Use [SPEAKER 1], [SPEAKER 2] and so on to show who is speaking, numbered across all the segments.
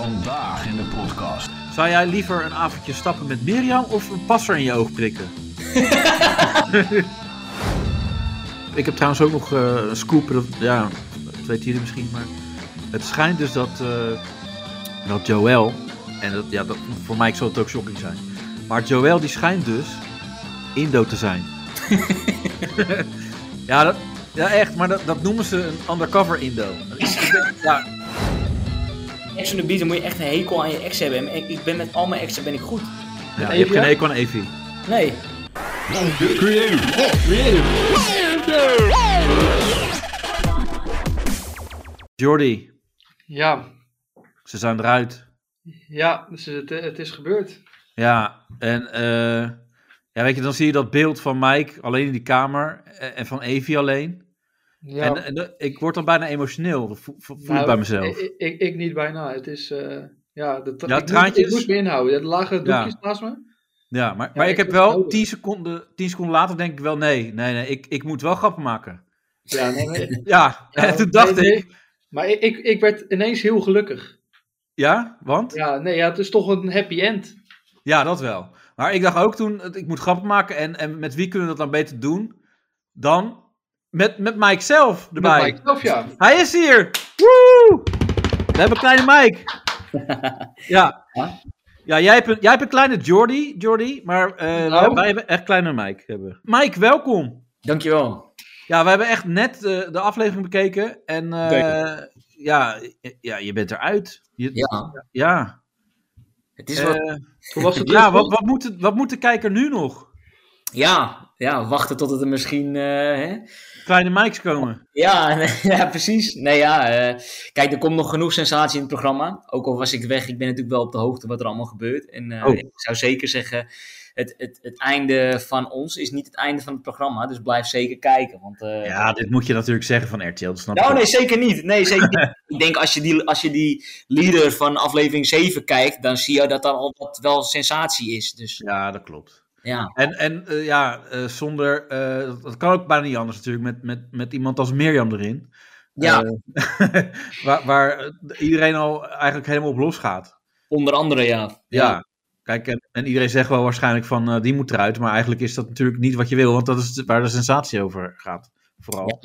[SPEAKER 1] Vandaag in de podcast.
[SPEAKER 2] Zou jij liever een avondje stappen met Mirjam of een passer in je oog prikken? ik heb trouwens ook nog eh, een scoop, dat, ja, dat weten jullie misschien, maar het schijnt dus dat, eh, dat Joel, en dat, ja, dat, voor mij zou het ook shocking zijn, maar Joel die schijnt dus Indo te zijn. ja, dat, ja, echt, maar dat, dat noemen ze een undercover Indo. Ik ben- Ja,
[SPEAKER 3] Ex on the beat, dan moet je echt een hekel aan je ex hebben. En ik ben met al mijn exen ben ik goed.
[SPEAKER 2] ja, je hebt geen hekel aan Evie.
[SPEAKER 3] Nee.
[SPEAKER 2] Jordi,
[SPEAKER 4] Ja,
[SPEAKER 2] ze zijn eruit.
[SPEAKER 4] ja, dus het, het is gebeurd.
[SPEAKER 2] Ja, en eh, ja, weet je, dan zie je dat beeld van Mike alleen in die kamer en en van Evie alleen.
[SPEAKER 4] Ja.
[SPEAKER 2] En, en eh, ik word dan bijna emotioneel, dat vo- vo- voel ik
[SPEAKER 4] Nou,
[SPEAKER 2] bij mezelf.
[SPEAKER 4] Ik, ik, ik niet bijna. Het is, eh, ja, de tra-
[SPEAKER 2] Ja,
[SPEAKER 4] ik moest-
[SPEAKER 2] traantjes.
[SPEAKER 4] Ik moest me inhouden. Er lagen
[SPEAKER 2] Ja.
[SPEAKER 4] doekjes naast me.
[SPEAKER 2] Ja, maar, maar
[SPEAKER 4] ik
[SPEAKER 2] ik heb
[SPEAKER 4] vind het
[SPEAKER 2] wel
[SPEAKER 4] nodig.
[SPEAKER 2] tien seconden, tien seconden later denk ik wel, nee, nee, nee, ik, ik moet wel grappen maken.
[SPEAKER 4] Ja, nee, nee.
[SPEAKER 2] Ja,
[SPEAKER 4] Ja,
[SPEAKER 2] en toen dacht
[SPEAKER 4] nee, nee.
[SPEAKER 2] ik,
[SPEAKER 4] Maar ik, ik, ik werd ineens heel gelukkig.
[SPEAKER 2] ja, want? Ja.
[SPEAKER 4] Ja, nee, ja, het is toch een happy end.
[SPEAKER 2] dat wel. Maar ik dacht ook toen, het- ik moet grappen maken en, en met wie kunnen we dat dan beter doen dan met, met Mike zelf erbij.
[SPEAKER 4] Met mijzelf, ja.
[SPEAKER 2] Hij is hier! Woe! We hebben kleine Mike. Ja.
[SPEAKER 3] Ja?
[SPEAKER 2] Ja, jij hebt een, jij hebt een kleine Jordy, Jordy maar eh, wij,
[SPEAKER 4] Nou.
[SPEAKER 2] wij hebben echt kleine Mike. Hebben. we. Mike, welkom.
[SPEAKER 3] Dankjewel.
[SPEAKER 2] Ja, we hebben echt net eh, de aflevering bekeken. En eh, ja, ja, je bent eruit. Je, ja.
[SPEAKER 3] Ja, het is wat...
[SPEAKER 2] Eh,
[SPEAKER 4] Hoe was het?
[SPEAKER 2] ja, wat, wat, moet de, wat moet de kijker nu nog?
[SPEAKER 3] Ja, ja, wachten tot het er misschien... eh, hè?
[SPEAKER 2] Kleine Mike's komen.
[SPEAKER 3] Ja, nee, ja, precies. Nee, ja, eh, kijk, er komt nog genoeg sensatie in het programma. Ook al was ik weg, ik ben natuurlijk wel op de hoogte wat er allemaal gebeurt. En eh,
[SPEAKER 2] Oh.
[SPEAKER 3] ik zou zeker zeggen, het, het, het einde van ons is niet het einde van het programma. Dus blijf zeker kijken. Want, eh,
[SPEAKER 2] Ja, dit moet je natuurlijk zeggen van RTL, dat snap ik.
[SPEAKER 3] Nou, nee, zeker niet. Nee, zeker niet. ik denk als je, die, als je die leader van aflevering 7 kijkt, dan zie je dat daar al wat wel sensatie is. Dus
[SPEAKER 2] Ja, dat klopt.
[SPEAKER 3] ja,
[SPEAKER 2] En, en eh, ja, eh, zonder. eh, dat- dat kan ook bijna niet anders natuurlijk. Met, met, met iemand als Mirjam erin. Eh,
[SPEAKER 3] ja
[SPEAKER 2] Waar, waar eh, iedereen al eigenlijk helemaal op los gaat.
[SPEAKER 3] onder andere ja.
[SPEAKER 2] Ja. Kijk, en, en iedereen zegt wel waarschijnlijk van eh, die moet eruit. Maar eigenlijk is dat natuurlijk niet wat je wil. Want dat is waar de sensatie over gaat. Vooral.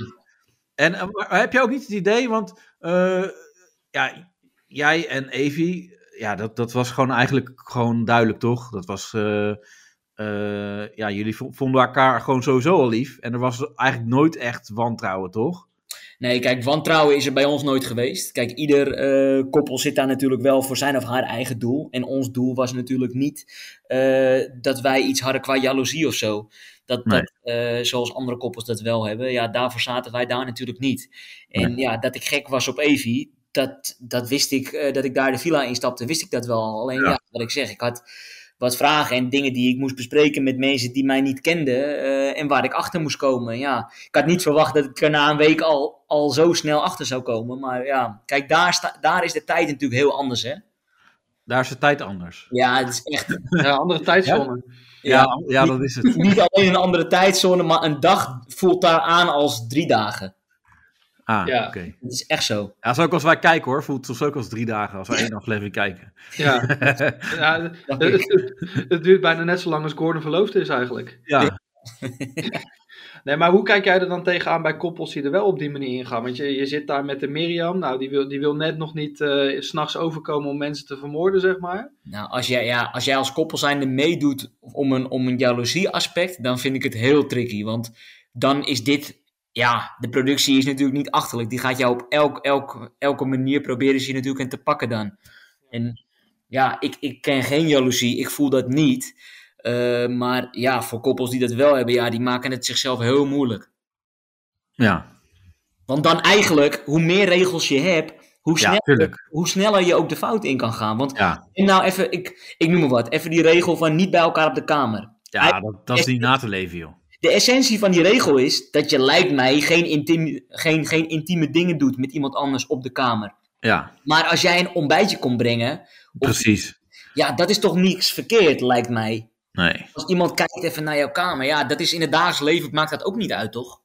[SPEAKER 2] En eh, maar heb je ook niet het idee? Want eh, ja, jij en Evi. Ja, dat, dat was gewoon eigenlijk gewoon duidelijk, toch? Dat was. eh, eh, ja, jullie vo- vonden elkaar gewoon sowieso al lief. En er was eigenlijk nooit echt wantrouwen, toch?
[SPEAKER 3] Nee, kijk, wantrouwen is er bij ons nooit geweest. Kijk, ieder eh, koppel zit daar natuurlijk wel voor zijn of haar eigen doel. En ons doel was natuurlijk niet eh, dat wij iets hadden qua jaloezie of zo. Dat,
[SPEAKER 2] Nee.
[SPEAKER 3] dat eh, zoals andere koppels dat wel hebben. Ja, daarvoor zaten wij daar natuurlijk niet. En ja, dat ik gek was op Evie, dat, dat wist ik, eh, dat ik daar de villa instapte, wist ik dat wel. Alleen ja, wat ik zeg, ik had wat vragen en dingen die ik moest bespreken met mensen die mij niet kenden eh, en waar ik achter moest komen. Ja, ik had niet verwacht dat ik er na een week al, al zo snel achter zou komen. Maar ja, kijk, daar, sta, daar is de tijd natuurlijk heel anders, hè?
[SPEAKER 2] Daar is de tijd anders.
[SPEAKER 3] Ja, het is echt...
[SPEAKER 4] Ja, andere tijdzone.
[SPEAKER 2] Ja,
[SPEAKER 3] Ja,
[SPEAKER 2] ja, dat is het.
[SPEAKER 3] niet alleen een andere tijdzone, maar een dag voelt daar aan als drie dagen.
[SPEAKER 2] Ah,
[SPEAKER 4] Ja.
[SPEAKER 2] oké.
[SPEAKER 3] Het is echt zo.
[SPEAKER 2] Ja, zo ook als wij kijken hoor. Voelt het ook als drie dagen als we één aflevering kijken.
[SPEAKER 4] Ja. ja,
[SPEAKER 3] Dank
[SPEAKER 4] het,
[SPEAKER 3] je.
[SPEAKER 4] het- het duurt bijna net zo lang als Gordon verloofd is eigenlijk.
[SPEAKER 2] Ja.
[SPEAKER 4] Nee, maar hoe kijk jij er dan tegenaan bij koppels die er wel op die manier ingaan? Want je, je zit daar met de Miriam, nou, die wil, die wil net nog niet eh, s s'nachts overkomen om mensen te vermoorden, zeg maar.
[SPEAKER 3] Nou, als jij, ja, als jij als koppel zijnde meedoet om een, om een jaloezie aspect, dan vind ik het heel tricky. Want dan is dit, ja, de productie is natuurlijk niet achterlijk. Die gaat jou op elk, elk, elke manier proberen ze je natuurlijk en te pakken dan. En ja, ik, ik ken geen jaloezie, ik voel dat niet. Eh, maar ja, voor koppels die dat wel hebben, ja, die maken het zichzelf heel moeilijk.
[SPEAKER 2] Ja,
[SPEAKER 3] Want dan eigenlijk, hoe meer regels je hebt, hoe,
[SPEAKER 2] ja,
[SPEAKER 3] snel,
[SPEAKER 2] tuurlijk.
[SPEAKER 3] hoe sneller je ook de fout in kan gaan. Want
[SPEAKER 2] Ja,
[SPEAKER 3] en nou even, ik, ik noem maar wat, even die regel van niet bij elkaar op de kamer.
[SPEAKER 2] ja dat, dat is niet na te leven joh.
[SPEAKER 3] De essentie van die regel is dat je, lijkt mij, geen, intiem, geen, geen intieme dingen doet met iemand anders op de kamer.
[SPEAKER 2] Ja,
[SPEAKER 3] Maar als jij een ontbijtje komt brengen,
[SPEAKER 2] precies.
[SPEAKER 3] ja, dat is toch niks verkeerd, lijkt mij.
[SPEAKER 2] Nee.
[SPEAKER 3] Als iemand kijkt even naar jouw kamer, ja, dat is in het dagelijks leven, maakt dat ook niet uit, toch?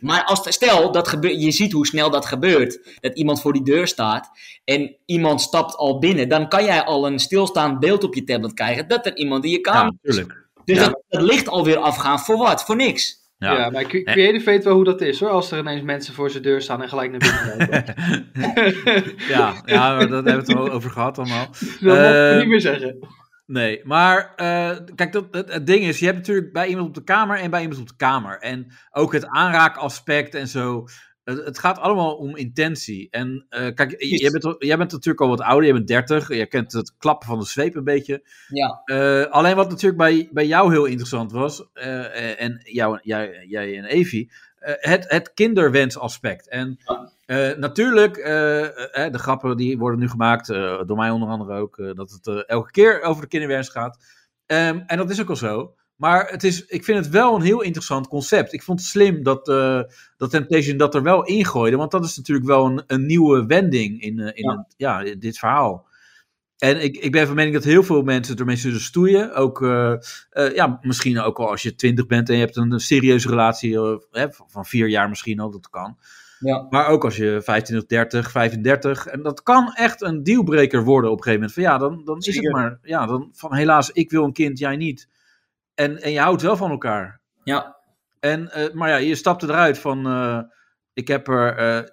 [SPEAKER 3] Maar als, stel, dat gebe- je ziet hoe snel dat gebeurt. Dat iemand voor die deur staat en iemand stapt al binnen. Dan kan jij al een stilstaand beeld op je tablet krijgen dat er iemand in je
[SPEAKER 2] Ja,
[SPEAKER 3] kamer is.
[SPEAKER 2] natuurlijk.
[SPEAKER 3] Dus
[SPEAKER 4] Ja.
[SPEAKER 3] dat, dat licht alweer afgaan voor wat? Voor niks.
[SPEAKER 4] Ja,
[SPEAKER 2] Ja.
[SPEAKER 4] maar Cre- Creative weet wel hoe dat is hoor. Als er ineens mensen voor zijn deur staan en gelijk naar binnen lopen.
[SPEAKER 2] Ja, ja, maar dat hebben we het al over gehad allemaal.
[SPEAKER 4] dat mag
[SPEAKER 2] Eh,
[SPEAKER 4] ik niet meer zeggen.
[SPEAKER 2] Nee, maar eh, kijk, dat, het, het ding is, je hebt natuurlijk bij iemand op de kamer en bij iemand op de kamer. En ook het aanraakaspect en zo. Het, het gaat allemaal om intentie. En eh, kijk, j- jij bent, al- jij bent natuurlijk al wat ouder, je bent 30. Je kent het klappen van de zweep een beetje.
[SPEAKER 3] Ja,
[SPEAKER 2] Eh, alleen wat natuurlijk bij, bij jou heel interessant was, eh, en jou, jij, jij en Evie, eh, het, het kinderwensaspect. En eh, natuurlijk, eh, eh, de grappen die worden nu gemaakt, eh, door mij onder andere ook, eh, dat het eh, elke keer over de kinderwens gaat. Ehm, en dat is ook al zo. Maar het is, ik vind het wel een heel interessant concept. Ik vond het slim dat, eh, dat Temptation dat er wel ingooide. Want dat is natuurlijk wel een, een nieuwe wending in, eh, in,
[SPEAKER 3] Ja.
[SPEAKER 2] het- ja. in dit verhaal. En ik, ik ben van mening dat heel veel mensen ermee zullen stoeien. Ook, eh, eh, ja, misschien ook al als je twintig bent en je hebt een, serieuze relatie eh, hè, van vier jaar misschien al, dat kan.
[SPEAKER 3] ja.
[SPEAKER 2] Maar ook als je 25, 30, 35. En dat kan echt een dealbreaker worden op een gegeven moment. Van ja, dan, dan is het
[SPEAKER 3] Zeker.
[SPEAKER 2] maar. Ja, dan van helaas, ik wil een kind, jij niet. En, en je houdt wel van elkaar.
[SPEAKER 3] ja.
[SPEAKER 2] En, eh, maar ja, je stapte eruit van. eh, ik heb er eh, eh,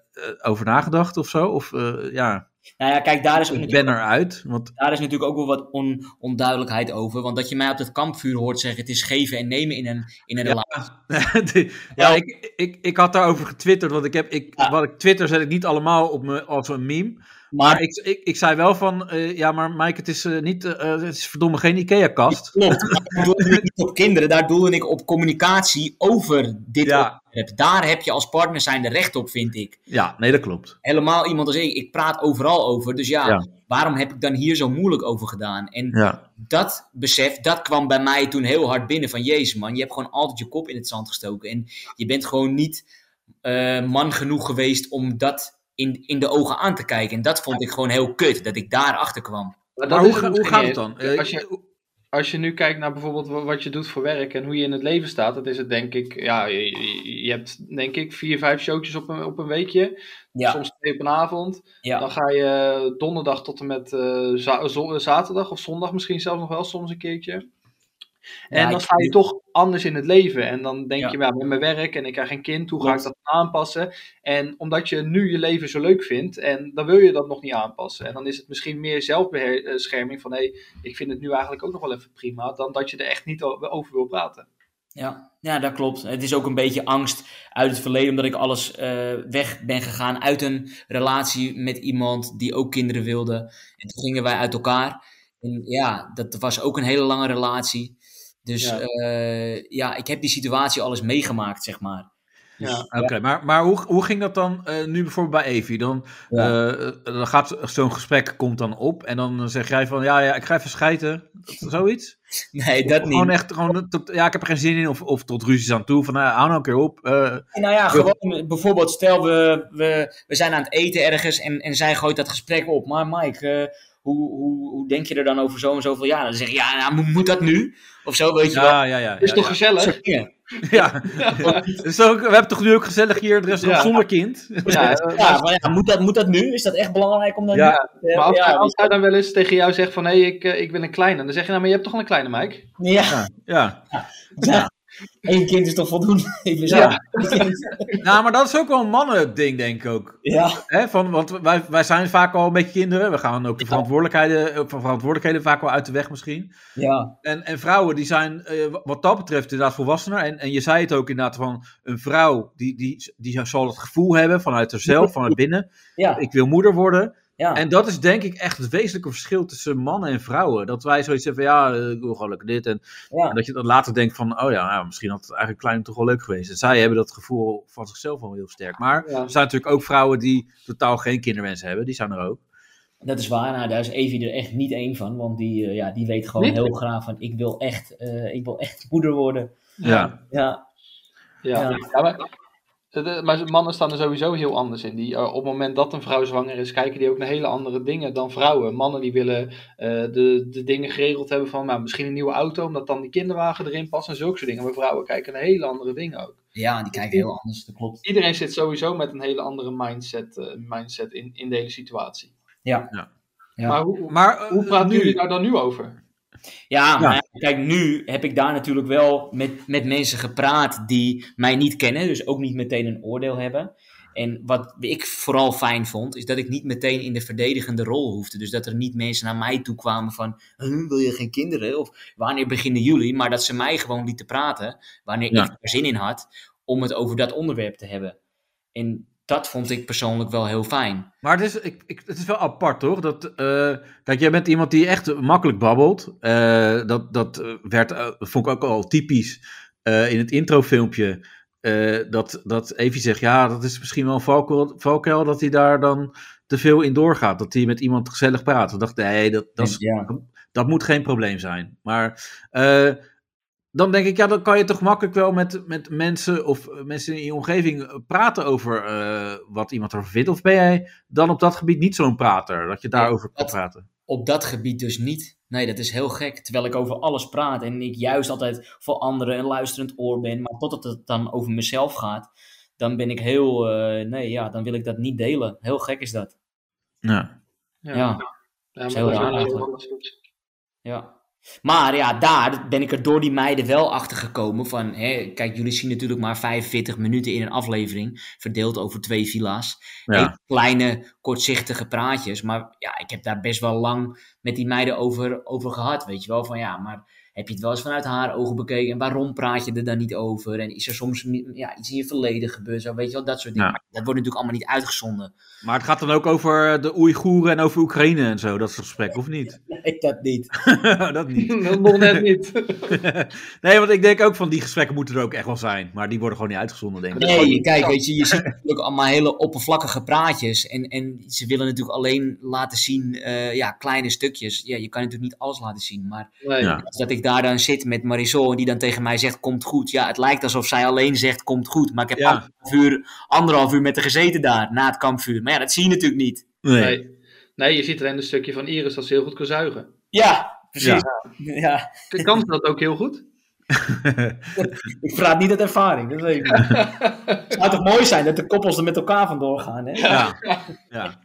[SPEAKER 2] over nagedacht of zo. Of eh, ja,
[SPEAKER 3] Nou ja, kijk, daar is ook
[SPEAKER 2] ik
[SPEAKER 3] natuurlijk-
[SPEAKER 2] ben eruit. Want
[SPEAKER 3] daar is natuurlijk ook wel wat on, onduidelijkheid over. Want dat je mij op het kampvuur hoort zeggen: het is geven en nemen in een, in een
[SPEAKER 2] Ja.
[SPEAKER 3] relatie.
[SPEAKER 2] die- ja, ik, ik, ik had daarover getwitterd. Want ik heb, ik,
[SPEAKER 3] Ja.
[SPEAKER 2] wat ik twitter zet ik niet allemaal op me, als een meme. Maar
[SPEAKER 3] Maar
[SPEAKER 2] ik, ik, ik zei wel van, eh, ja, maar Mike, het is, eh, niet, eh, het is verdomme geen IKEA-kast.
[SPEAKER 3] klopt, maar daar doelde ik niet op kinderen, daar doelde ik op communicatie over dit
[SPEAKER 2] Ja.
[SPEAKER 3] onderwerp. Daar heb je als partner zijn de recht op, vind ik.
[SPEAKER 2] Ja, nee, dat klopt.
[SPEAKER 3] Helemaal iemand als ik, ik praat overal over. Dus ja,
[SPEAKER 2] Ja.
[SPEAKER 3] waarom heb ik dan hier zo moeilijk over gedaan? En
[SPEAKER 2] Ja,
[SPEAKER 3] dat besef, dat kwam bij mij toen heel hard binnen van Jezus man, je hebt gewoon altijd je kop in het zand gestoken en je bent gewoon niet eh, man genoeg geweest om dat in, in de ogen aan te kijken. En dat vond ik gewoon heel kut, dat ik daar achter kwam.
[SPEAKER 4] Maar, dat
[SPEAKER 2] maar
[SPEAKER 4] is
[SPEAKER 2] hoe,
[SPEAKER 4] het
[SPEAKER 2] ga- hoe
[SPEAKER 4] misschien
[SPEAKER 2] gaat het
[SPEAKER 4] niet.
[SPEAKER 2] dan? Eh,
[SPEAKER 4] Als je, als je nu kijkt naar bijvoorbeeld wa- wat je doet voor werk en hoe je in het leven staat, dat is het denk ik, ja, je, je- je hebt denk ik vier, vijf showtjes op een, op een weekje,
[SPEAKER 3] Ja,
[SPEAKER 4] soms twee op een avond. Dan
[SPEAKER 3] ja,
[SPEAKER 4] ga je donderdag tot en met eh, za- zo- zaterdag of zondag misschien zelfs nog wel soms een keertje. En
[SPEAKER 3] Ja,
[SPEAKER 4] dan
[SPEAKER 3] ik-
[SPEAKER 4] sta je toch anders in het leven. En dan denk
[SPEAKER 3] Ja.
[SPEAKER 4] je, ja, met mijn werk en ik krijg geen kind, hoe ga
[SPEAKER 3] Klopt.
[SPEAKER 4] ik dat aanpassen? En omdat je nu je leven zo leuk vindt, en dan wil je dat nog niet aanpassen. En dan is het misschien meer zelfbescherming van, hé, ik vind het nu eigenlijk ook nog wel even prima, dan dat je er echt niet o- over wil praten.
[SPEAKER 3] ja. ja, dat klopt. Het is ook een beetje angst uit het verleden omdat ik alles eh, weg ben gegaan uit een relatie met iemand die ook kinderen wilde. En toen gingen wij uit elkaar. En ja, dat was ook een hele lange relatie. Dus
[SPEAKER 4] Ja.
[SPEAKER 3] ja, ja ik heb die situatie alles meegemaakt, zeg maar. Dus,
[SPEAKER 4] Ja.
[SPEAKER 2] Oké, maar, maar hoe, hoe ging dat dan eh, nu bijvoorbeeld bij Evie? Dan,
[SPEAKER 3] Ja.
[SPEAKER 2] eh, dan gaat zo'n gesprek komt dan op en dan zeg jij van, ja, ja ik ga even schijten. Zoiets?
[SPEAKER 3] Nee, dat niet.
[SPEAKER 2] Gewoon echt, gewoon, tot, ja, ik heb er geen zin in. Of, of tot ruzies aan toe. Van, nou, hou nou een keer op. eh,
[SPEAKER 3] Nou ja, gewoon eh, bijvoorbeeld, stel we, we, we zijn aan het eten ergens en, en zij gooit dat gesprek op. Maar Mike, eh, hoe, hoe, hoe denk je er dan over zo en zoveel jaar? Dan zeg je, ja, nou, mo- moet dat nu? Of zo, weet je wel.
[SPEAKER 2] ja, ja, ja.
[SPEAKER 4] Is
[SPEAKER 2] ja,
[SPEAKER 4] toch
[SPEAKER 3] Dat
[SPEAKER 4] gezellig?
[SPEAKER 3] soort dingen.
[SPEAKER 2] ja. Ja. Dus ook, we hebben toch nu ook gezellig hier het restaurant
[SPEAKER 4] Ja.
[SPEAKER 2] zonder kind?
[SPEAKER 4] Ja, eh,
[SPEAKER 3] Ja, maar ja, moet, dat, moet dat nu? Is dat echt belangrijk om dat
[SPEAKER 2] Ja,
[SPEAKER 3] nu?
[SPEAKER 4] maar
[SPEAKER 3] Ja,
[SPEAKER 4] als,
[SPEAKER 3] ja,
[SPEAKER 4] hij- als hij dan wel eens tegen jou zegt van, hé, ik, eh, ik wil een kleine. Dan zeg je, nou, maar je hebt toch al een kleine, Mike?
[SPEAKER 3] ja,
[SPEAKER 2] ja.
[SPEAKER 3] ja. Eén kind is toch voldoende? Even zo.
[SPEAKER 2] Ja. Nou, maar dat is ook wel een mannen-ding, denk ik ook.
[SPEAKER 3] ja.
[SPEAKER 2] Hè, van, want wij, wij zijn vaak al een beetje kinderen. We gaan ook de verantwoordelijkheden, eh, van verantwoordelijkheden vaak wel uit de weg misschien.
[SPEAKER 3] ja.
[SPEAKER 2] En, en vrouwen die zijn eh, wa- wat dat betreft inderdaad volwassener. En, en je zei het ook inderdaad van een vrouw die, die, die zal het gevoel hebben vanuit haarzelf, vanuit binnen.
[SPEAKER 3] Ja,
[SPEAKER 2] Ik wil moeder worden.
[SPEAKER 3] ja.
[SPEAKER 2] En dat is denk ik echt het wezenlijke verschil tussen mannen en vrouwen. Dat wij zoiets hebben van ja, eh, ik wil gewoon lekker dit. En, en
[SPEAKER 3] ja.
[SPEAKER 2] dat je dan later denkt van oh ja, nou, misschien had het eigenlijk klein toch wel leuk geweest. En zij hebben dat gevoel van zichzelf al heel sterk. Maar
[SPEAKER 4] Ja.
[SPEAKER 2] er zijn natuurlijk ook vrouwen die totaal geen kinderwens hebben. Die zijn er ook.
[SPEAKER 3] Dat is waar, nou, daar is Evie er echt niet één van, want die, eh, ja, die weet gewoon
[SPEAKER 4] Nee.
[SPEAKER 3] heel graag van, ik wil echt, eh, ik wil echt moeder worden.
[SPEAKER 2] Ja.
[SPEAKER 3] Ja,
[SPEAKER 4] Ja,
[SPEAKER 3] Ja.
[SPEAKER 4] Ja, maar, de- maar mannen staan er sowieso heel anders in. Die, eh, op het moment dat een vrouw zwanger is, kijken die ook naar hele andere dingen dan vrouwen. Mannen die willen eh, de, de dingen geregeld hebben van nou, misschien een nieuwe auto, omdat dan die kinderwagen erin past en zulke soort dingen. Maar vrouwen kijken naar hele andere dingen ook.
[SPEAKER 3] Ja, die kijken heel anders, dat klopt.
[SPEAKER 4] Iedereen zit sowieso met een hele andere mindset, eh, mindset in, in de hele situatie.
[SPEAKER 3] Ja.
[SPEAKER 2] Ja.
[SPEAKER 3] Ja.
[SPEAKER 4] Maar hoe, hoe,
[SPEAKER 2] Maar eh,
[SPEAKER 4] hoe praten
[SPEAKER 2] nu-
[SPEAKER 4] jullie daar dan nu over?
[SPEAKER 3] Ja,
[SPEAKER 2] Ja.
[SPEAKER 3] maar kijk, nu heb ik daar natuurlijk wel met, met mensen gepraat die mij niet kennen, dus ook niet meteen een oordeel hebben. En wat ik vooral fijn vond, is dat ik niet meteen in de verdedigende rol hoefde. Dus dat er niet mensen naar mij toe kwamen van, "Huh, wil je geen kinderen? Of wanneer beginnen jullie? Maar dat ze mij gewoon lieten praten, wanneer
[SPEAKER 2] Ja.
[SPEAKER 3] ik er zin in had, om het over dat onderwerp te hebben. En dat vond ik persoonlijk wel heel fijn.
[SPEAKER 2] Maar het is, ik, ik, het is wel apart, toch? Dat, eh, kijk, jij bent iemand die echt makkelijk babbelt. Eh, dat dat eh, werd, eh, vond ik ook al typisch eh, in het introfilmpje. eh dat, dat Evie zegt, ja, dat is misschien wel een valkuil, valkuil dat hij daar dan te veel in doorgaat. Dat hij met iemand gezellig praat. Ik dacht, nee, dat, dat, is-
[SPEAKER 3] ja.
[SPEAKER 2] dat moet geen probleem zijn. Maar eh, dan denk ik, ja, dan kan je toch makkelijk wel met, met mensen of eh, mensen in je omgeving eh, praten over eh, wat iemand ervan vindt. Of ben jij dan op dat gebied niet zo'n prater, dat je daarover kan
[SPEAKER 3] dat-
[SPEAKER 2] praten?
[SPEAKER 3] op dat gebied dus niet. Nee, dat is heel gek. Terwijl ik over alles praat en ik juist altijd voor anderen een luisterend oor ben. Maar totdat het dan over mezelf gaat, dan ben ik heel. eh, nee, ja, dan wil ik dat niet delen. Heel gek is dat.
[SPEAKER 2] Ja.
[SPEAKER 3] Ja,
[SPEAKER 4] ja
[SPEAKER 3] ja.
[SPEAKER 4] maar
[SPEAKER 3] is heel
[SPEAKER 4] dat is
[SPEAKER 3] raar
[SPEAKER 4] wel heel
[SPEAKER 3] eigenlijk.
[SPEAKER 4] anders.
[SPEAKER 3] Maar ja, daar ben ik er door die meiden wel achter gekomen. Van, hè, kijk, jullie zien natuurlijk maar 45 minuten in een aflevering. Verdeeld over twee villa's.
[SPEAKER 2] Ja.
[SPEAKER 3] Hele kleine, kortzichtige praatjes. Maar ja, ik heb daar best wel lang met die meiden over, over gehad. Weet je wel, van ja, maar heb je het wel eens vanuit haar ogen bekeken? En waarom praat je er dan niet over? En is er soms mi- ja, iets in je verleden gebeurd? Zo, weet je wel, dat soort dingen.
[SPEAKER 2] Ja.
[SPEAKER 3] Maar dat wordt natuurlijk allemaal niet uitgezonden.
[SPEAKER 2] Maar het gaat dan ook over eh, de Oeigoeren en over Oekraïne en zo, dat soort gesprekken, of niet?
[SPEAKER 3] Nee, dat niet.
[SPEAKER 2] dat niet.
[SPEAKER 4] Nog net niet.
[SPEAKER 2] nee, want ik denk ook van die gesprekken moeten er ook echt wel zijn. Maar die worden gewoon niet uitgezonden, denk ik.
[SPEAKER 3] Nee, kijk, weet je, je ziet natuurlijk allemaal hele oppervlakkige praatjes. En, en ze willen natuurlijk alleen laten zien, eh, ja, kleine stukjes. Ja, je kan natuurlijk niet alles laten zien, maar...
[SPEAKER 4] Nee.
[SPEAKER 2] Ja.
[SPEAKER 3] Dus dat ik daar dan zit met Marisol en die dan tegen mij zegt, komt goed. Ja, het lijkt alsof zij alleen zegt, komt goed. Maar ik heb
[SPEAKER 2] Ja.
[SPEAKER 3] anderhalf, uur, anderhalf uur met haar gezeten daar, na het kampvuur. Maar ja, dat zie je natuurlijk niet.
[SPEAKER 2] Nee.
[SPEAKER 4] Nee. Nee, je ziet alleen een stukje van Iris dat ze heel goed kan zuigen.
[SPEAKER 3] Ja,
[SPEAKER 2] precies.
[SPEAKER 3] Ja.
[SPEAKER 4] K- Kan ze dat ook heel goed?
[SPEAKER 3] Ik praat niet uit ervaring, dat weet ik niet. Het zou toch mooi zijn dat de koppels er met elkaar vandoor gaan, hè?
[SPEAKER 2] Ja. ja.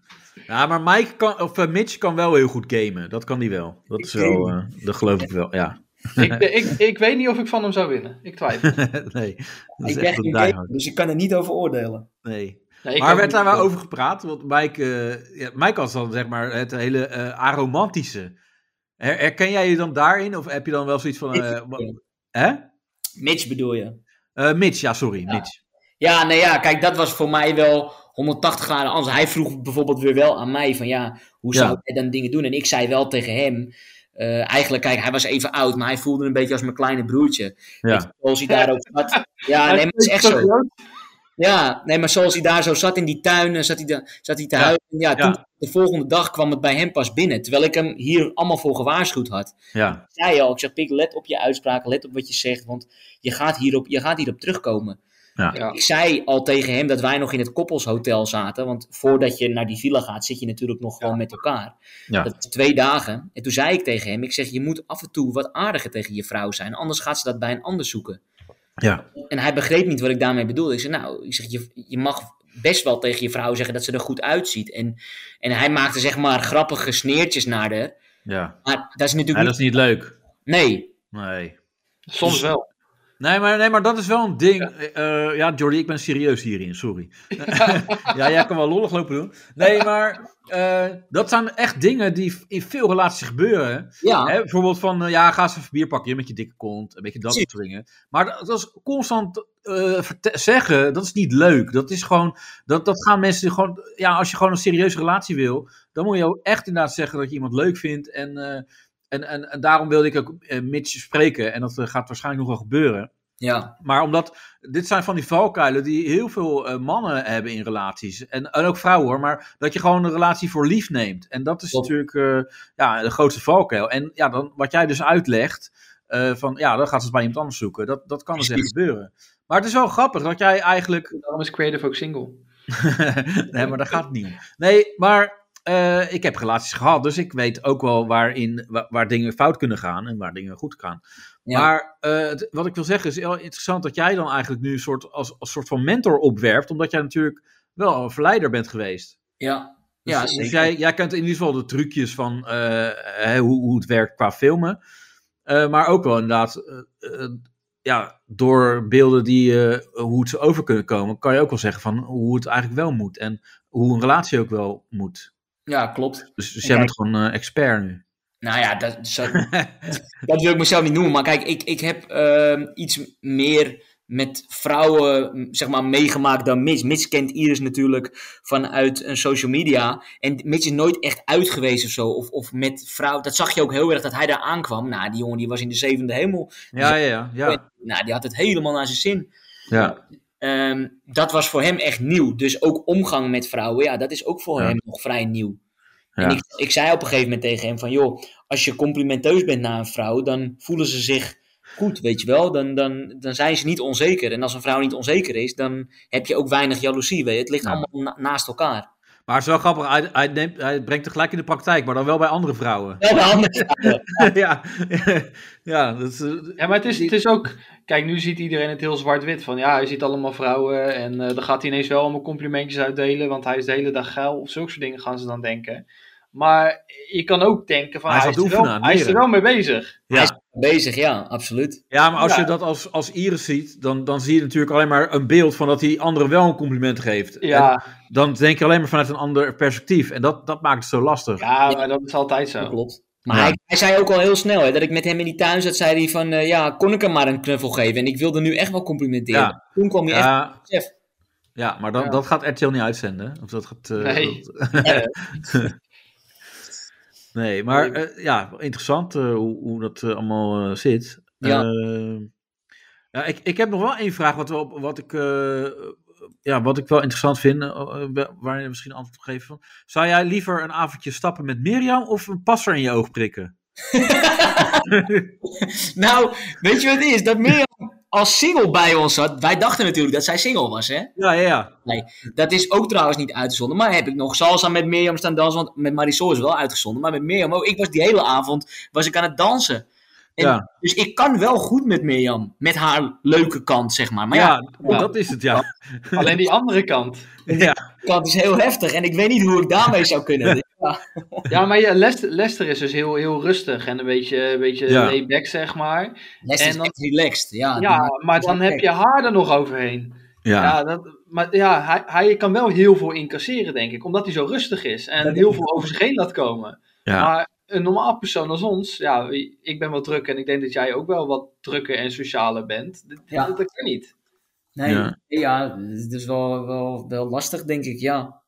[SPEAKER 2] Ja, maar Mike kan, of eh, Mitch kan wel heel goed gamen. Dat kan die wel. Dat is wel, eh, dat geloof ik wel, ja.
[SPEAKER 4] ik, ik, ik weet niet of ik van hem zou winnen. Ik twijfel.
[SPEAKER 2] nee, dat is
[SPEAKER 3] ik ben
[SPEAKER 2] echt een
[SPEAKER 3] geen gamer,
[SPEAKER 2] diehard.
[SPEAKER 3] dus ik kan er niet over oordelen.
[SPEAKER 2] Nee.
[SPEAKER 4] Nee, ik
[SPEAKER 2] Maar
[SPEAKER 4] ook
[SPEAKER 2] werd
[SPEAKER 4] niet.
[SPEAKER 2] daar wel over gepraat? Want Mike, eh, ja, Mike was dan zeg maar het hele eh, aromantische. Her- herken jij je dan daarin? Of heb je dan wel zoiets van... eh, wa- hè?
[SPEAKER 3] Mitch bedoel je?
[SPEAKER 2] Eh, Mitch, ja sorry, Mitch.
[SPEAKER 3] Ja, nee, ja, kijk, dat was voor mij wel 180 graden anders. Hij vroeg bijvoorbeeld weer wel aan mij van, ja, hoe
[SPEAKER 2] Ja.
[SPEAKER 3] zou jij dan dingen doen? En ik zei wel tegen hem, eh, eigenlijk, kijk, hij was even oud, maar hij voelde een beetje als mijn kleine broertje.
[SPEAKER 2] Ja.
[SPEAKER 3] Zoals hij daar ook zat. Ja, nee, maar het is echt zo. Ja, nee, maar zoals hij daar zo zat in die tuin, eh, zat hij, da- zat hij te
[SPEAKER 2] Ja.
[SPEAKER 3] huilen. Ja,
[SPEAKER 2] Ja.
[SPEAKER 3] toen de volgende dag kwam het bij hem pas binnen, terwijl ik hem hier allemaal voor gewaarschuwd had
[SPEAKER 2] ja.
[SPEAKER 3] zei al, ik zeg Pik, let op je uitspraak, let op wat je zegt, want je gaat hierop, je gaat hierop terugkomen.
[SPEAKER 2] Ja.
[SPEAKER 4] Ja.
[SPEAKER 3] Ik zei al tegen hem dat wij nog in het koppelshotel zaten, want voordat je naar die villa gaat, zit je natuurlijk nog gewoon met elkaar.
[SPEAKER 2] Ja.
[SPEAKER 3] Dat is twee dagen. En toen zei ik tegen hem, ik zeg, je moet af en toe wat aardiger tegen je vrouw zijn, anders gaat ze dat bij een ander zoeken.
[SPEAKER 2] Ja.
[SPEAKER 3] En hij begreep niet wat ik daarmee bedoelde. Ik zei, nou, ik zeg, je, je mag best wel tegen je vrouw zeggen dat ze er goed uitziet. En, en hij maakte zeg maar grappige sneertjes naar haar.
[SPEAKER 2] Ja.
[SPEAKER 3] Maar dat is natuurlijk
[SPEAKER 2] Ja, dat is niet leuk.
[SPEAKER 3] niet... Nee,
[SPEAKER 2] Nee.
[SPEAKER 4] Soms wel.
[SPEAKER 2] Nee maar, nee, maar dat is wel een ding. Ja, ja Jordi, ik ben serieus hierin, sorry. ja, jij kan wel lollig lopen doen. Nee, maar eh, dat zijn echt dingen die in veel relaties gebeuren.
[SPEAKER 3] ja.
[SPEAKER 2] Hè, bijvoorbeeld van, eh, ja, ga eens even bier pakken, je met je dikke kont, een beetje dat
[SPEAKER 3] Precies.
[SPEAKER 2] soort dingen. Maar dat, dat is constant eh, verte- zeggen, dat is niet leuk. Dat is gewoon, dat, dat gaan mensen gewoon, ja, als je gewoon een serieuze relatie wil, dan moet je ook echt inderdaad zeggen dat je iemand leuk vindt. En, eh, en, en, en daarom wilde ik ook eh, Mitch spreken, en dat eh, gaat waarschijnlijk nog wel gebeuren.
[SPEAKER 3] ja.
[SPEAKER 2] Maar omdat, dit zijn van die valkuilen die heel veel eh, mannen hebben in relaties. En, en ook vrouwen hoor, maar dat je gewoon een relatie voor lief neemt. En dat is
[SPEAKER 3] Klopt.
[SPEAKER 2] natuurlijk eh, ja, de grootste valkuil. En ja, dan, wat jij dus uitlegt, eh, van ja, dan gaat ze het bij iemand anders zoeken. Dat, dat kan dus echt
[SPEAKER 3] Precies.
[SPEAKER 2] gebeuren. Maar het is wel grappig dat jij eigenlijk...
[SPEAKER 4] Daarom is Creative ook single.
[SPEAKER 2] nee, maar daar gaat het niet om. Nee, maar eh, ik heb relaties gehad, dus ik weet ook wel waarin, waar, waar dingen fout kunnen gaan en waar dingen goed gaan.
[SPEAKER 3] Ja.
[SPEAKER 2] Maar eh, het- wat ik wil zeggen is heel interessant dat jij dan eigenlijk nu een soort, als, als soort van mentor opwerpt, omdat jij natuurlijk wel een verleider bent geweest.
[SPEAKER 3] Ja,
[SPEAKER 2] Dus,
[SPEAKER 3] ja
[SPEAKER 2] dus
[SPEAKER 3] zeker.
[SPEAKER 2] jij, jij kent in ieder geval de trucjes van eh, hè, hoe, hoe het werkt qua filmen. Eh, maar ook wel inderdaad, eh, eh, ja, door beelden die, eh, hoe het ze over kunnen komen, kan je ook wel zeggen van hoe het eigenlijk wel moet. En hoe een relatie ook wel moet.
[SPEAKER 3] Ja, klopt.
[SPEAKER 2] Dus, dus jij
[SPEAKER 3] Kijk.
[SPEAKER 2] bent gewoon eh, expert nu.
[SPEAKER 3] Nou ja, dat, zo- dat wil ik mezelf niet noemen. Maar kijk, ik, ik heb ehm, iets meer met vrouwen m, zeg maar, meegemaakt dan Mitch. Mitch kent Iris natuurlijk vanuit een social media. En Mitch is nooit echt uit geweest of zo. Of, of met vrouwen. Dat zag je ook heel erg dat hij daar aankwam. Nou, die jongen die was in de zevende hemel.
[SPEAKER 2] ja, ja, ja. ja.
[SPEAKER 3] Nou, die had het helemaal naar zijn zin.
[SPEAKER 2] ja.
[SPEAKER 3] Ehm, dat was voor hem echt nieuw. Dus ook omgang met vrouwen, ja, dat is ook voor
[SPEAKER 2] Ja.
[SPEAKER 3] hem nog vrij nieuw.
[SPEAKER 2] Ja.
[SPEAKER 3] En ik, ik zei op een gegeven moment tegen hem van, joh, als je complimenteus bent naar een vrouw, dan voelen ze zich goed, weet je wel. Dan, dan, dan zijn ze niet onzeker. En als een vrouw niet onzeker is, dan heb je ook weinig jaloezie. Weet je. Het ligt
[SPEAKER 2] Ja.
[SPEAKER 3] allemaal na- naast elkaar.
[SPEAKER 2] Maar het is wel grappig, hij, hij, neemt, hij brengt het gelijk in de praktijk, maar dan wel bij andere vrouwen.
[SPEAKER 3] Wel bij anderen.
[SPEAKER 2] ja, ja, dat is, eh,
[SPEAKER 4] Ja, maar het is, het is ook. Kijk, nu ziet iedereen het heel zwart-wit. Van ja, hij ziet allemaal vrouwen. En eh, dan gaat hij ineens wel allemaal complimentjes uitdelen. Want hij is de hele dag geil. Of zulke soort dingen gaan ze dan denken. Maar je kan ook denken van
[SPEAKER 2] Hij
[SPEAKER 4] hij,
[SPEAKER 2] is
[SPEAKER 4] is,
[SPEAKER 2] aan
[SPEAKER 4] er
[SPEAKER 2] het
[SPEAKER 4] wel,
[SPEAKER 2] oefenen, aan het
[SPEAKER 4] hij is er wel
[SPEAKER 2] leren.
[SPEAKER 4] mee bezig.
[SPEAKER 3] Bezig, ja, absoluut.
[SPEAKER 2] ja, maar als
[SPEAKER 4] Ja.
[SPEAKER 2] je dat als, als Iris ziet, dan, dan zie je natuurlijk alleen maar een beeld van dat hij anderen wel een compliment geeft. En
[SPEAKER 4] Ja,
[SPEAKER 2] dan denk je alleen maar vanuit een ander perspectief. En dat, dat maakt het zo lastig.
[SPEAKER 4] ja maar dat is altijd
[SPEAKER 3] Dat
[SPEAKER 4] zo.
[SPEAKER 3] klopt. Maar
[SPEAKER 2] Ja.
[SPEAKER 3] hij, hij zei ook al heel snel hè, dat ik met hem in die tuin zat, zei hij van, eh, ja, kon ik hem maar een knuffel geven? En ik wilde nu echt wel complimenteren.
[SPEAKER 2] Ja.
[SPEAKER 3] Toen kwam hij echt
[SPEAKER 2] Ja,
[SPEAKER 3] op besef.
[SPEAKER 2] ja maar dan,
[SPEAKER 4] Ja.
[SPEAKER 2] dat gaat RTL niet uitzenden. hè? Of dat gaat, eh,
[SPEAKER 4] Nee.
[SPEAKER 2] dat- nee, maar eh, ja, interessant eh, hoe, hoe dat eh, allemaal eh, zit.
[SPEAKER 3] Ja.
[SPEAKER 2] Eh, ja ik, ik heb nog wel één vraag wat, we op, wat, ik, eh, ja, wat ik wel interessant vind, eh, eh, wa- waar je misschien antwoord op geeft. Van. Zou jij liever een avondje stappen met Mirjam of een passer in je oog prikken?
[SPEAKER 3] Nou, weet je wat het is? Dat Mirjam als single bij ons zat. Wij dachten natuurlijk dat zij single was, hè?
[SPEAKER 2] Ja, ja, ja.
[SPEAKER 3] Dat is ook trouwens niet uitgezonden. Maar heb ik nog salsa met Mirjam staan dansen. Want met Marisol is wel uitgezonden. Maar met Mirjam ook. Ik was die hele avond was ik aan het dansen. En
[SPEAKER 2] Ja.
[SPEAKER 3] Dus ik kan wel goed met Mirjam. Met haar leuke kant, zeg maar. Maar ja,
[SPEAKER 2] ja, dat is het, ja.
[SPEAKER 4] Alleen die andere kant.
[SPEAKER 2] ja.
[SPEAKER 3] die kant is heel heftig. En ik weet niet hoe ik daarmee zou kunnen. Dus ja.
[SPEAKER 4] Ja, maar ja, Lester, Lester is dus heel, heel rustig. En een beetje, een beetje
[SPEAKER 2] Ja.
[SPEAKER 4] laid back, zeg maar.
[SPEAKER 3] Les
[SPEAKER 4] En
[SPEAKER 3] is
[SPEAKER 4] dan-
[SPEAKER 3] echt relaxed. Ja,
[SPEAKER 4] Ja,
[SPEAKER 3] Ah, die-
[SPEAKER 4] maar dan heb je haar er nog overheen.
[SPEAKER 2] ja.
[SPEAKER 4] Ja, dat, maar ja, hij, hij kan wel heel veel incasseren, denk ik. Omdat hij zo rustig is en heel veel over zich heen laat komen.
[SPEAKER 2] ja.
[SPEAKER 4] Maar een normaal persoon als ons, ja, ik ben wel druk en ik denk dat jij ook wel wat drukker en socialer bent. Dat,
[SPEAKER 3] Ja.
[SPEAKER 4] dat, dat kan niet.
[SPEAKER 3] Nee,
[SPEAKER 2] Ja.
[SPEAKER 3] ja. het is wel, wel, wel lastig, denk ik. Ja.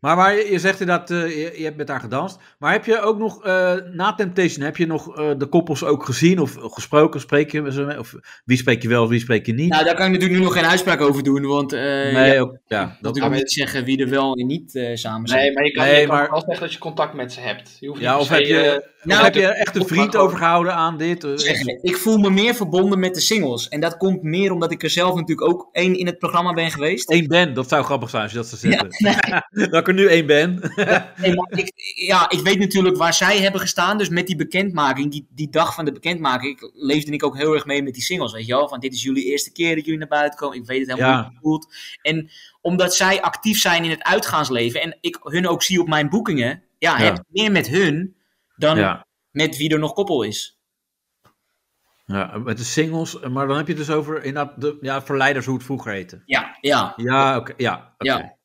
[SPEAKER 2] Maar, maar je je zegt inderdaad, eh, je, je hebt met haar gedanst. Maar heb je ook nog, eh, na Temptation, heb je nog eh, de koppels ook gezien of gesproken? Spreek je ze mee? Of wie spreek je wel, wie spreek je niet?
[SPEAKER 3] Nou, daar kan ik natuurlijk nu nog geen uitspraak over doen, want eh
[SPEAKER 2] nee,
[SPEAKER 3] ja,
[SPEAKER 2] ook, ja, dat
[SPEAKER 3] dat kan
[SPEAKER 4] maar-
[SPEAKER 3] niet zeggen wie er wel en niet eh, samen zijn.
[SPEAKER 4] Nee, maar je kan,
[SPEAKER 2] Nee,
[SPEAKER 4] je kan
[SPEAKER 2] maar-
[SPEAKER 4] wel zeggen dat je contact met ze hebt. Je hoeft
[SPEAKER 2] ja,
[SPEAKER 4] niet
[SPEAKER 2] of
[SPEAKER 4] per
[SPEAKER 2] heb
[SPEAKER 4] se, eh,
[SPEAKER 2] je, of
[SPEAKER 3] nou,
[SPEAKER 2] heb je echt een vriend overgehouden aan dit? Eh,
[SPEAKER 3] Zeggen, ik voel me meer verbonden met de singles. En dat komt meer omdat ik er zelf natuurlijk ook één in het programma ben geweest.
[SPEAKER 2] Eén ben, dat zou grappig zijn als je dat zou zeggen. dat ik er nu één ben.
[SPEAKER 3] Nee, maar ik, ja, ik weet natuurlijk waar zij hebben gestaan. Dus met die bekendmaking, die, die dag van de bekendmaking, ik- leefde ik ook heel erg mee met die singles. Weet je wel, van dit is jullie eerste keer dat jullie naar buiten komen. Ik weet het helemaal
[SPEAKER 2] Ja.
[SPEAKER 3] niet goed. En omdat zij actief zijn in het uitgaansleven en ik hun ook zie op mijn boekingen, ja,
[SPEAKER 2] Ja.
[SPEAKER 3] heb ik meer met hun dan
[SPEAKER 2] ja,
[SPEAKER 3] met wie er nog koppel is.
[SPEAKER 2] ja, met de singles. Maar dan heb je het dus over inderdaad de ja, verleiders, hoe het vroeger heette.
[SPEAKER 3] Ja, ja.
[SPEAKER 2] Ja, oké. ja, oké.
[SPEAKER 3] Ja.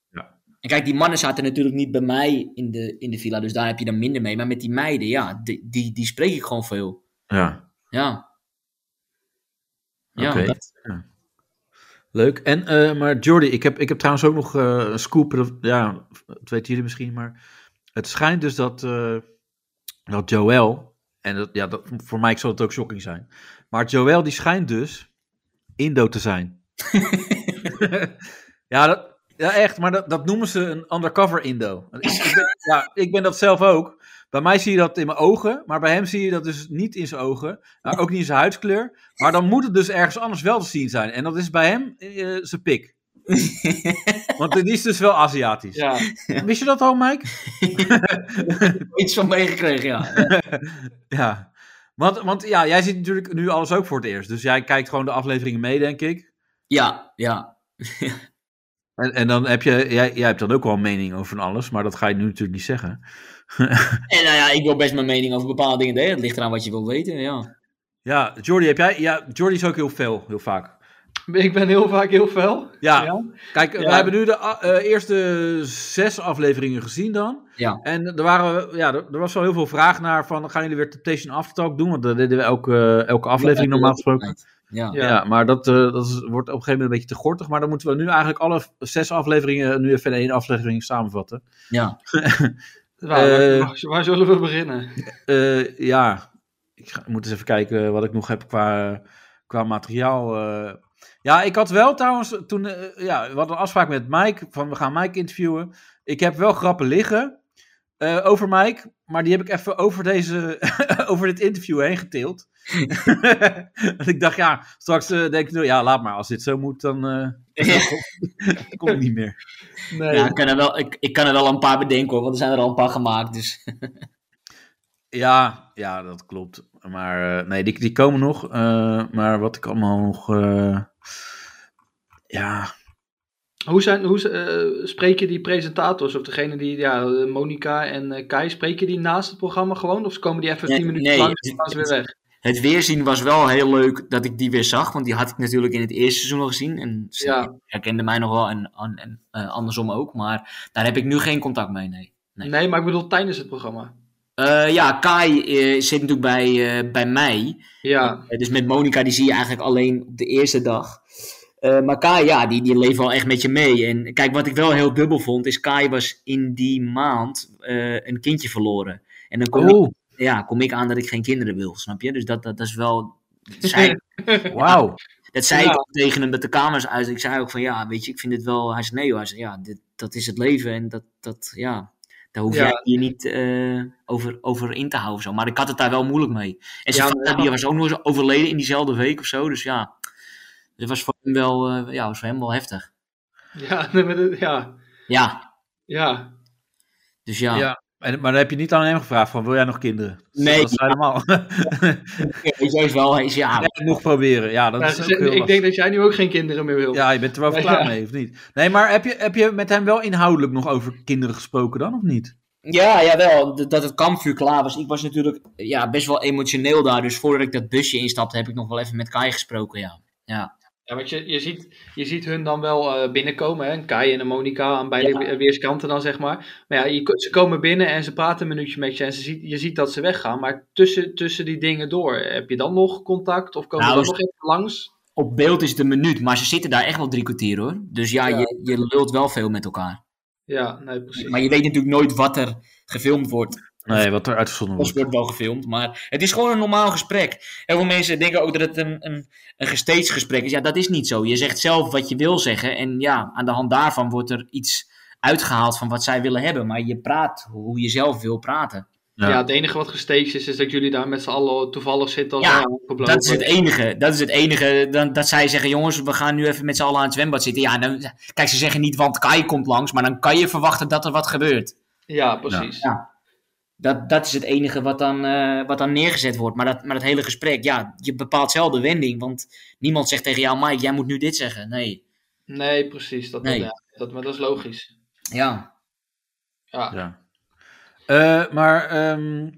[SPEAKER 3] En kijk, die mannen zaten natuurlijk niet bij mij in de, in de villa, dus daar heb je dan minder mee. Maar met die meiden, ja, die, die, die spreek ik gewoon veel.
[SPEAKER 2] ja.
[SPEAKER 3] Ja. Ja,
[SPEAKER 2] Oké.
[SPEAKER 3] dat-
[SPEAKER 2] Ja. Leuk. En, eh, maar Jordi, ik heb, ik heb trouwens ook nog eh, een scoop. Dat, ja, dat weten jullie misschien, maar het schijnt dus dat, eh, dat Joel, en dat, ja, dat, voor mij zal het ook shocking zijn, maar Joel die schijnt dus Indo te zijn. ja, dat, ja, echt, maar dat, dat noemen ze een undercover Indo. Ik, ik ben, ja, ik ben dat zelf ook. Bij mij zie je dat in mijn ogen, maar bij hem zie je dat dus niet in zijn ogen, Nou, maar ook niet in zijn huidskleur. Maar dan moet het dus ergens anders wel te zien zijn. En dat is bij hem eh, zijn pik. Want die is dus wel Aziatisch.
[SPEAKER 4] Ja.
[SPEAKER 2] Wist je dat al, Mike?
[SPEAKER 3] Iets van meegekregen, ja.
[SPEAKER 2] Ja. Want, want ja, jij ziet natuurlijk nu alles ook voor het eerst. Dus jij kijkt gewoon de afleveringen mee, denk ik.
[SPEAKER 3] Ja, ja.
[SPEAKER 2] En, en dan heb je, jij, jij hebt dan ook wel een mening over van alles, maar dat ga je nu natuurlijk niet zeggen.
[SPEAKER 3] En nou ja, ik wil best mijn mening over bepaalde dingen delen. Het ligt eraan wat je wil weten, ja.
[SPEAKER 2] Ja, Jordi, heb jij? Ja, Jordi is ook heel veel, heel vaak.
[SPEAKER 4] Ik ben heel vaak heel fel.
[SPEAKER 2] Ja, kijk,
[SPEAKER 4] Ja.
[SPEAKER 2] we hebben nu de a- eh, eerste zes afleveringen gezien dan.
[SPEAKER 3] Ja,
[SPEAKER 2] En er, waren, we- ja, er, er was wel heel veel vraag naar van, gaan jullie weer Temptation Aftertalk doen? Want dat deden we elke, elke aflevering normaal gesproken.
[SPEAKER 3] ja.
[SPEAKER 2] Ja, maar dat, eh, dat is- wordt op een gegeven moment een beetje te gortig. Maar dan moeten we nu eigenlijk alle v- zes afleveringen nu even in één aflevering samenvatten.
[SPEAKER 3] ja.
[SPEAKER 4] Waar,
[SPEAKER 2] Eh.
[SPEAKER 4] waar- waar zullen we beginnen?
[SPEAKER 2] Eh, ja, ik ga- moet eens even kijken wat ik nog heb qua, qua materiaal. eh. Ja, ik had wel trouwens toen. eh, ja, we hadden een afspraak met Mike. Van we gaan Mike interviewen. Ik heb wel grappen liggen eh, over Mike. Maar die heb ik even over, deze, over dit interview heen geteeld. Want ik dacht, ja, straks eh, denk ik, nou, ja, laat maar. Als dit zo moet, dan eh kom ik niet meer.
[SPEAKER 4] Nee.
[SPEAKER 3] Ja, ik, kan er wel, ik, ik kan er wel een paar bedenken hoor, want er zijn er al een paar gemaakt. Dus
[SPEAKER 2] Ja, ja, dat klopt. Maar eh, nee, die, die komen nog. eh, maar wat ik allemaal nog. eh, ja.
[SPEAKER 4] Hoe, zijn, hoe z- eh, spreek je die presentators of degene die, ja, eh, Monica en eh, Kai, spreek je die naast het programma gewoon? Of komen die even
[SPEAKER 3] Nee,
[SPEAKER 4] 10 minuten
[SPEAKER 3] nee.
[SPEAKER 4] langs en gaan ze weer weg?
[SPEAKER 3] het weerzien was wel heel leuk dat ik die weer zag, want die had ik natuurlijk in het eerste seizoen al gezien. En ze
[SPEAKER 4] Ja.
[SPEAKER 3] herkende mij nog wel en, an- en eh, andersom ook, maar daar heb ik nu geen contact mee, nee. Nee.
[SPEAKER 4] Nee. maar ik bedoel tijdens het programma.
[SPEAKER 3] Eh, ja, Kai eh, zit natuurlijk bij, eh, bij mij.
[SPEAKER 4] Ja,
[SPEAKER 3] Eh, dus met Monica die zie je eigenlijk alleen op de eerste dag. Eh, maar Kai, ja, die, die leeft wel echt met je mee. En kijk, wat ik wel heel dubbel vond, is Kai was in die maand eh, een kindje verloren. En dan kom,
[SPEAKER 2] Oh,
[SPEAKER 3] ik, ja, kom ik aan dat ik geen kinderen wil, snap je? Dus dat, dat, dat is wel... Dat zei,
[SPEAKER 2] wauw.
[SPEAKER 3] dat zei
[SPEAKER 4] Ja.
[SPEAKER 3] ik ook tegen hem met de kamers uit. Ik zei ook van, ja, weet je, ik vind het wel... Hij zei, nee hoor, hij zei, ja, dit, dat is het leven. En dat, dat ja, daar hoef
[SPEAKER 4] Ja.
[SPEAKER 3] jij je niet eh, over, over in te houden of zo. Maar ik had het daar wel moeilijk mee. En zijn
[SPEAKER 4] Ja,
[SPEAKER 3] vader,
[SPEAKER 4] maar-
[SPEAKER 3] die was ook nog eens overleden in diezelfde week of zo. Dus ja, dat was voor hem wel, eh, ja, was voor hem wel heftig.
[SPEAKER 4] ja, nee, maar dat- ja,
[SPEAKER 3] Ja,
[SPEAKER 4] ja.
[SPEAKER 3] dus ja.
[SPEAKER 2] Ja. En, maar dan heb je niet aan hem gevraagd: van, wil jij nog kinderen?
[SPEAKER 3] Nee.
[SPEAKER 2] Dat is helemaal.
[SPEAKER 3] Weet je, hij is wel, hij is, ja,
[SPEAKER 2] Ja, nog proberen. Ja, dat
[SPEAKER 4] Ja,
[SPEAKER 2] is
[SPEAKER 4] ze
[SPEAKER 2] ook
[SPEAKER 4] zeggen-
[SPEAKER 2] heel
[SPEAKER 4] ik denk
[SPEAKER 2] lastig.
[SPEAKER 4] dat jij nu ook geen kinderen meer wil.
[SPEAKER 2] Ja, je bent er wel
[SPEAKER 4] Ja,
[SPEAKER 2] klaar
[SPEAKER 4] ja.
[SPEAKER 2] mee, of niet? Nee, maar heb je, heb je met hem wel inhoudelijk nog over kinderen gesproken dan, of niet?
[SPEAKER 3] Ja, jawel. d- Dat het kampvuur klaar was. Ik was natuurlijk ja, best wel emotioneel daar. Dus voordat ik dat busje instapte, heb ik nog wel even met Kai gesproken. Ja,
[SPEAKER 4] Ja, want je, je, ziet, je ziet hun dan wel eh, binnenkomen, hè? een Kai en een Monica aan beide
[SPEAKER 3] Ja.
[SPEAKER 4] we- weerskanten dan, zeg maar. Maar ja, je, ko- ze komen binnen en ze praten een minuutje met je en ze ziet, je ziet dat ze weggaan. Maar tussen, tussen die dingen door, heb je dan nog contact of komen ze
[SPEAKER 3] Nou,
[SPEAKER 4] dan nog even langs?
[SPEAKER 3] op beeld is het een minuut, maar ze zitten daar echt wel drie kwartier hoor. Dus ja,
[SPEAKER 4] Ja.
[SPEAKER 3] Je, je lult wel veel met elkaar.
[SPEAKER 4] Ja, nee, precies.
[SPEAKER 3] Maar je weet natuurlijk nooit wat er gefilmd wordt.
[SPEAKER 2] Nee, wat er uitgezonden
[SPEAKER 3] Of
[SPEAKER 2] wordt.
[SPEAKER 3] wordt wel gefilmd, maar het is gewoon een normaal gesprek. Heel veel mensen denken ook dat het een, een, een gestaged gesprek is. Ja, dat is niet zo. Je zegt zelf wat je wil zeggen en ja, aan de hand daarvan wordt er iets uitgehaald van wat zij willen hebben. Maar je praat hoe je zelf wil praten.
[SPEAKER 4] Ja.
[SPEAKER 2] Ja.
[SPEAKER 4] het enige wat gestaged is, is dat jullie daar met z'n allen toevallig zitten als
[SPEAKER 3] Ja,
[SPEAKER 4] een aangebloken.
[SPEAKER 3] Dat is het enige. Dat is het enige. Dan, dat zij zeggen, jongens, we gaan nu even met z'n allen aan het zwembad zitten. Ja, dan, kijk, ze zeggen niet, want Kai komt langs. Maar dan kan je verwachten dat er wat gebeurt.
[SPEAKER 4] Ja, precies.
[SPEAKER 3] Ja. Dat, dat is het enige wat dan, eh, wat dan neergezet wordt. Maar dat, maar dat hele gesprek, ja, je bepaalt zelf de wending. Want niemand zegt tegen jou, Mike, jij moet nu dit zeggen. Nee.
[SPEAKER 4] Nee, precies. Dat,
[SPEAKER 3] Nee.
[SPEAKER 4] ja, dat, maar dat is logisch.
[SPEAKER 3] Ja.
[SPEAKER 4] Ja.
[SPEAKER 2] Ja. Eh, maar ehm,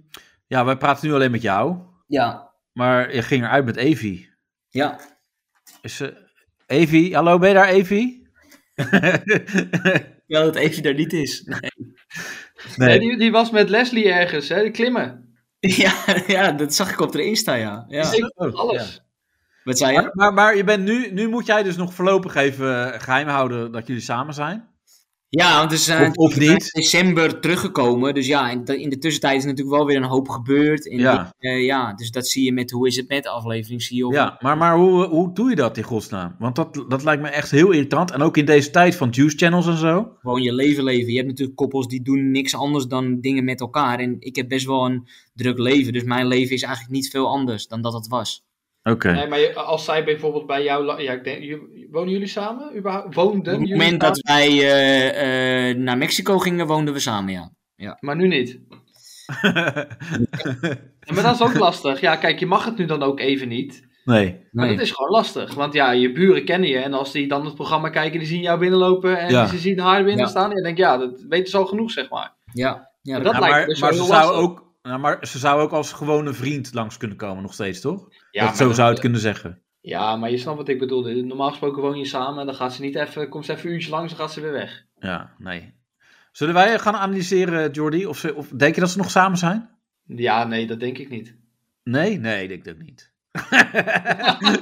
[SPEAKER 2] ja, wij praten nu alleen met jou.
[SPEAKER 3] Ja.
[SPEAKER 2] Maar je ging eruit met Evie.
[SPEAKER 3] Ja.
[SPEAKER 2] Is ze... Evie, hallo, ben je daar, Evie?
[SPEAKER 3] Wel dat Evie daar niet is. Nee.
[SPEAKER 4] Nee, die, die was met Leslie ergens, hè, de klimmen.
[SPEAKER 3] ja, ja, dat zag ik op de Insta, ja. ja.
[SPEAKER 4] Ik-
[SPEAKER 2] Oh,
[SPEAKER 4] Alles.
[SPEAKER 3] Wat zei
[SPEAKER 2] ja.
[SPEAKER 3] je?
[SPEAKER 2] Maar, maar je bent nu, nu moet jij dus nog voorlopig even eh, geheim houden dat jullie samen zijn.
[SPEAKER 3] Ja, want dus,
[SPEAKER 2] Of, of niet.
[SPEAKER 3] in december teruggekomen. Dus ja, in de, in de tussentijd is natuurlijk wel weer een hoop gebeurd. En
[SPEAKER 2] Ja.
[SPEAKER 3] eh, ja, dus dat zie je met Hoe is het met de aflevering. Zie je of-
[SPEAKER 2] Ja, maar, maar hoe, hoe doe je dat in godsnaam? Want dat, dat lijkt me echt heel irritant. En ook in deze tijd van juice channels en zo.
[SPEAKER 3] gewoon je leven leven. Je hebt natuurlijk koppels die doen niks anders dan dingen met elkaar. En ik heb best wel een druk leven. Dus mijn leven is eigenlijk niet veel anders dan dat het was.
[SPEAKER 2] Oké.
[SPEAKER 4] Nee, maar je- als zij bijvoorbeeld bij jou... la- Ja, ik denk, je- Wonen jullie samen? Überhaupt? Woonden
[SPEAKER 3] Op het
[SPEAKER 4] jullie
[SPEAKER 3] moment dat
[SPEAKER 4] samen?
[SPEAKER 3] wij eh, eh, naar Mexico gingen, woonden we samen, ja.
[SPEAKER 4] Maar nu niet. Ja, maar dat is ook lastig. Ja, kijk, je mag het nu dan ook even niet.
[SPEAKER 2] nee.
[SPEAKER 4] Maar
[SPEAKER 3] Nee.
[SPEAKER 4] dat is gewoon lastig. Want ja, je buren kennen je. En als die dan het programma kijken, die zien jou binnenlopen. En
[SPEAKER 2] Ja.
[SPEAKER 4] ze zien haar binnen
[SPEAKER 3] Ja.
[SPEAKER 4] staan. En je denkt, ja, dat weten ze al genoeg, zeg maar.
[SPEAKER 3] Ja, ja,
[SPEAKER 4] Maar
[SPEAKER 3] dat-
[SPEAKER 4] dat
[SPEAKER 2] Ja,
[SPEAKER 4] lijkt me
[SPEAKER 2] maar,
[SPEAKER 4] dus
[SPEAKER 2] maar,
[SPEAKER 4] wel
[SPEAKER 2] ze
[SPEAKER 4] heel
[SPEAKER 2] zou
[SPEAKER 4] lastig.
[SPEAKER 2] ook, ja, maar ze zou ook als gewone vriend langs kunnen komen nog steeds, toch?
[SPEAKER 4] Ja,
[SPEAKER 2] dat,
[SPEAKER 4] maar
[SPEAKER 2] zo
[SPEAKER 4] dat-
[SPEAKER 2] zou je het kunnen zeggen.
[SPEAKER 4] Ja, maar je snapt wat ik bedoel. Normaal gesproken woon je samen. En dan gaat ze niet even, komt ze even een uurtje langs. Dan gaat ze weer weg.
[SPEAKER 2] Ja, nee. Zullen wij eh, gaan analyseren, Jordi? Of, ze, of denk je dat ze nog samen zijn?
[SPEAKER 4] Ja, nee, dat denk ik niet.
[SPEAKER 2] Nee? Nee, ik denk dat niet.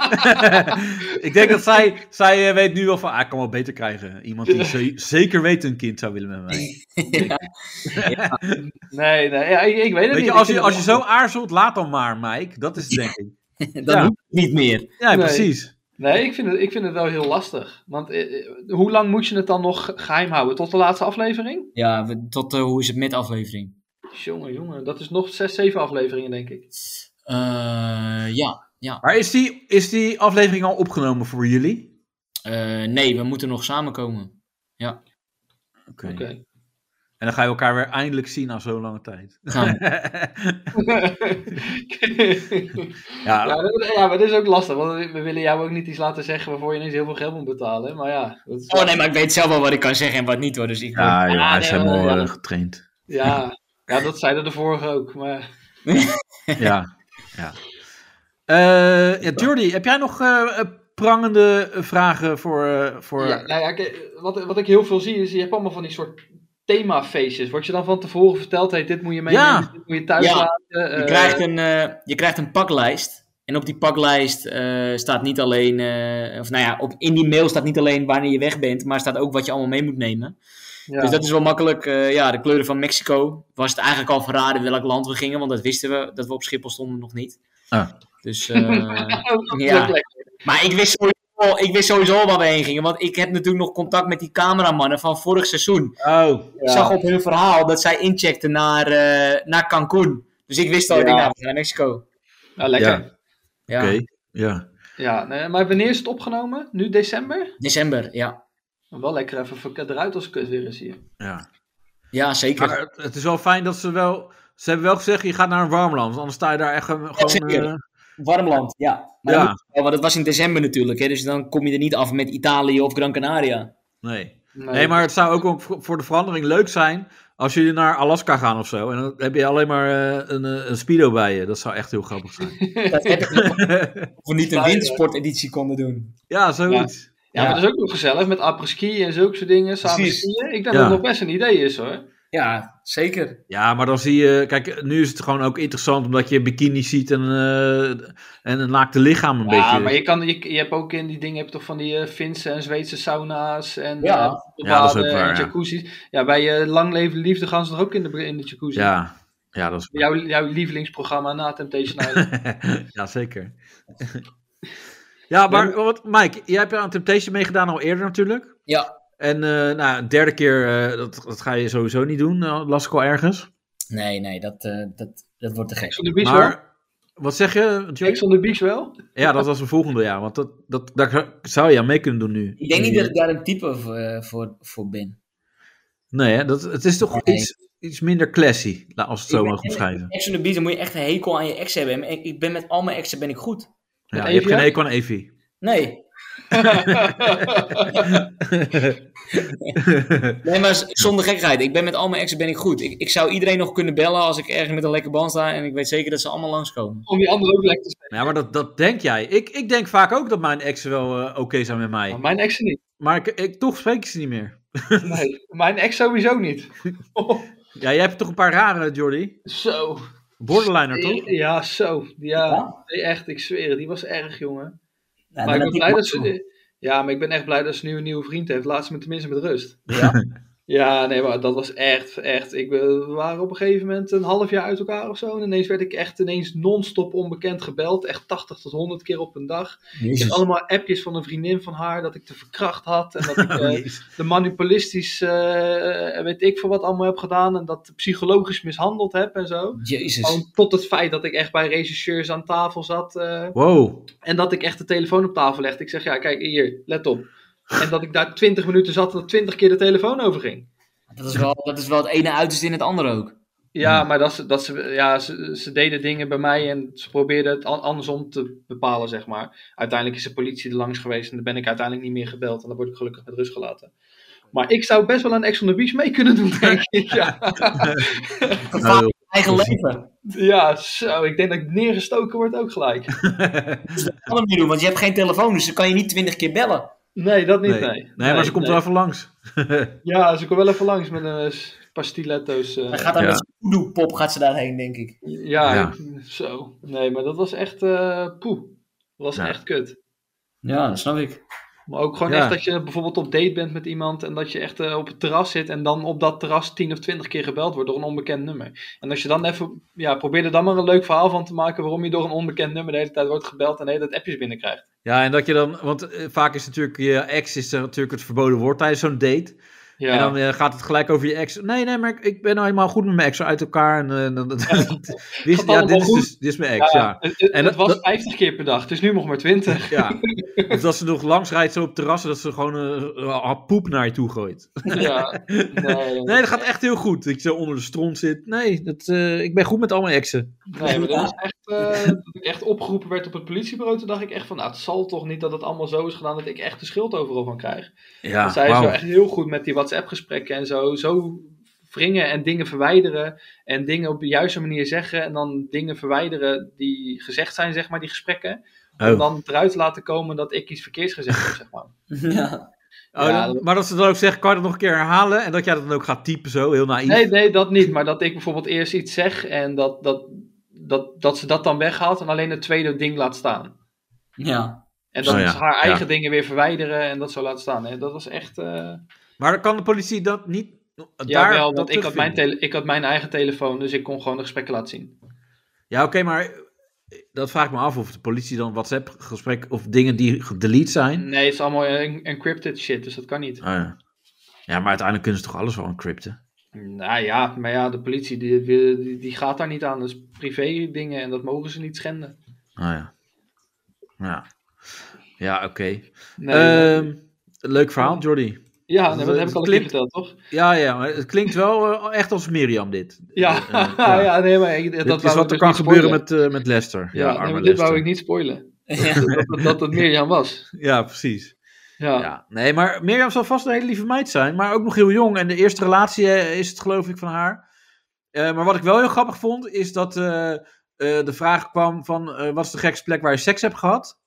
[SPEAKER 2] ik denk dat zij, zij eh, weet nu wel van, ah, ik kan wel beter krijgen. Iemand die ze- zeker weet een kind zou willen met mij.
[SPEAKER 4] Nee, nee, ja, ik, ik weet
[SPEAKER 2] Weet
[SPEAKER 4] het niet.
[SPEAKER 2] je,
[SPEAKER 4] Ik
[SPEAKER 2] als
[SPEAKER 4] vind
[SPEAKER 2] je,
[SPEAKER 4] het
[SPEAKER 2] als je zo aarzelt, laat dan maar, Mike. Dat is het, denk ik.
[SPEAKER 3] dat
[SPEAKER 2] Ja.
[SPEAKER 3] hoeft niet meer.
[SPEAKER 2] Ja,
[SPEAKER 4] Nee.
[SPEAKER 2] precies.
[SPEAKER 4] Nee, ik vind, het, ik vind het wel heel lastig. Want eh, eh, hoe lang moet je het dan nog geheim houden? Tot de laatste aflevering?
[SPEAKER 3] Ja, we- tot eh, hoe is het met aflevering?
[SPEAKER 4] Jongen, jongen, dat is nog zes, zeven afleveringen, denk ik.
[SPEAKER 3] Eh, ja, ja.
[SPEAKER 2] Maar is die, is die aflevering al opgenomen voor jullie?
[SPEAKER 3] Eh, nee, we moeten nog samenkomen.
[SPEAKER 2] Oké.
[SPEAKER 4] Oké.
[SPEAKER 2] En dan ga je elkaar weer eindelijk zien na zo'n lange tijd.
[SPEAKER 3] Gaan we.
[SPEAKER 2] ja,
[SPEAKER 4] ja, dat- ja, maar dat is ook lastig. Want we- we willen jou ook niet iets laten zeggen waarvoor je ineens heel veel geld moet betalen. Maar ja, dat is-
[SPEAKER 3] Oh nee, maar ik weet zelf wel wat ik kan zeggen en wat niet hoor. Dus ik word-
[SPEAKER 2] Ja, joh, hij is
[SPEAKER 4] nee,
[SPEAKER 2] helemaal
[SPEAKER 4] maar-
[SPEAKER 2] eh, getraind.
[SPEAKER 4] ja, ja, dat zeiden de vorige ook. Maar
[SPEAKER 2] ja. ja. Eh, ja, Jordi, heb jij nog eh, eh, prangende eh, vragen voor... eh, voor...
[SPEAKER 4] ja, nou ja, kijk, wat, wat ik heel veel zie is, je hebt allemaal van die soort themafeestjes. Wat je dan van tevoren verteld heeft, dit moet je meenemen,
[SPEAKER 2] Ja.
[SPEAKER 4] dit moet je thuis
[SPEAKER 3] Ja.
[SPEAKER 4] laten.
[SPEAKER 3] Je
[SPEAKER 4] eh,
[SPEAKER 3] krijgt, een, eh, je krijgt een paklijst. En op die paklijst eh, staat niet alleen. eh, of nou ja, op, in die mail staat niet alleen wanneer je weg bent. Maar staat ook wat je allemaal mee moet nemen.
[SPEAKER 4] ja.
[SPEAKER 3] Dus dat is wel makkelijk. Eh, ja, de kleuren van Mexico. Was het eigenlijk al verraden welk land we gingen. Want dat wisten we dat we op Schiphol stonden nog niet.
[SPEAKER 2] Ah.
[SPEAKER 3] Dus. eh, ja.
[SPEAKER 4] Oh, Dat is
[SPEAKER 3] maar ik wist sowieso. Ik wist sowieso al waar we heen gingen, want ik heb natuurlijk nog contact met die cameramannen van vorig seizoen.
[SPEAKER 2] Oh,
[SPEAKER 4] Ja.
[SPEAKER 3] Ik zag op hun verhaal dat zij incheckten naar, eh, naar Cancun. Dus ik wist al, ik
[SPEAKER 4] Ja.
[SPEAKER 3] denk, nou, we gaan naar Mexico.
[SPEAKER 4] Ja, Ah, lekker.
[SPEAKER 2] Ja.
[SPEAKER 4] Ja,
[SPEAKER 3] Ja.
[SPEAKER 2] oké. Ja.
[SPEAKER 4] nee, maar wanneer is het opgenomen? Nu december?
[SPEAKER 3] December, ja.
[SPEAKER 4] Wel lekker even voor- eruit als kut weer eens hier.
[SPEAKER 2] ja.
[SPEAKER 3] Ja, zeker.
[SPEAKER 2] Maar het- het is wel fijn dat ze wel... Ze hebben wel gezegd, je gaat naar een warm land. Anders sta je daar echt eh, gewoon...
[SPEAKER 3] zeker.
[SPEAKER 2] eh,
[SPEAKER 3] Warmland, ja. Maar
[SPEAKER 2] Ja.
[SPEAKER 3] dat moet wel, want het was in december natuurlijk, hè, dus dan kom je er niet af met Italië of Gran Canaria.
[SPEAKER 2] nee. Nee, maar het zou ook wel voor- voor de verandering leuk zijn... als jullie naar Alaska gaan of zo. En dan heb je alleen maar eh, een, eh, een speedo bij je. Dat zou echt heel grappig zijn.
[SPEAKER 3] Dat heb ik nog. Of we niet een wintersporteditie konden doen.
[SPEAKER 2] ja, zoiets.
[SPEAKER 4] Ja,
[SPEAKER 3] Ja.
[SPEAKER 4] maar dat is ook nog gezellig met apres-ski en zulke soort dingen. Samen
[SPEAKER 3] Precies.
[SPEAKER 4] skiën. Ik denk
[SPEAKER 2] Ja.
[SPEAKER 4] dat het nog best een idee is hoor.
[SPEAKER 3] Ja, zeker.
[SPEAKER 2] Ja, maar dan zie je, kijk, nu is het gewoon ook interessant omdat je bikini ziet en, eh, en een naakte lichaam een
[SPEAKER 4] ja,
[SPEAKER 2] beetje.
[SPEAKER 4] Ah, maar je, kan, je, je hebt ook in die dingen heb je toch van die eh, Finse en Zweedse sauna's en
[SPEAKER 3] Ja.
[SPEAKER 4] eh,
[SPEAKER 2] Ja, dat is ook
[SPEAKER 4] baden
[SPEAKER 2] waar,
[SPEAKER 4] en
[SPEAKER 2] ja.
[SPEAKER 4] jacuzzi's. Ja, bij je Lang Leven Liefde gaan ze er ook in de, in de jacuzzi.
[SPEAKER 2] ja, ja, dat is.
[SPEAKER 4] Jouw, jouw lievelingsprogramma na Temptation Island.
[SPEAKER 2] ja, zeker. ja, maar wat, Mike, jij hebt aan Temptation meegedaan al eerder natuurlijk.
[SPEAKER 3] Ja.
[SPEAKER 2] En eh, nou, een derde keer, eh, dat, dat ga je sowieso niet doen, eh, las ik al ergens. Nee,
[SPEAKER 3] Nee, nee, dat, eh, dat, dat wordt te
[SPEAKER 4] Ex
[SPEAKER 3] gek.
[SPEAKER 4] on the Beach wel?
[SPEAKER 2] Maar, wat zeg je, Joyce?
[SPEAKER 4] Ex on the Beach wel?
[SPEAKER 2] Ja, dat was een volgende jaar, want dat, dat, daar zou je aan mee kunnen doen nu.
[SPEAKER 3] Ik denk niet
[SPEAKER 2] Nu-
[SPEAKER 3] dat ik daar een type voor, eh, voor, voor ben.
[SPEAKER 2] Nee, hè, dat, het is toch
[SPEAKER 3] Nee.
[SPEAKER 2] iets, iets minder classy, la- als we het zo
[SPEAKER 3] Ik ben-
[SPEAKER 2] mogen omschrijven.
[SPEAKER 3] Ex on the Beach, dan moet je echt een hekel aan je ex hebben. En ik ben met al mijn exen ben ik goed.
[SPEAKER 2] Ja,
[SPEAKER 4] Met
[SPEAKER 2] je hebt
[SPEAKER 4] Evie
[SPEAKER 2] geen
[SPEAKER 4] ook?
[SPEAKER 2] hekel aan Evie.
[SPEAKER 3] Nee. Nee, maar z- zonder gekheid. Ik ben met al mijn exen ben ik goed. Ik, ik zou iedereen nog kunnen bellen als ik ergens met een lekker band sta. En ik weet zeker dat ze allemaal langskomen.
[SPEAKER 4] Om die andere ook lekker te spelen.
[SPEAKER 2] ja, maar dat, dat denk jij. Ik, ik denk vaak ook dat mijn exen wel eh, oké zijn met mij.
[SPEAKER 4] Maar mijn ex niet.
[SPEAKER 2] Maar ik, ik, toch spreek ik ze niet meer.
[SPEAKER 4] Nee, mijn ex sowieso niet.
[SPEAKER 2] Ja, jij hebt toch een paar rare, Jordy?
[SPEAKER 4] zo.
[SPEAKER 2] Borderliner, toch?
[SPEAKER 4] Ja, zo. Ja,
[SPEAKER 3] Ja?
[SPEAKER 4] Nee, echt, ik zweer het. Die was erg, jongen.
[SPEAKER 3] Ja,
[SPEAKER 4] maar
[SPEAKER 3] dan
[SPEAKER 4] ik ben
[SPEAKER 3] heb je
[SPEAKER 4] blij dat
[SPEAKER 3] mazzel.
[SPEAKER 4] ze... Ja, maar ik ben echt blij dat ze nu een nieuwe vriend heeft. Laat ze me tenminste met rust.
[SPEAKER 3] Ja.
[SPEAKER 4] Ja, nee, maar dat was echt, echt. Ik, ben- we waren op een gegeven moment een half jaar uit elkaar of zo. En ineens werd ik echt ineens non-stop onbekend gebeld. Echt 80 tot 100 keer op een dag. Ik heb allemaal appjes van een vriendin van haar dat ik te verkracht had. En dat ik eh, de manipulistisch, eh, weet ik veel wat allemaal heb gedaan. En dat psychologisch mishandeld heb en zo.
[SPEAKER 3] Jezus.
[SPEAKER 4] Gewoon tot het feit dat ik echt bij regisseurs aan tafel zat. eh,
[SPEAKER 2] Wow.
[SPEAKER 4] en dat ik echt de telefoon op tafel legde. Ik zeg, ja, kijk hier, let op. En dat ik daar 20 minuten zat en dat 20 keer de telefoon overging.
[SPEAKER 3] Dat is, wel, dat is wel het ene uiterste in het andere ook.
[SPEAKER 4] Ja, maar dat ze, dat ze, ja, ze, ze deden dingen bij mij en ze probeerden het an- andersom te bepalen, zeg maar. Uiteindelijk is de politie er langs geweest en dan ben ik uiteindelijk niet meer gebeld. En dan word ik gelukkig met rust gelaten. Maar ik zou best wel aan Ex on the Beach mee kunnen doen, denk ik. Ja,
[SPEAKER 2] Nou,
[SPEAKER 3] Gevaar in eigen leven.
[SPEAKER 4] ja zo. Ik denk dat ik neergestoken word ook gelijk.
[SPEAKER 3] Dus dat kan hem niet doen, want je hebt geen telefoon, dus dan kan je niet twintig keer bellen.
[SPEAKER 4] Nee, dat niet,
[SPEAKER 2] Nee.
[SPEAKER 4] nee.
[SPEAKER 2] nee, maar ze komt
[SPEAKER 4] nee.
[SPEAKER 2] wel even langs.
[SPEAKER 4] Ja, ze komt wel even langs met een eh, s- paar stiletto's. eh.
[SPEAKER 3] Dan gaat daar
[SPEAKER 2] Ja.
[SPEAKER 3] met zo'n voodoo-pop gaat ze daarheen, denk ik.
[SPEAKER 4] ja,
[SPEAKER 2] Ja.
[SPEAKER 4] ik- zo. Nee, maar dat was echt eh poeh. Dat was
[SPEAKER 2] Ja.
[SPEAKER 4] echt kut.
[SPEAKER 3] Ja, dat snap ik.
[SPEAKER 4] Maar ook gewoon
[SPEAKER 2] Ja.
[SPEAKER 4] echt dat je bijvoorbeeld op date bent met iemand en dat je echt eh, op het terras zit en dan op dat terras 10 of 20 keer gebeld wordt door een onbekend nummer. En als je dan even, ja, probeer er dan maar een leuk verhaal van te maken waarom je door een onbekend nummer de hele tijd wordt gebeld en de hele tijd appjes binnenkrijgt.
[SPEAKER 2] Ja, en dat je dan, want eh, vaak is natuurlijk je ex is er natuurlijk het verboden woord tijdens zo'n date.
[SPEAKER 4] Ja,
[SPEAKER 2] En dan eh, gaat het gelijk over je ex. Nee, nee, maar ik, ik ben nou helemaal goed met mijn ex uit elkaar. En, eh, dat- dat- dit, is- ja,
[SPEAKER 4] allemaal
[SPEAKER 2] dit is
[SPEAKER 4] goed.
[SPEAKER 2] dus dit is mijn ex, ja.
[SPEAKER 4] Het, het-
[SPEAKER 2] En
[SPEAKER 4] het
[SPEAKER 2] dat-
[SPEAKER 4] was
[SPEAKER 2] dat-
[SPEAKER 4] 50 keer per dag, het is nu nog maar 20.
[SPEAKER 2] ja. Of dat ze nog langs rijdt zo op terrassen, dat ze gewoon eh, een hap poep naar je toe gooit.
[SPEAKER 4] ja, nee,
[SPEAKER 2] Nee, dat gaat echt heel goed. Dat je zo onder de stront zit. Nee, dat, eh, ik ben goed met al mijn exen.
[SPEAKER 4] nee, maar dat was echt, eh, dat ik echt opgeroepen werd op het politiebureau, toen dacht ik echt van, nou, het zal toch niet dat het allemaal zo is gedaan dat ik echt de schuld overal van krijg.
[SPEAKER 2] Ja,
[SPEAKER 4] Zij is
[SPEAKER 2] Ah, wauw.
[SPEAKER 4] wel echt heel goed met die WhatsApp-gesprekken en zo. Zo wringen en dingen verwijderen. En dingen op de juiste manier zeggen. En dan dingen verwijderen die gezegd zijn, zeg maar, die gesprekken. Om
[SPEAKER 2] Oh.
[SPEAKER 4] dan eruit te laten komen dat ik iets verkeerds gezegd heb, zeg maar.
[SPEAKER 3] Ja.
[SPEAKER 2] Oh,
[SPEAKER 4] Ja,
[SPEAKER 2] dan-
[SPEAKER 4] dat-
[SPEAKER 2] maar dat ze dan ook zeggen, kan je dat nog een keer herhalen? En dat jij dat dan ook gaat typen zo, heel naïef.
[SPEAKER 4] Nee, nee, dat niet. Maar dat ik bijvoorbeeld eerst iets zeg en dat, dat, dat, dat ze dat dan weghaalt en alleen het tweede ding laat staan.
[SPEAKER 3] Ja.
[SPEAKER 4] En dat
[SPEAKER 2] Oh ja,
[SPEAKER 4] ze haar
[SPEAKER 2] ja.
[SPEAKER 4] eigen dingen weer verwijderen en dat zo laat staan. Hè. Dat was echt... eh,
[SPEAKER 2] Maar kan de politie dat niet... Daar,
[SPEAKER 4] Ja, wel,
[SPEAKER 2] dat
[SPEAKER 4] want ik had, mijn
[SPEAKER 2] terugvinden?
[SPEAKER 4] tele- ik had mijn eigen telefoon, dus ik kon gewoon de gesprekken laten zien.
[SPEAKER 2] Ja, oké, maar eh, dat vraag ik me af of de politie dan WhatsApp-gesprek of dingen die gedelete zijn.
[SPEAKER 4] Nee, het is allemaal en- encrypted shit, dus dat kan niet.
[SPEAKER 2] Oh, ja. ja, maar uiteindelijk kunnen ze toch alles wel encrypten?
[SPEAKER 4] Nou ja, maar ja, de politie die, die, die gaat daar niet aan. Dat is privé dingen en dat mogen ze niet schenden.
[SPEAKER 2] Oh, ja. Ja, ja oké.
[SPEAKER 4] Nee,
[SPEAKER 2] Ehm, leuk verhaal, Jordy.
[SPEAKER 4] ja, nee, maar dat heb
[SPEAKER 2] het
[SPEAKER 4] ik al een keer
[SPEAKER 2] klinkt-
[SPEAKER 4] verteld, toch?
[SPEAKER 2] Ja, ja, maar het klinkt wel eh, echt als Mirjam dit.
[SPEAKER 4] Ja,
[SPEAKER 2] Eh, eh,
[SPEAKER 4] ja. nee, maar ik- dat
[SPEAKER 2] Dit
[SPEAKER 4] wou
[SPEAKER 2] is
[SPEAKER 4] ik
[SPEAKER 2] wat er
[SPEAKER 4] dus
[SPEAKER 2] kan
[SPEAKER 4] niet
[SPEAKER 2] gebeuren
[SPEAKER 4] spoilen.
[SPEAKER 2] met, eh, met Lester. Ja,
[SPEAKER 4] Ja, nee,
[SPEAKER 2] arme
[SPEAKER 4] maar dit
[SPEAKER 2] Lester.
[SPEAKER 4] wou ik niet spoilen. dat, dat het Mirjam was.
[SPEAKER 2] Ja, precies.
[SPEAKER 4] Ja, ja.
[SPEAKER 2] Ja. Nee, maar Mirjam zal vast een hele lieve meid zijn, maar ook nog heel jong. En de eerste relatie eh, is het, geloof ik, van haar. Eh, maar wat ik wel heel grappig vond, is dat eh, eh, de vraag kwam van... eh, wat is de gekste plek waar je seks hebt gehad?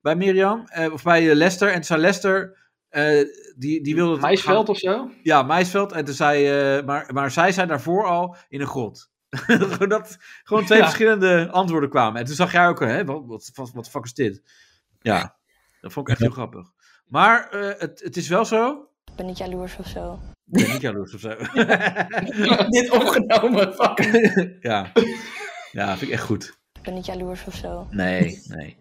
[SPEAKER 2] Bij Mirjam, eh, of bij eh, Lester. En toen zei Lester, eh, die, die wilde... het
[SPEAKER 4] Meisveld of zo?
[SPEAKER 2] gaan- Ja, Meisveld. En toen zei, eh, maar, maar zij zei daarvoor al in een grot. gewoon, dat, gewoon twee
[SPEAKER 4] Ja.
[SPEAKER 2] verschillende antwoorden kwamen. En toen zag jij ook, eh, hè, wat, wat, wat, wat de fuck is dit? Ja, dat vond ik echt heel grappig. Maar eh, het, het is wel zo.
[SPEAKER 5] Ik ben niet jaloers of zo.
[SPEAKER 2] Ik ben niet jaloers of zo.
[SPEAKER 3] Dit opgenomen, fuck.
[SPEAKER 2] ja. ja, vind ik echt goed.
[SPEAKER 5] Ik ben niet jaloers of zo.
[SPEAKER 2] Nee, nee.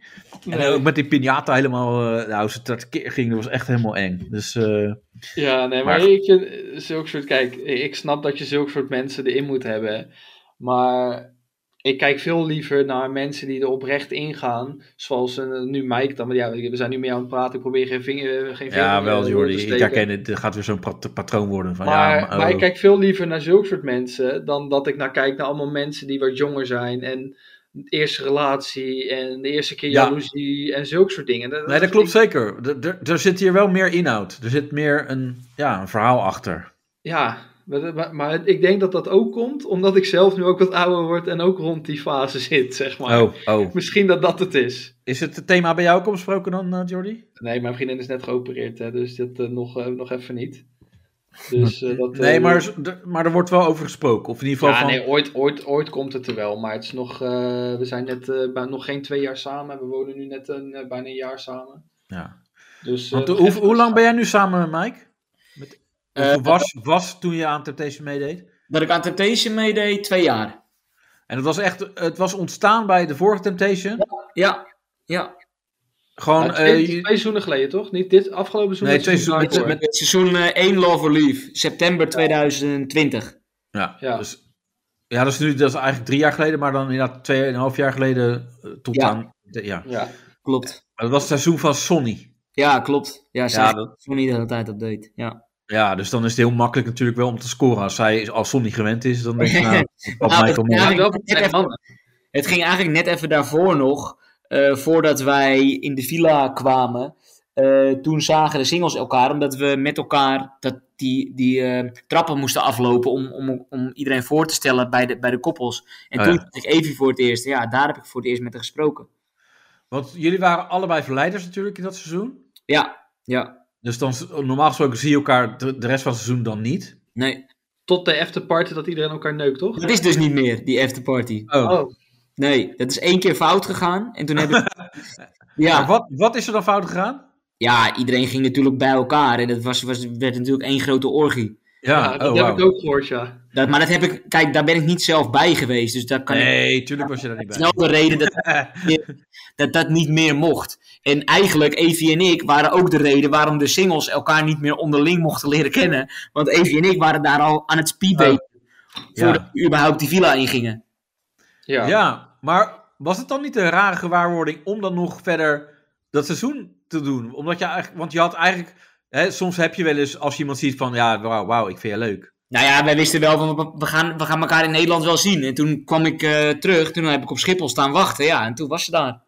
[SPEAKER 2] En
[SPEAKER 4] Nee.
[SPEAKER 2] ook met die piñata helemaal, eh nou, ze dat keer ging, dat was echt helemaal eng. Dus eh,
[SPEAKER 4] Ja, nee, maar,
[SPEAKER 2] Maar-
[SPEAKER 4] ik vind eh, zulke soort... Kijk, ik snap dat je zulke soort mensen erin moet hebben. Maar ik kijk veel liever naar mensen die er oprecht ingaan. Zoals eh, nu Mike dan. Maar ja, we zijn nu meer aan het praten. Ik probeer geen vinger, geen vinger
[SPEAKER 2] ja, wel
[SPEAKER 4] eh,
[SPEAKER 2] Jordi.
[SPEAKER 4] door te
[SPEAKER 2] Ik
[SPEAKER 4] steken.
[SPEAKER 2] herken het, er gaat weer zo'n pat- patroon worden. Van,
[SPEAKER 4] Maar,
[SPEAKER 2] ja, maar,
[SPEAKER 4] maar
[SPEAKER 2] oh.
[SPEAKER 4] ik kijk veel liever naar zulke soort mensen dan dat ik naar kijk naar allemaal mensen die wat jonger zijn en de eerste relatie en de eerste keer
[SPEAKER 2] Ja.
[SPEAKER 4] jaloezie en zulke soort dingen.
[SPEAKER 2] Nee, dat
[SPEAKER 4] vind
[SPEAKER 2] klopt
[SPEAKER 4] ik-
[SPEAKER 2] zeker. Er- Er er zit hier wel meer inhoud. Er zit meer een, ja, een verhaal achter.
[SPEAKER 4] Ja, maar, maar- maar ik denk dat dat ook komt omdat ik zelf nu ook wat ouder word en ook rond die fase zit, zeg maar.
[SPEAKER 2] Oh, oh.
[SPEAKER 4] Misschien dat dat het is.
[SPEAKER 2] Is het thema bij jou ook besproken dan, eh, Jordi?
[SPEAKER 4] Nee, mijn vriendin is net geopereerd, hè, dus dat eh, nog, eh, nog even niet. Dus, eh, dat, eh,
[SPEAKER 2] Nee, maar, z- er- maar er wordt wel over gesproken. Of in ieder geval
[SPEAKER 4] ja,
[SPEAKER 2] van...
[SPEAKER 4] nee, ooit, ooit, ooit komt het er wel. Maar het is nog, eh, we zijn net eh, bij, nog geen twee jaar samen. We wonen nu net een, eh, bijna een jaar samen.
[SPEAKER 2] Ja.
[SPEAKER 4] Dus, eh,
[SPEAKER 2] Want
[SPEAKER 4] nog
[SPEAKER 2] hoe,
[SPEAKER 4] even-
[SPEAKER 2] hoe lang ben jij nu samen met Mike?
[SPEAKER 4] Eh,
[SPEAKER 2] Hoe was, was toen je aan Temptation meedeed?
[SPEAKER 3] Dat ik aan Temptation meedeed, twee jaar.
[SPEAKER 2] En het was echt, het was ontstaan bij de vorige Temptation.
[SPEAKER 3] Ja, ja.
[SPEAKER 2] Gewoon,
[SPEAKER 4] Nou, twee,
[SPEAKER 2] eh,
[SPEAKER 4] twee
[SPEAKER 2] je-
[SPEAKER 4] seizoenen geleden, toch? Niet dit afgelopen seizoen.
[SPEAKER 2] nee, twee
[SPEAKER 4] maar
[SPEAKER 2] seizoenen. Met,
[SPEAKER 4] daarvoor.
[SPEAKER 2] met-
[SPEAKER 3] Het seizoen eh, 1 Love or Leave, september 2020.
[SPEAKER 2] ja,
[SPEAKER 4] Ja.
[SPEAKER 2] Dus, ja, dat is nu dat is eigenlijk drie jaar geleden, maar dan inderdaad tweeënhalf jaar geleden eh, tot
[SPEAKER 3] Ja.
[SPEAKER 2] aan. de- ja.
[SPEAKER 4] Ja.
[SPEAKER 3] Klopt.
[SPEAKER 2] Maar Dat was het seizoen van Sonny.
[SPEAKER 3] Ja, klopt. Ja, zij
[SPEAKER 2] Ja,
[SPEAKER 3] ja, toen niet de hele tijd dat deed. Ja.
[SPEAKER 2] Ja, dus dan is het heel makkelijk natuurlijk wel om te scoren. Als, zij, als Sonny gewend is, dan denk je nou, wat
[SPEAKER 3] Nou,
[SPEAKER 2] Michael
[SPEAKER 3] het-
[SPEAKER 2] Moore.
[SPEAKER 3] ja,
[SPEAKER 4] Maar wel voor twee
[SPEAKER 3] Net even-
[SPEAKER 4] mannen.
[SPEAKER 3] Het ging eigenlijk net even daarvoor nog, eh, voordat wij in de villa kwamen. eh, toen zagen de singles elkaar, omdat we met elkaar dat die, die eh, trappen moesten aflopen om, om, om iedereen voor te stellen bij de, bij de koppels. En
[SPEAKER 2] Oh ja.
[SPEAKER 3] toen zag ik Evie voor het eerst. Ja, daar heb ik voor het eerst met haar gesproken.
[SPEAKER 2] Want jullie waren allebei verleiders natuurlijk in dat seizoen.
[SPEAKER 3] Ja, ja.
[SPEAKER 2] Dus dan, normaal gesproken zie je elkaar de, de rest van het seizoen dan niet.
[SPEAKER 3] Nee,
[SPEAKER 4] Tot de afterparty dat iedereen elkaar neukt, toch?
[SPEAKER 3] dat is dus niet meer, die afterparty.
[SPEAKER 2] Oh.
[SPEAKER 4] Oh,
[SPEAKER 3] Nee, dat is één keer fout gegaan. En toen heb ik...
[SPEAKER 2] Maar
[SPEAKER 3] Ja,
[SPEAKER 2] wat, wat is er dan fout gegaan?
[SPEAKER 3] ja, iedereen ging natuurlijk bij elkaar. En dat was, was, werd natuurlijk één grote orgie.
[SPEAKER 2] Ja,
[SPEAKER 4] ja, dat
[SPEAKER 2] oh,
[SPEAKER 4] heb
[SPEAKER 2] wauw.
[SPEAKER 4] ik ook gehoord, ja.
[SPEAKER 3] Dat, maar dat heb ik, kijk, daar ben ik niet zelf bij geweest. Dus daar kan ik
[SPEAKER 2] Nee, tuurlijk was je daar niet bij.
[SPEAKER 3] snel de reden dat, dat dat niet meer mocht. En eigenlijk, Evie en ik waren ook de reden waarom de singles elkaar niet meer onderling mochten leren kennen. Want Evie en ik waren daar al aan het speeddaten. voordat
[SPEAKER 2] Oh, Ja.
[SPEAKER 3] we überhaupt die villa ingingen.
[SPEAKER 4] Ja.
[SPEAKER 2] ja, maar was het dan niet een rare gewaarwording om dan nog verder dat seizoen te doen? Omdat je eigenlijk, want je had eigenlijk, hè, soms heb je wel eens als je iemand ziet van, ja, wauw, wauw ik vind je leuk.
[SPEAKER 3] Nou ja, wij wisten wel van, we- we gaan, we gaan elkaar in Nederland wel zien. En toen kwam ik eh, terug, toen heb ik op Schiphol staan wachten. Ja, en toen was ze daar.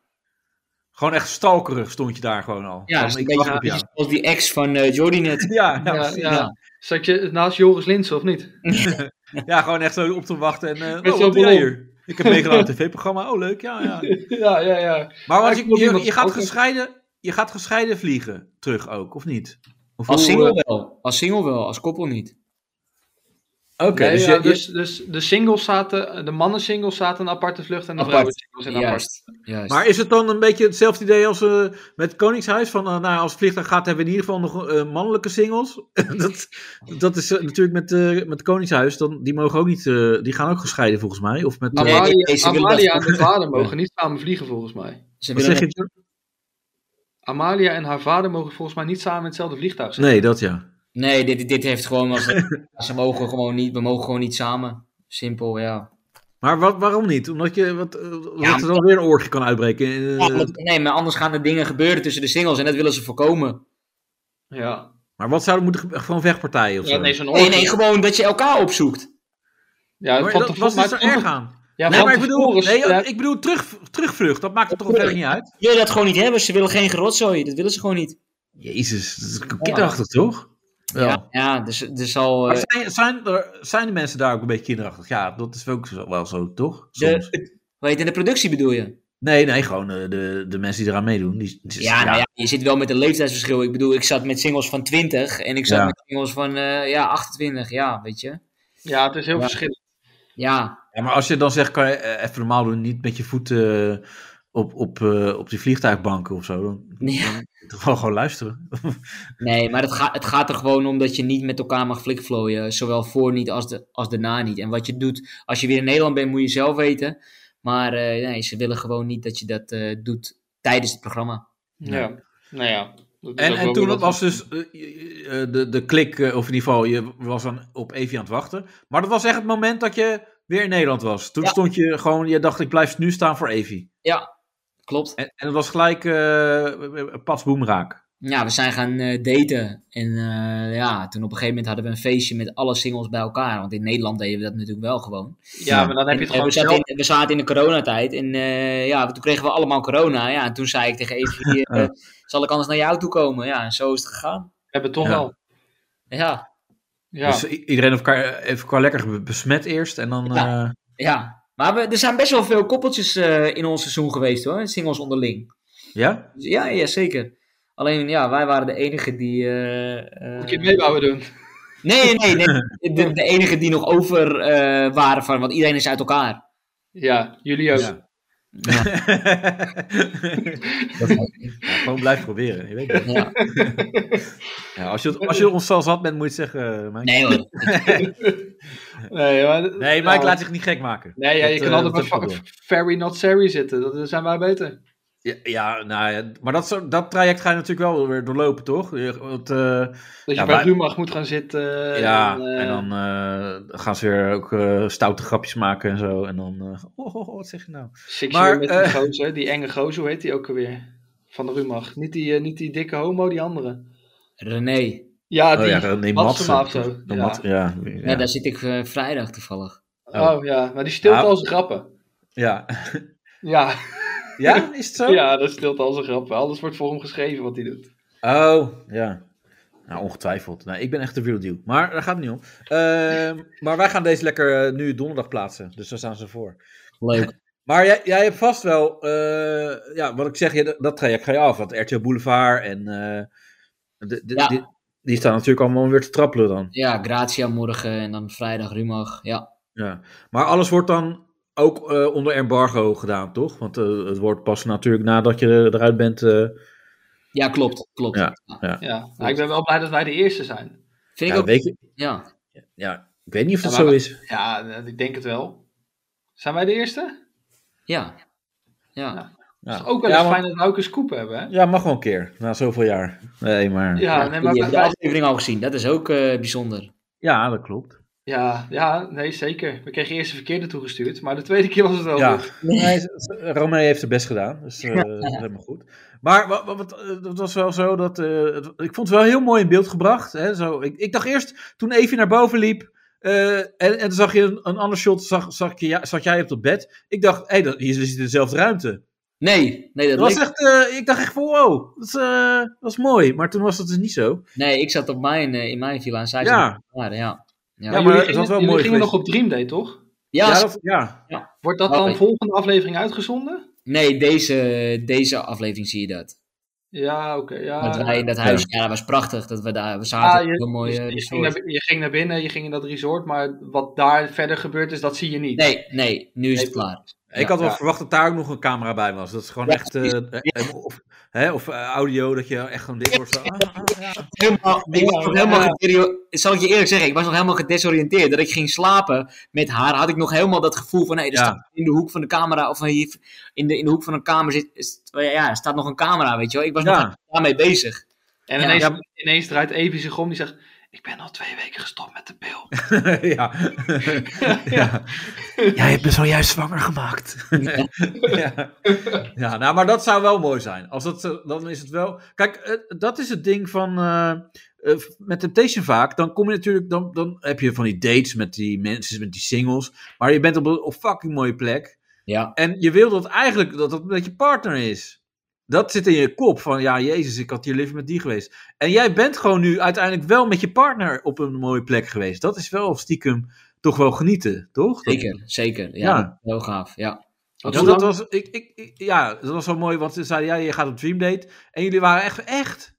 [SPEAKER 2] Gewoon echt stalkerig stond je daar gewoon al.
[SPEAKER 3] Ja,
[SPEAKER 2] Van,
[SPEAKER 3] dus een
[SPEAKER 2] ik wacht
[SPEAKER 3] beetje
[SPEAKER 2] op jou.
[SPEAKER 3] beetje zoals die ex van eh Jordi net.
[SPEAKER 2] "Ah, Ja, ja,
[SPEAKER 4] Ja,
[SPEAKER 2] precies.
[SPEAKER 4] ja. Zat je naast Joris Linsen of niet?
[SPEAKER 2] Ja, gewoon echt zo op te wachten. En, eh,
[SPEAKER 4] Met
[SPEAKER 2] oh,
[SPEAKER 4] zo'n
[SPEAKER 2] wat doe jij
[SPEAKER 4] ballon.
[SPEAKER 2] hier? Ik heb meegedaan aan een tv-programma. Oh, leuk. Ja, ja.
[SPEAKER 4] ja, ja, ja.
[SPEAKER 2] Maar als
[SPEAKER 4] ik
[SPEAKER 2] je,
[SPEAKER 4] wil
[SPEAKER 2] je,
[SPEAKER 4] niemand
[SPEAKER 2] je gaat
[SPEAKER 4] fouten.
[SPEAKER 2] gescheiden, je gaat gescheiden vliegen terug ook, of niet? Of
[SPEAKER 3] Als
[SPEAKER 2] hoe, eh,
[SPEAKER 3] single wel. Als single wel, als koppel niet.
[SPEAKER 2] Oké,
[SPEAKER 4] Nee,
[SPEAKER 2] dus,
[SPEAKER 4] ja,
[SPEAKER 2] je- je-
[SPEAKER 4] dus, dus de singles zaten, de mannen singles zaten een aparte vlucht en de
[SPEAKER 3] Apart.
[SPEAKER 4] vrouwen singles een apart.
[SPEAKER 3] Juist, juist.
[SPEAKER 2] Maar is het dan een beetje hetzelfde idee als eh, met Koningshuis? Van, eh, nou, ja, als het vliegtuig gaat, hebben we in ieder geval nog eh, mannelijke singles. dat, dat is eh, natuurlijk met, eh, met Koningshuis. Dan, die mogen ook niet, eh, die gaan ook gescheiden volgens mij. Of met, eh,
[SPEAKER 3] Nee,
[SPEAKER 4] Amalia,
[SPEAKER 3] nee, ze willen
[SPEAKER 4] Amalia
[SPEAKER 3] dat-
[SPEAKER 4] en haar vader mogen niet samen vliegen volgens mij.
[SPEAKER 3] Ze
[SPEAKER 2] wat
[SPEAKER 3] willen
[SPEAKER 2] zeg
[SPEAKER 3] het-
[SPEAKER 2] je?
[SPEAKER 4] Amalia en haar vader mogen volgens mij niet samen in hetzelfde vliegtuig zitten.
[SPEAKER 2] Nee, dat ja.
[SPEAKER 3] Nee, dit, dit heeft gewoon. Als, ze mogen gewoon niet, we mogen gewoon niet samen. Simpel, ja.
[SPEAKER 2] Maar wat, waarom niet? Omdat je wat, eh, dat
[SPEAKER 3] maar-
[SPEAKER 2] er dan weer een oorlog kan uitbreken. eh,
[SPEAKER 3] nee, maar anders gaan er dingen gebeuren tussen de singles en dat willen ze voorkomen.
[SPEAKER 4] Ja.
[SPEAKER 2] Maar wat zouden moeten gebe- gewoon vechtpartijen of zo?
[SPEAKER 4] ja, nee, zo'n
[SPEAKER 3] Nee,
[SPEAKER 4] oorlog.
[SPEAKER 3] nee, gewoon dat je elkaar opzoekt.
[SPEAKER 4] Ja,
[SPEAKER 2] maar
[SPEAKER 4] van
[SPEAKER 2] dat was
[SPEAKER 4] tevoren- maar
[SPEAKER 2] dus zo
[SPEAKER 4] van
[SPEAKER 2] erg
[SPEAKER 4] te-
[SPEAKER 2] aan.
[SPEAKER 4] Ja,
[SPEAKER 2] nee,
[SPEAKER 4] van
[SPEAKER 2] maar ik bedoel,
[SPEAKER 4] tevoren-
[SPEAKER 2] nee,
[SPEAKER 4] ja,
[SPEAKER 2] ik bedoel terug, terugvlucht. Dat maakt het toch verder niet uit?
[SPEAKER 3] Ze willen dat gewoon niet hebben, ze willen geen gerotzooi. Dat willen ze gewoon niet.
[SPEAKER 2] Jezus, dat is kinderachtig toch?
[SPEAKER 3] Ja, ja dus, dus al.
[SPEAKER 2] Maar zijn, zijn, er, zijn de mensen daar ook een beetje kinderachtig? Ja, dat is ook zo- wel zo, toch? Soms.
[SPEAKER 3] de, weet je, de productie bedoel je?
[SPEAKER 2] Nee, nee, gewoon eh, de, de mensen die eraan meedoen. Die, die-
[SPEAKER 3] Ja, nou ja, je zit wel met een leeftijdsverschil. Ik bedoel, ik zat met singles van 20 en ik zat
[SPEAKER 2] Ja.
[SPEAKER 3] met singles van eh, ja, 28, ja, weet je.
[SPEAKER 4] ja, het is heel
[SPEAKER 3] Ja.
[SPEAKER 4] verschillend.
[SPEAKER 3] Ja,
[SPEAKER 2] Ja, maar als je dan zegt, kan je eh, even normaal doen, niet met je voeten op, op, eh, op die vliegtuigbanken of zo. Dan,
[SPEAKER 3] Ja.
[SPEAKER 2] dan toch wel gewoon luisteren.
[SPEAKER 3] Nee, maar het, ga- het gaat er gewoon om dat je niet met elkaar mag flikvlooien. Zowel voor niet als, de, als daarna niet. En wat je doet, als je weer in Nederland bent, moet je zelf weten. Maar eh, nee, ze willen gewoon niet dat je dat eh, doet tijdens het programma.
[SPEAKER 4] Ja. Nou ja. dat is
[SPEAKER 2] En,
[SPEAKER 4] ook wel
[SPEAKER 2] en toen
[SPEAKER 4] weer wat-
[SPEAKER 2] was dus eh, eh, eh, de, de klik, eh, of in ieder geval, je was dan op Evie aan het wachten. Maar dat was echt het moment dat je weer in Nederland was. Toen
[SPEAKER 3] Ja.
[SPEAKER 2] stond je gewoon, je dacht, ik blijf nu staan voor Evie.
[SPEAKER 3] Klopt.
[SPEAKER 2] En, en dat was gelijk eh pas boemraak.
[SPEAKER 3] Ja, we zijn gaan eh, daten. En eh, ja, toen op een gegeven moment hadden we een feestje met alle singles bij elkaar. Want in Nederland deden we dat natuurlijk wel gewoon.
[SPEAKER 4] Ja, maar dan heb je het
[SPEAKER 3] En eh, we,
[SPEAKER 4] gewoon
[SPEAKER 3] zaten
[SPEAKER 4] zelf.
[SPEAKER 3] in, we zaten in de coronatijd. En eh, ja, toen kregen we allemaal corona. Ja, en toen zei ik tegen Evie, eh,
[SPEAKER 2] Ja.
[SPEAKER 3] zal ik anders naar jou toe komen? Ja, en zo is het gegaan.
[SPEAKER 4] Hebben toch
[SPEAKER 2] Ja.
[SPEAKER 4] wel.
[SPEAKER 3] Ja,
[SPEAKER 4] Ja.
[SPEAKER 2] Dus i- iedereen heeft elkaar even qua lekker be- besmet eerst. En dan,
[SPEAKER 3] Ja.
[SPEAKER 2] eh,
[SPEAKER 3] Ja, maar we, er zijn best wel veel koppeltjes eh, in ons seizoen geweest hoor, singles onderling.
[SPEAKER 2] ja?
[SPEAKER 3] Dus ja, ja, zeker. Alleen ja, wij waren de enige die. eh, eh,
[SPEAKER 4] Moet je het meebouwen doen.
[SPEAKER 3] nee, nee, nee. De, de enige die nog over eh, waren van, want iedereen is uit elkaar.
[SPEAKER 4] Ja, jullie ook.
[SPEAKER 2] Ja.
[SPEAKER 3] Dat zou ik
[SPEAKER 2] Ja, gewoon blijf proberen. Je weet het.
[SPEAKER 3] Ja.
[SPEAKER 2] Ja, als, je, het- als je ons al zat bent, moet je het zeggen. eh, Mike.
[SPEAKER 3] Nee hoor.
[SPEAKER 4] Nee, maar,
[SPEAKER 2] nee, Mike
[SPEAKER 4] nou,
[SPEAKER 2] laat zich niet gek maken.
[SPEAKER 4] Nee, ja,
[SPEAKER 2] Dat,
[SPEAKER 4] je kan
[SPEAKER 2] eh,
[SPEAKER 4] altijd
[SPEAKER 2] dat
[SPEAKER 4] bij
[SPEAKER 2] heb ik ook
[SPEAKER 4] fa- Ferry Not Sari zitten. Dat dat zijn wij beter.
[SPEAKER 2] Ja, ja, nou, ja, maar dat, zo- dat traject ga je natuurlijk wel weer doorlopen, toch? Je- Want, eh,
[SPEAKER 4] Dat je
[SPEAKER 2] Ja,
[SPEAKER 4] bij
[SPEAKER 2] maar-
[SPEAKER 4] Rumach moet gaan zitten.
[SPEAKER 2] ja,
[SPEAKER 4] en, eh,
[SPEAKER 2] en dan eh, gaan ze weer ook eh, stoute grapjes maken en zo. En dan, eh, oh, oh, oh, wat zeg je nou?
[SPEAKER 4] Six
[SPEAKER 2] maar,
[SPEAKER 4] Year met die
[SPEAKER 2] eh,
[SPEAKER 4] gozer, die enge gozer, hoe heet die ook alweer? Van de Rumach. Niet die, eh, niet die dikke homo, die andere.
[SPEAKER 3] René.
[SPEAKER 4] Ja,
[SPEAKER 2] oh
[SPEAKER 4] die.
[SPEAKER 2] ja, nee,
[SPEAKER 4] Matsen
[SPEAKER 2] Matsen.
[SPEAKER 4] of zo.
[SPEAKER 2] De
[SPEAKER 4] Ja.
[SPEAKER 2] Mat- ja.
[SPEAKER 3] Ja.
[SPEAKER 2] Ja,
[SPEAKER 3] daar zit ik eh, vrijdag toevallig.
[SPEAKER 2] Oh.
[SPEAKER 4] oh. ja, maar die stilt
[SPEAKER 2] Ja.
[SPEAKER 4] al zijn grappen.
[SPEAKER 2] ja.
[SPEAKER 4] Ja,
[SPEAKER 2] Ja, is het zo?
[SPEAKER 4] ja dat stilt al zijn grappen. Alles wordt voor hem geschreven wat hij doet.
[SPEAKER 2] Oh, ja. Nou, ongetwijfeld. Nou, ik ben echt de real deal. Maar daar gaat het niet om. Ehm, maar wij gaan deze lekker eh, nu donderdag plaatsen. Dus daar staan ze voor.
[SPEAKER 3] Leuk.
[SPEAKER 2] Maar jij, jij hebt vast wel... eh, ja, wat ik zeg, je- dat traject ga je af. Want RTL Boulevard en... eh, de, de-
[SPEAKER 3] Ja.
[SPEAKER 2] die, die staan natuurlijk allemaal weer te trappelen dan.
[SPEAKER 3] Ja, Grazia morgen en dan vrijdag Rumach. Ja.
[SPEAKER 2] Ja. Maar alles wordt dan ook eh, onder embargo gedaan, toch? Want eh, het wordt pas natuurlijk nadat je eruit bent... eh,
[SPEAKER 3] Ja, klopt. klopt.
[SPEAKER 2] Ja.
[SPEAKER 4] Ja, nou, ik ben wel blij dat wij de eerste zijn.
[SPEAKER 3] Vind
[SPEAKER 2] ja,
[SPEAKER 3] ik ook.
[SPEAKER 2] weet je,
[SPEAKER 3] Ja.
[SPEAKER 2] ja, ik weet niet of dat
[SPEAKER 4] Ja, maar-
[SPEAKER 2] zo is.
[SPEAKER 4] Ja, eh, ik denk het wel. Zijn wij de eerste?
[SPEAKER 3] Ja. Ja.
[SPEAKER 4] Het
[SPEAKER 2] Ja.
[SPEAKER 4] is ook wel
[SPEAKER 2] Ja,
[SPEAKER 4] eens
[SPEAKER 2] want-
[SPEAKER 4] fijn dat we ook een scoop hebben, hè?
[SPEAKER 2] Ja, mag wel een keer. Na zoveel jaar. Nee, maar... Ja,
[SPEAKER 4] Ja,
[SPEAKER 3] Ja, die
[SPEAKER 4] nee, maar
[SPEAKER 3] hebben
[SPEAKER 4] wij,
[SPEAKER 3] de
[SPEAKER 4] wij-
[SPEAKER 3] aflevering al gezien. Dat is ook eh, bijzonder.
[SPEAKER 2] dat klopt.
[SPEAKER 4] ja, ja, nee, zeker. We kregen eerst de verkeerde toegestuurd, maar de tweede keer was het wel
[SPEAKER 2] Ja.
[SPEAKER 4] goed.
[SPEAKER 2] Nee, z- z- Romeo heeft zijn best gedaan. Dus eh, dat is helemaal goed. Maar wa- wa- wat, eh, dat was wel zo dat... eh, het- ik vond het wel heel mooi in beeld gebracht. Hè, zo, ik, ik dacht eerst, toen Evie naar boven liep... eh, en, en toen zag je een, een ander shot, zag, zag, je, ja, zat jij op het bed. Ik dacht, hé, hey, dat- hier zit dezelfde ruimte.
[SPEAKER 3] Nee, nee, dat
[SPEAKER 2] Dat was
[SPEAKER 3] leek-
[SPEAKER 2] echt, eh, ik dacht echt van, wow, dat is, eh, dat is mooi. Maar toen was dat dus niet zo.
[SPEAKER 3] Nee, ik zat op mijn, eh, in mijn villa en zij
[SPEAKER 2] Ja.
[SPEAKER 3] zat op haar, ja. Ja.
[SPEAKER 2] Ja,
[SPEAKER 3] Ja,
[SPEAKER 2] maar
[SPEAKER 4] jullie
[SPEAKER 2] het was
[SPEAKER 4] gingen-
[SPEAKER 2] wel
[SPEAKER 4] jullie
[SPEAKER 2] mooi
[SPEAKER 4] gingen
[SPEAKER 2] geweest.
[SPEAKER 4] nog op Dreamday, toch?
[SPEAKER 2] ja,
[SPEAKER 3] s-
[SPEAKER 2] dat, ja.
[SPEAKER 4] Wordt dat
[SPEAKER 3] Oh,
[SPEAKER 4] dan
[SPEAKER 3] nee.
[SPEAKER 4] volgende aflevering uitgezonden?
[SPEAKER 3] nee, deze, deze aflevering zie je dat.
[SPEAKER 4] Ja, oké. ja.
[SPEAKER 3] dat wij in dat
[SPEAKER 2] ja.
[SPEAKER 3] huis, Ah, ja, dat was prachtig dat we daar we
[SPEAKER 4] Ah,
[SPEAKER 3] zaten.
[SPEAKER 4] je,
[SPEAKER 3] heel mooi
[SPEAKER 4] je-
[SPEAKER 3] eh,
[SPEAKER 4] je ging
[SPEAKER 3] resort.
[SPEAKER 4] naar, je ging naar binnen, je ging in dat resort, maar wat daar verder gebeurd is, dat zie je niet.
[SPEAKER 3] Nee, nee, nu is
[SPEAKER 4] Nee,
[SPEAKER 3] het klaar.
[SPEAKER 2] Ik
[SPEAKER 3] Ja,
[SPEAKER 2] had wel
[SPEAKER 4] ja.
[SPEAKER 2] verwacht dat daar ook nog een camera bij was. Dat is gewoon
[SPEAKER 3] Ja,
[SPEAKER 2] echt. eh, eh, of hè, of eh, audio, dat je echt gewoon dik wordt. Zo. Ah, ah, ja.
[SPEAKER 3] Helemaal, ik was
[SPEAKER 4] Ja,
[SPEAKER 3] nog helemaal
[SPEAKER 4] ja.
[SPEAKER 3] gederio- Zal ik je eerlijk zeggen, ik was nog helemaal gedesoriënteerd. Dat ik ging slapen met haar, had ik nog helemaal dat gevoel van... Hey, er
[SPEAKER 2] Ja.
[SPEAKER 3] staat in de hoek van de camera, of hier in de, in de hoek van een kamer zit... Is, oh ja, er staat nog een camera, weet je wel. Ik was
[SPEAKER 2] Ja.
[SPEAKER 3] nog daarmee bezig.
[SPEAKER 4] En
[SPEAKER 3] Ja.
[SPEAKER 4] ineens,
[SPEAKER 2] Ja.
[SPEAKER 4] ineens draait Evie zich om, die zegt, ik ben al twee weken gestopt met de pil.
[SPEAKER 2] ja. ja. Jij hebt me zojuist zwanger gemaakt. ja. ja, nou, maar dat zou wel mooi zijn. Als dat, zo- dan is het wel. Kijk, eh, dat is het ding van. eh, eh, met Temptation vaak, dan kom je natuurlijk. Dan, dan heb je van die dates met die mensen, met die singles. Maar je bent op een op fucking mooie plek.
[SPEAKER 3] Ja,
[SPEAKER 2] En je wil dat eigenlijk dat dat met je partner is. Dat zit in je kop van ja, Jezus, ik had hier liever met die geweest. En jij bent gewoon nu uiteindelijk wel met je partner op een mooie plek geweest. Dat is wel stiekem toch wel genieten, toch? Dat-
[SPEAKER 3] zeker, zeker. Ja,
[SPEAKER 2] Ja.
[SPEAKER 3] dat is heel gaaf, ja.
[SPEAKER 4] Want
[SPEAKER 2] Ja,
[SPEAKER 4] hoe
[SPEAKER 2] dat
[SPEAKER 4] lang-
[SPEAKER 2] was, ik, ik, ik- ja, dat was wel mooi, want ze zeiden, ja, je gaat op Dream Date. En jullie waren echt, echt.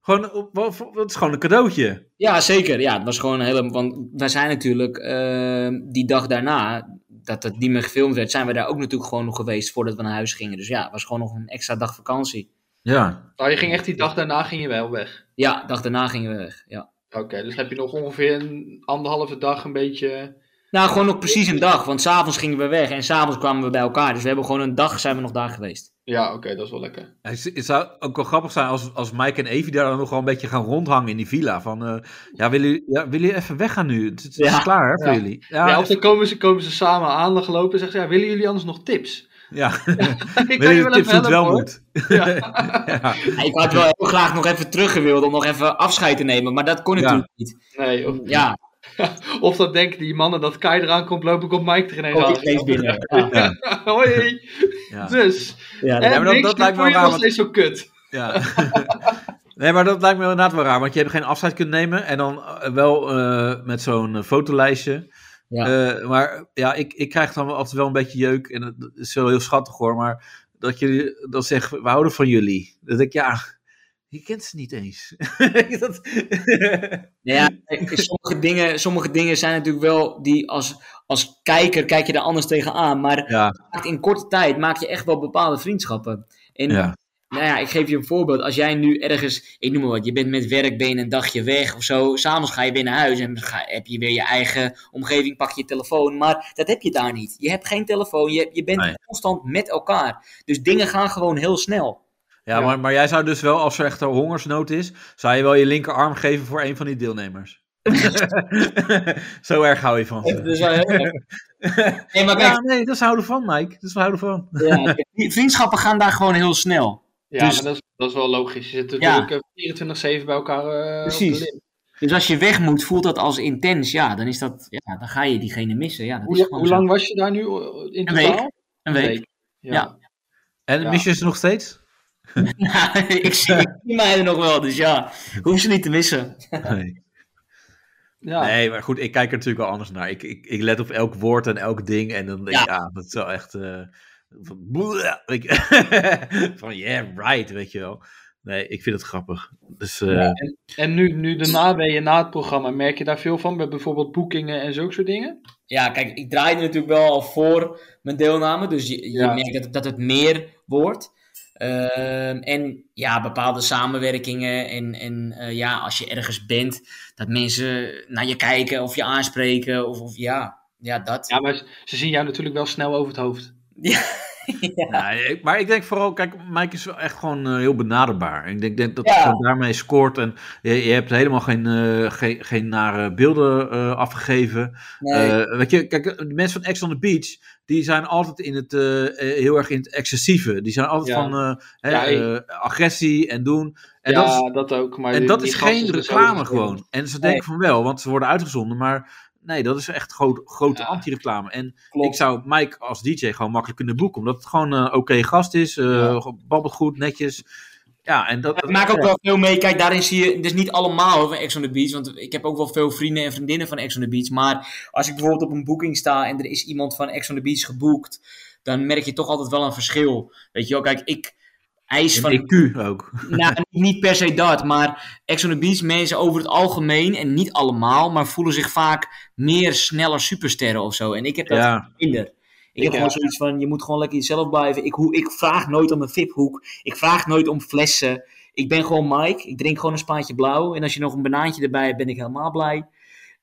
[SPEAKER 2] Gewoon, op- wat- wat- dat is gewoon een cadeautje.
[SPEAKER 3] Ja, zeker. Ja, het was gewoon een hele. Want wij zijn natuurlijk eh, die dag daarna, dat het niet meer gefilmd werd, zijn we daar ook natuurlijk gewoon nog geweest voordat we naar huis gingen. Dus ja, het was gewoon nog een extra dag vakantie.
[SPEAKER 2] Ja.
[SPEAKER 4] Nou, je ging echt die dag daarna ging je wel weg.
[SPEAKER 3] Ja, dag daarna gingen we weg. Ja.
[SPEAKER 4] Oké, dus heb je nog ongeveer een anderhalve dag een beetje...
[SPEAKER 3] Nou, gewoon nog precies een dag, want s'avonds gingen we weg en s'avonds kwamen we bij elkaar. Dus we hebben gewoon een dag zijn we nog daar geweest.
[SPEAKER 4] Ja, oké, dat is wel lekker.
[SPEAKER 2] Het het zou ook wel grappig zijn als, als Mike en Evie daar dan nog wel een beetje gaan rondhangen in die villa. Van, eh, ja, willen jullie, ja, willen jullie even weggaan nu? Het, het is
[SPEAKER 3] Ja.
[SPEAKER 2] klaar hè, voor
[SPEAKER 4] Ja.
[SPEAKER 2] jullie.
[SPEAKER 4] Ja, of dan komen ze, komen ze samen aangelopen en zeggen ze, ja, willen jullie anders nog tips?
[SPEAKER 2] Ja,
[SPEAKER 4] ik
[SPEAKER 2] wil je tips hoe het wel
[SPEAKER 4] hoor.
[SPEAKER 2] moet.
[SPEAKER 4] Ja.
[SPEAKER 2] Ja.
[SPEAKER 3] Ja, ik had wel heel graag nog even teruggewild om nog even afscheid te nemen, maar dat kon
[SPEAKER 2] Ja.
[SPEAKER 3] natuurlijk niet.
[SPEAKER 4] Nee, of,
[SPEAKER 3] Ja,
[SPEAKER 4] of dan denken die mannen dat Kai eraan komt lopen, komt Mike er ineens
[SPEAKER 3] oh,
[SPEAKER 4] aan.
[SPEAKER 3] ik lees binnen. Ja,
[SPEAKER 2] Ja.
[SPEAKER 4] Hoi!
[SPEAKER 2] Ja.
[SPEAKER 4] Dus...
[SPEAKER 3] ja,
[SPEAKER 2] maar
[SPEAKER 4] En
[SPEAKER 2] dat-
[SPEAKER 4] niks,
[SPEAKER 2] dat
[SPEAKER 4] dat,
[SPEAKER 2] lijkt me
[SPEAKER 4] voel je
[SPEAKER 2] wel
[SPEAKER 4] nog
[SPEAKER 2] raar,
[SPEAKER 4] steeds zo kut.
[SPEAKER 2] Ja. Nee, maar dat lijkt me inderdaad wel raar. Want je hebt geen afscheid kunnen nemen. En dan eh, wel eh, met zo'n eh, fotolijstje.
[SPEAKER 3] Ja.
[SPEAKER 2] Eh, maar ja, ik, ik krijg dan wel altijd wel een beetje jeuk. En dat is wel heel schattig hoor. Maar dat je dat zegt, we houden van jullie. Dat ik, ja, Je kent ze niet eens. dat...
[SPEAKER 3] Ja, kijk, sommige, dingen, sommige dingen zijn natuurlijk wel die als, als kijker kijk je er anders tegenaan. Maar
[SPEAKER 2] ja,
[SPEAKER 3] maakt in korte tijd maak je echt wel bepaalde vriendschappen. En
[SPEAKER 2] ja,
[SPEAKER 3] nou ja, ik geef je een voorbeeld. Als jij nu ergens, ik noem maar wat, je bent met werk, ben je een dagje weg of zo. S'avonds ga je weer naar huis en ga, heb je weer je eigen omgeving, pak je je telefoon. Maar dat heb je daar niet. Je hebt geen telefoon, je, hebt- je bent
[SPEAKER 2] Nee.
[SPEAKER 3] constant met elkaar. Dus dingen gaan gewoon heel snel.
[SPEAKER 2] ja maar, maar jij zou dus wel, als er echt een hongersnood is, zou je wel je linkerarm geven voor een van die deelnemers. Zo erg hou je van
[SPEAKER 3] Dat
[SPEAKER 2] ze.
[SPEAKER 3] is wel heel erg. Nee, maar kijk,
[SPEAKER 2] Ja, nee, dat is houden van, Mike. Dat is houden van.
[SPEAKER 3] ja, die vriendschappen gaan daar gewoon heel snel.
[SPEAKER 4] Ja,
[SPEAKER 3] Dus-
[SPEAKER 4] maar dat is, dat is wel logisch. Je zit
[SPEAKER 3] Ja.
[SPEAKER 4] natuurlijk eh, 24-7 bij elkaar eh, op
[SPEAKER 3] Precies.
[SPEAKER 4] de lip.
[SPEAKER 3] Dus als je weg moet, voelt dat als intens. Ja, dan, is dat, ja, dan ga je diegene missen. Ja, dat
[SPEAKER 4] Hoe,
[SPEAKER 3] is
[SPEAKER 4] la-
[SPEAKER 3] gewoon
[SPEAKER 4] hoe
[SPEAKER 3] zo.
[SPEAKER 4] lang was je daar nu eh, in
[SPEAKER 3] Een
[SPEAKER 4] totaal?
[SPEAKER 3] week. Een week. Ja.
[SPEAKER 2] En
[SPEAKER 4] Ja.
[SPEAKER 2] mis je ze nog steeds?
[SPEAKER 3] Ja, ik zie ik zie mij er nog wel, dus ja, hoef ze niet te missen.
[SPEAKER 2] Nee.
[SPEAKER 4] Ja.
[SPEAKER 2] nee, maar goed, ik kijk er natuurlijk wel anders naar. Ik, ik, ik let op elk woord en elk ding. En dan denk ik, ah, dat is wel echt... eh, van, bleh, weet je. van, yeah, right, weet je wel. Nee, ik vind het grappig. Dus, eh,
[SPEAKER 4] En nu, nu de naweeën na het programma, merk je daar veel van? Bij bijvoorbeeld boekingen en zulke soort dingen?
[SPEAKER 3] Ja, kijk, ik draai er natuurlijk wel al voor mijn deelname, dus je, je
[SPEAKER 4] Ja.
[SPEAKER 3] merkt dat, dat het meer wordt. Ehm, en ja, bepaalde samenwerkingen en, en eh, ja, als je ergens bent, dat mensen naar je kijken of je aanspreken of, of ja, ja, dat.
[SPEAKER 4] Ja, maar ze, ze zien jou natuurlijk wel snel over het hoofd.
[SPEAKER 2] Ja, ik- maar ik denk vooral, kijk, Mike is wel echt gewoon eh, heel benaderbaar. Ik denk, denk dat
[SPEAKER 3] Ja.
[SPEAKER 2] hij gewoon daarmee scoort. En je, je hebt helemaal geen, eh, geen, geen nare beelden eh, afgegeven.
[SPEAKER 3] Nee.
[SPEAKER 2] Eh, weet je, kijk, de mensen van Ex on the Beach, die zijn altijd in het, eh, eh, heel erg in het excessieve. Die zijn altijd
[SPEAKER 4] Ja.
[SPEAKER 2] van eh, hè,
[SPEAKER 4] Ja, ik-
[SPEAKER 2] eh, agressie en doen. En
[SPEAKER 4] ja,
[SPEAKER 2] dat is,
[SPEAKER 4] dat, ook. Maar
[SPEAKER 2] en
[SPEAKER 4] die-
[SPEAKER 2] dat
[SPEAKER 4] die
[SPEAKER 2] is
[SPEAKER 4] gasten
[SPEAKER 2] geen
[SPEAKER 4] zijn zo
[SPEAKER 2] reclame
[SPEAKER 4] verschillend.
[SPEAKER 2] gewoon. En ze denken van wel, want ze worden uitgezonden, maar... Nee, dat is echt groot, grote
[SPEAKER 4] Ja.
[SPEAKER 2] anti-reclame. En ik
[SPEAKER 3] klopt.
[SPEAKER 2] zou Mike als DJ gewoon makkelijk kunnen boeken. Omdat het gewoon een oké gast is. eh
[SPEAKER 4] Ja.
[SPEAKER 2] Babbelt goed, netjes. Ja, en dat...
[SPEAKER 3] Maar Ik maak ook wel veel mee. Kijk, daarin zie je. Dus niet allemaal van Ex on the Beach. Want ik heb ook wel veel vrienden en vriendinnen van Ex on the Beach. Maar als ik bijvoorbeeld op een boeking sta en er is iemand van Ex on the Beach geboekt. Dan merk je toch altijd wel een verschil. Weet je wel, kijk, ik eis van.
[SPEAKER 2] Een IQ ook.
[SPEAKER 3] Nou, niet per se dat. Maar Ex on the Beach mensen over het algemeen. En niet allemaal. Maar voelen zich vaak meer sneller supersterren of zo. En ik heb dat
[SPEAKER 2] Ja,
[SPEAKER 3] minder. Ik,
[SPEAKER 4] Ik
[SPEAKER 3] heb
[SPEAKER 4] ook.
[SPEAKER 3] gewoon zoiets van, je moet gewoon lekker jezelf blijven. Ik, hoe, ik vraag nooit om een viphoek. Ik vraag nooit om flessen. Ik ben gewoon Mike. Ik drink gewoon een spaatje blauw. En als je nog een banaantje erbij hebt, ben ik helemaal blij.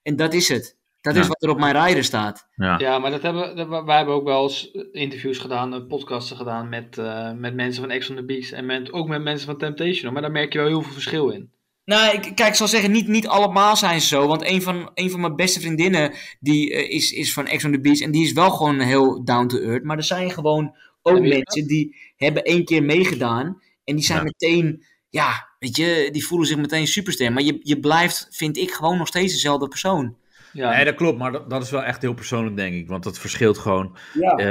[SPEAKER 3] En dat is het. Dat
[SPEAKER 2] Ja.
[SPEAKER 3] is wat er op mijn rider staat.
[SPEAKER 2] ja.
[SPEAKER 4] Ja, maar dat hebben, dat- wij hebben ook wel eens interviews gedaan, eh, podcasten gedaan met, eh, met mensen van Ex on the Beach. En met, ook met mensen van Temptation. hoor. Maar daar merk je wel heel veel verschil in.
[SPEAKER 3] Nou, ik, kijk, ik zal zeggen, niet, niet allemaal zijn ze zo. Want een van, een van mijn beste vriendinnen die, eh, is, is van Ex on the Beach. En die is wel gewoon heel down to earth. Maar er zijn gewoon ook
[SPEAKER 4] En wie is dat?
[SPEAKER 3] mensen die hebben één keer meegedaan. En die zijn
[SPEAKER 2] Ja.
[SPEAKER 3] meteen, ja, weet je, die voelen zich meteen superster. Maar je, je blijft, vind ik, gewoon nog steeds dezelfde persoon.
[SPEAKER 4] Ja,
[SPEAKER 2] Nee, dat klopt. Maar dat, dat is wel echt heel persoonlijk, denk ik. Want dat verschilt gewoon.
[SPEAKER 3] Ja.
[SPEAKER 2] Eh,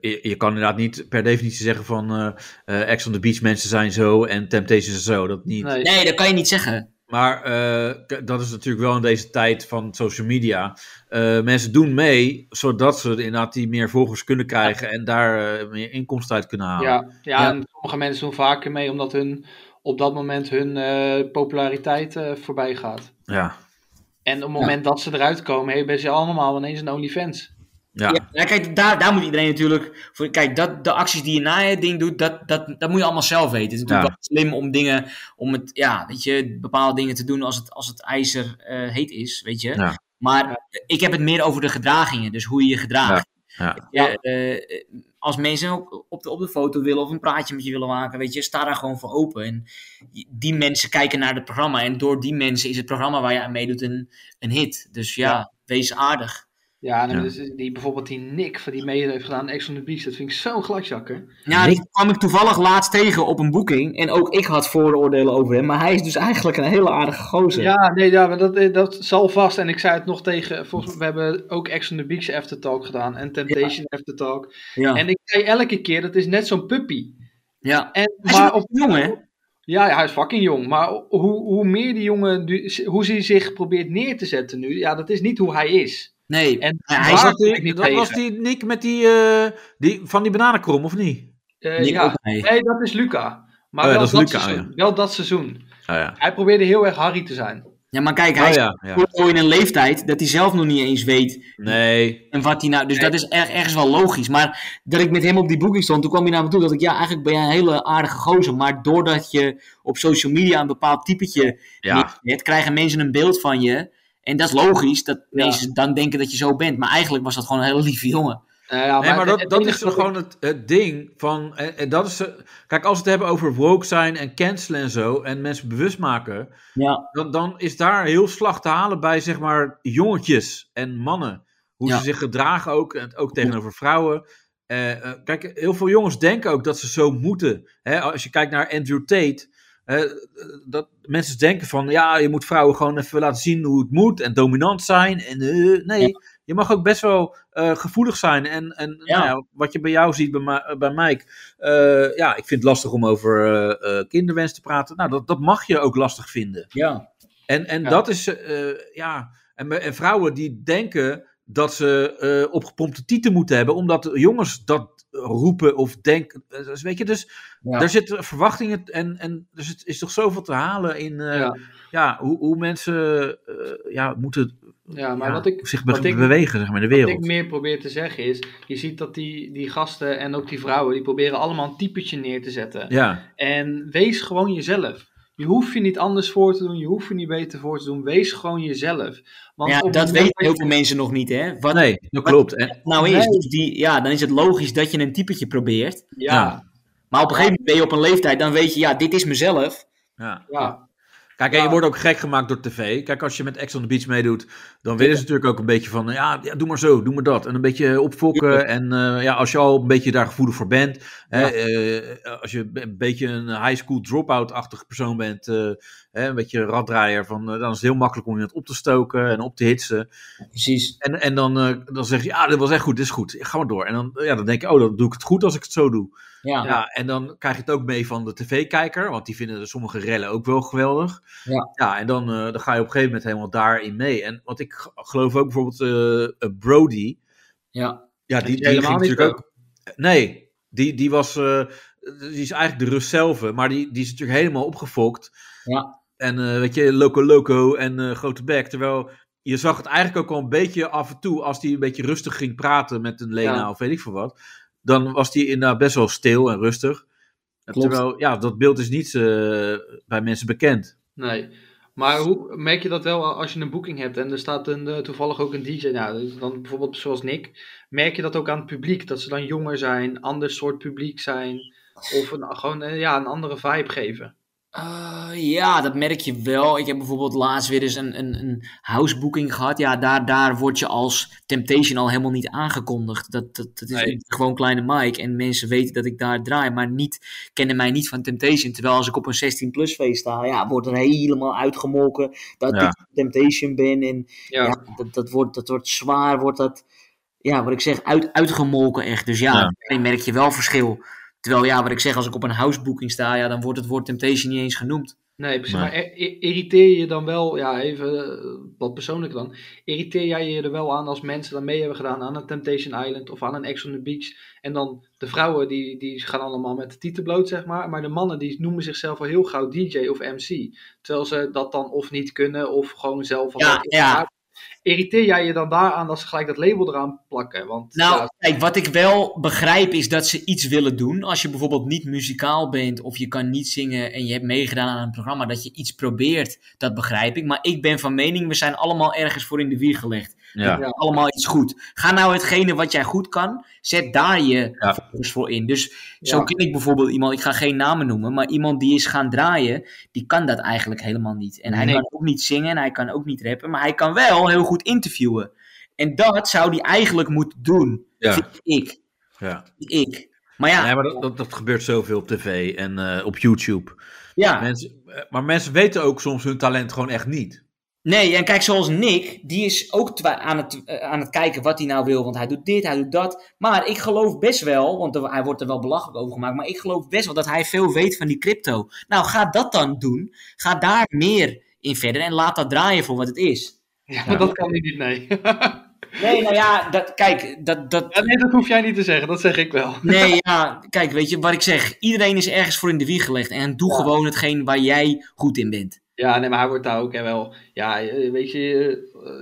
[SPEAKER 2] je, je kan inderdaad niet per definitie zeggen van... eh eh, Ex on the Beach mensen zijn zo en Temptations zijn zo. Dat niet.
[SPEAKER 4] Nee.
[SPEAKER 3] Nee, dat kan je niet zeggen.
[SPEAKER 2] Maar eh, k- dat is natuurlijk wel in deze tijd van social media. Eh, mensen doen mee, zodat ze inderdaad die meer volgers kunnen krijgen. En daar eh, meer inkomsten uit kunnen halen.
[SPEAKER 4] Ja, ja,
[SPEAKER 2] Nou. Ja.
[SPEAKER 4] en sommige mensen doen vaker mee omdat hun, op dat moment hun eh, populariteit eh, voorbij gaat.
[SPEAKER 2] ja.
[SPEAKER 4] En op het moment dat ze eruit komen, hebben ze allemaal ineens een OnlyFans.
[SPEAKER 2] ja.
[SPEAKER 3] Ja. nou, kijk, daar, daar moet iedereen natuurlijk. Voor, kijk, dat, de acties die je na het ding doet, dat, dat, dat moet je allemaal zelf weten. Het is natuurlijk wel slim om dingen, om het, ja, weet je, bepaalde dingen te doen als het, als het ijzer eh, heet is, weet je.
[SPEAKER 2] Ja.
[SPEAKER 3] Maar eh, ik heb het meer over de gedragingen, dus hoe je je gedraagt.
[SPEAKER 2] Ja.
[SPEAKER 3] Ja, eh, als mensen op, op, de, op de foto willen of een praatje met je willen maken, weet je, sta daar gewoon voor open. En die mensen kijken naar het programma en door die mensen is het programma waar je aan meedoet een, een hit. Dus ja, wees aardig.
[SPEAKER 4] Ja, en
[SPEAKER 2] Ja.
[SPEAKER 4] dus die, bijvoorbeeld die Nick van die mee heeft gedaan, Ex on the Beach, dat vind ik zo'n gladjakker.
[SPEAKER 3] Ja, die kwam ik toevallig laatst tegen op een boeking. En ook ik had vooroordelen over hem. Maar hij is dus eigenlijk een hele aardige gozer.
[SPEAKER 4] Ja, nee, ja, maar dat, eh, dat zal vast. En ik zei het nog tegen, volgens mij, we hebben ook Ex on the Beach Aftertalk gedaan en Temptation Aftertalk.
[SPEAKER 3] ja.
[SPEAKER 4] En ik zei elke keer, dat is net zo'n puppy.
[SPEAKER 3] ja.
[SPEAKER 4] En,
[SPEAKER 3] Hij is
[SPEAKER 4] maar
[SPEAKER 3] een
[SPEAKER 4] op,
[SPEAKER 3] jongen, hè?
[SPEAKER 4] ja, ja, hij is fucking jong. Maar hoe, hoe meer die jongen, nu- hoe hij zich probeert neer te zetten nu, ja, dat is niet hoe hij is.
[SPEAKER 3] Nee.
[SPEAKER 4] En
[SPEAKER 3] Ja, hij
[SPEAKER 4] hij
[SPEAKER 2] Is
[SPEAKER 3] is
[SPEAKER 2] dat,
[SPEAKER 4] zat
[SPEAKER 2] die-
[SPEAKER 4] ik niet
[SPEAKER 2] dat
[SPEAKER 4] tegen.
[SPEAKER 2] was die Nick met die, eh, die van die bananenkrom, of niet?
[SPEAKER 4] Eh,
[SPEAKER 3] Nick
[SPEAKER 4] ja.
[SPEAKER 3] ook mee.
[SPEAKER 4] Nee, dat is Luca. Maar
[SPEAKER 2] Oh ja,
[SPEAKER 4] wel,
[SPEAKER 2] dat
[SPEAKER 4] dat
[SPEAKER 2] is Luca,
[SPEAKER 4] seizoen,
[SPEAKER 2] ja.
[SPEAKER 4] wel dat seizoen.
[SPEAKER 2] ja.
[SPEAKER 4] Hij probeerde heel erg Harry te zijn.
[SPEAKER 3] Ja, maar kijk, hij
[SPEAKER 2] Oh
[SPEAKER 3] is
[SPEAKER 2] ja, ja.
[SPEAKER 3] al in een leeftijd dat hij zelf nog niet eens weet
[SPEAKER 2] Nee.
[SPEAKER 3] en wat hij nou... Dus dat is er, ergens wel logisch. Maar dat ik met hem op die boeking stond, toen kwam hij naar me toe dat ik... Ja, eigenlijk ben jij een hele aardige gozer. Maar doordat je op social media een bepaald typetje
[SPEAKER 2] Ja.
[SPEAKER 3] neerzet, krijgen mensen een beeld van je. En dat is logisch, dat mensen dan denken dat je zo bent. Maar eigenlijk was dat gewoon een hele lieve jongen.
[SPEAKER 4] Nou ja,
[SPEAKER 2] Nee, maar
[SPEAKER 4] het-
[SPEAKER 2] dat,
[SPEAKER 4] het
[SPEAKER 2] dat
[SPEAKER 4] enige
[SPEAKER 2] is toch
[SPEAKER 4] wat
[SPEAKER 2] gewoon het, het ding van. En, en dat is, eh, kijk, als we het hebben over woke zijn en cancelen en zo. En mensen bewust maken.
[SPEAKER 3] Ja,
[SPEAKER 2] Dan, dan is daar heel slag te halen bij, zeg maar, jongetjes en mannen. Hoe
[SPEAKER 3] Ja.
[SPEAKER 2] ze zich gedragen ook. En ook tegenover vrouwen. Eh, eh, kijk, heel veel jongens denken ook dat ze zo moeten. Hè, als je kijkt naar Andrew Tate. eh, dat mensen denken van ja, je moet vrouwen gewoon even laten zien hoe het moet en dominant zijn. En, eh, nee,
[SPEAKER 3] Ja.
[SPEAKER 2] je mag ook best wel eh, gevoelig zijn. En, en
[SPEAKER 3] Ja.
[SPEAKER 2] nou ja, wat je bij jou ziet, bij, Ma- bij Mike. eh, ja, ik vind het lastig om over eh, eh, kinderwens te praten. Nou, dat, dat mag je ook lastig vinden.
[SPEAKER 3] ja.
[SPEAKER 2] En, en
[SPEAKER 4] Ja.
[SPEAKER 2] dat is, eh, eh, ja. En, me- en vrouwen die denken dat ze eh, opgepompte tieten moeten hebben, omdat de jongens dat roepen of denken. Eh, dus Weet je, dus
[SPEAKER 3] Ja.
[SPEAKER 2] daar zitten verwachtingen en, en dus het is toch zoveel te halen in eh, ja.
[SPEAKER 4] Ja.
[SPEAKER 2] hoe, hoe mensen eh, ja, moeten
[SPEAKER 4] Ja, maar
[SPEAKER 2] ja,
[SPEAKER 4] wat ik,
[SPEAKER 2] zich be-
[SPEAKER 4] wat ik-
[SPEAKER 2] bewegen zeg maar, in de
[SPEAKER 4] wat ik
[SPEAKER 2] wereld.
[SPEAKER 4] meer probeer te zeggen is, je ziet dat die, die gasten en ook die vrouwen, die proberen allemaal een typetje neer te zetten.
[SPEAKER 2] Ja,
[SPEAKER 4] En wees gewoon jezelf. Je hoeft je niet anders voor te doen, je hoeft je niet beter voor te doen. Wees gewoon jezelf. Want
[SPEAKER 3] ja
[SPEAKER 4] op het
[SPEAKER 3] dat
[SPEAKER 4] moment
[SPEAKER 3] weten
[SPEAKER 4] je-
[SPEAKER 3] heel veel mensen nog niet, hè. Wat,
[SPEAKER 2] nee, dat klopt. En,
[SPEAKER 3] nou is,
[SPEAKER 4] Nee.
[SPEAKER 3] dus die, ja, dan is het logisch dat je een typetje probeert.
[SPEAKER 4] Ja,
[SPEAKER 3] Maar op een gegeven moment ben je op een leeftijd, dan weet je, ja, dit is mezelf.
[SPEAKER 2] ja.
[SPEAKER 4] ja.
[SPEAKER 2] Kijk, en je
[SPEAKER 4] Ja.
[SPEAKER 2] wordt ook gek gemaakt door tv. Kijk, als je met Ex on the Beach meedoet, dan willen ze natuurlijk ook een beetje van, ja, ja, doe maar zo, doe maar dat. En een beetje opfokken. En eh, ja, als je al een beetje daar gevoelig voor bent, hè,
[SPEAKER 3] Ja.
[SPEAKER 2] eh, als je een beetje een high school dropout-achtig persoon bent, eh, hè, een beetje een raddraaier, van, eh, dan is het heel makkelijk om iemand op te stoken en op te hitsen.
[SPEAKER 3] Precies.
[SPEAKER 2] En, en dan, eh, dan zeg je, ja, dat was echt goed, dit is goed, ga maar door. En dan, ja, dan denk je, oh, dan doe ik het goed als ik het zo doe.
[SPEAKER 3] Ja,
[SPEAKER 2] Ja, en dan krijg je het ook mee van de tv-kijker, want die vinden sommige rellen ook wel geweldig.
[SPEAKER 3] Ja.
[SPEAKER 2] en dan, eh, dan ga je op een gegeven moment helemaal daarin mee. En want ik g- geloof ook bijvoorbeeld eh, eh, Brody.
[SPEAKER 3] ja,
[SPEAKER 2] Ja,
[SPEAKER 4] is
[SPEAKER 2] die, die
[SPEAKER 4] helemaal
[SPEAKER 2] ging
[SPEAKER 4] niet
[SPEAKER 2] natuurlijk ook. Nee, die, die was. eh, die is eigenlijk de Rus zelf, maar die, die is natuurlijk helemaal opgefokt.
[SPEAKER 3] Ja.
[SPEAKER 2] En eh, weet je, Loco Loco en eh, Grote Bek. Terwijl je zag het eigenlijk ook al een beetje af en toe, als die een beetje rustig ging praten met een Lena
[SPEAKER 4] Ja.
[SPEAKER 2] of weet ik veel wat. Dan was die inderdaad best wel stil en rustig.
[SPEAKER 3] Klopt.
[SPEAKER 2] Terwijl, ja, dat beeld is niet eh, bij mensen bekend.
[SPEAKER 4] nee. Maar hoe merk je dat wel als je een boeking hebt en er staat een, eh, toevallig ook een DJ, nou, dan bijvoorbeeld zoals Nick, merk je dat ook aan het publiek, dat ze dan jonger zijn, ander soort publiek zijn, of een, gewoon eh, ja, een andere vibe geven.
[SPEAKER 3] Eh, ja, dat merk je wel. Ik heb bijvoorbeeld laatst weer eens een, een, een housebooking gehad. Ja, daar, daar word je als Temptation al helemaal niet aangekondigd. Dat, dat, dat is
[SPEAKER 4] Nee.
[SPEAKER 3] gewoon kleine Mike. En mensen weten dat ik daar draai, maar niet, kennen mij niet van Temptation. Terwijl als ik op een 16-plus feest sta, ja, wordt er helemaal uitgemolken dat
[SPEAKER 2] Ja.
[SPEAKER 3] ik Temptation ben. En
[SPEAKER 4] Ja,
[SPEAKER 3] Ja, dat, dat, wordt, dat wordt zwaar, wordt dat, ja, wat ik zeg, uit, uitgemolken echt. Dus ja,
[SPEAKER 2] Ja.
[SPEAKER 3] daarin merk je wel verschil. Terwijl ja, wat ik zeg, als ik op een housebooking sta, ja, dan wordt het woord Temptation niet eens genoemd.
[SPEAKER 4] nee, precies.
[SPEAKER 2] Nee.
[SPEAKER 4] Maar i- i- irriteer je dan wel, ja, even eh, wat persoonlijk dan, irriteer jij je er wel aan als mensen dan mee hebben gedaan aan een Temptation Island of aan een Ex on the Beach en dan de vrouwen die, die gaan allemaal met de titel bloot, zeg maar, maar de mannen die noemen zichzelf al heel gauw DJ of MC, terwijl ze dat dan of niet kunnen of gewoon zelf al...
[SPEAKER 3] Ja, ja.
[SPEAKER 4] Irriteer jij je dan daaraan dat ze gelijk dat label eraan plakken? Want
[SPEAKER 3] Nou,
[SPEAKER 4] ja,
[SPEAKER 3] kijk, wat ik wel begrijp is dat ze iets willen doen. Als je bijvoorbeeld niet muzikaal bent of je kan niet zingen en je hebt meegedaan aan een programma, dat je iets probeert, dat begrijp ik. Maar ik ben van mening, we zijn allemaal ergens voor in de wieg gelegd.
[SPEAKER 2] Ja.
[SPEAKER 4] Ja.
[SPEAKER 3] allemaal iets goed. Ga nou hetgene wat jij goed kan, zet daar je
[SPEAKER 2] Ja.
[SPEAKER 3] focus voor in. Dus zo
[SPEAKER 4] Ja.
[SPEAKER 3] ken ik bijvoorbeeld iemand, ik ga geen namen noemen, maar iemand die is gaan draaien, die kan dat eigenlijk helemaal niet. En hij
[SPEAKER 4] Nee.
[SPEAKER 3] kan ook niet zingen en hij kan ook niet rappen, maar hij kan wel heel goed interviewen. En dat zou hij eigenlijk moeten doen,
[SPEAKER 2] Ja.
[SPEAKER 3] vind ik.
[SPEAKER 2] ja.
[SPEAKER 3] ik. Maar ja,
[SPEAKER 2] Nee, maar dat, dat, dat gebeurt zoveel op tv en eh, op YouTube.
[SPEAKER 3] ja.
[SPEAKER 2] Mensen, eh, maar mensen weten ook soms hun talent gewoon echt niet.
[SPEAKER 3] Nee, en kijk, zoals Nick, die is ook twa- aan het, eh, aan het kijken wat hij nou wil. Want hij doet dit, hij doet dat. Maar ik geloof best wel, want er- hij wordt er wel belachelijk over gemaakt. Maar ik geloof best wel dat hij veel weet van die crypto. Nou, ga dat dan doen. Ga daar meer in verder en laat dat draaien voor wat het is.
[SPEAKER 4] ja, dat kan nu niet, nee.
[SPEAKER 3] Nee, nou ja, dat, kijk, dat, dat,
[SPEAKER 4] Ja, nee, dat hoef jij niet te zeggen, dat zeg ik wel.
[SPEAKER 3] Nee, ja, kijk, weet je wat ik zeg? Iedereen is ergens voor in de wieg gelegd. En doe gewoon hetgeen waar jij goed in bent.
[SPEAKER 4] Ja, nee, maar hij wordt daar ook hè, wel. Ja, eh, weet je,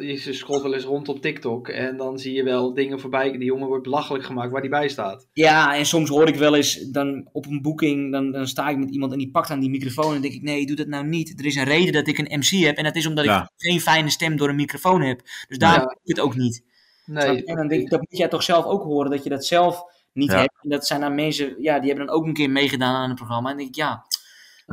[SPEAKER 4] eh, je scrolt wel eens rond op TikTok en dan zie je wel dingen voorbij. Die jongen wordt belachelijk gemaakt waar hij bij staat.
[SPEAKER 3] Ja, en soms hoor ik wel eens dan op een boeking, dan, dan sta ik met iemand en die pakt aan die microfoon. En dan denk ik, nee, doe dat nou niet. Er is een reden dat ik een MC heb. En dat is omdat
[SPEAKER 2] Ja.
[SPEAKER 3] ik geen fijne stem door een microfoon heb. Dus daarom
[SPEAKER 4] Ja.
[SPEAKER 3] doe ik het ook niet.
[SPEAKER 4] Nee,
[SPEAKER 3] En dan denk ik, dat moet jij toch zelf ook horen, dat je dat zelf niet
[SPEAKER 2] Ja.
[SPEAKER 3] hebt. En dat zijn dan mensen, ja, die hebben dan ook een keer meegedaan aan het programma. En dan denk ik, ja,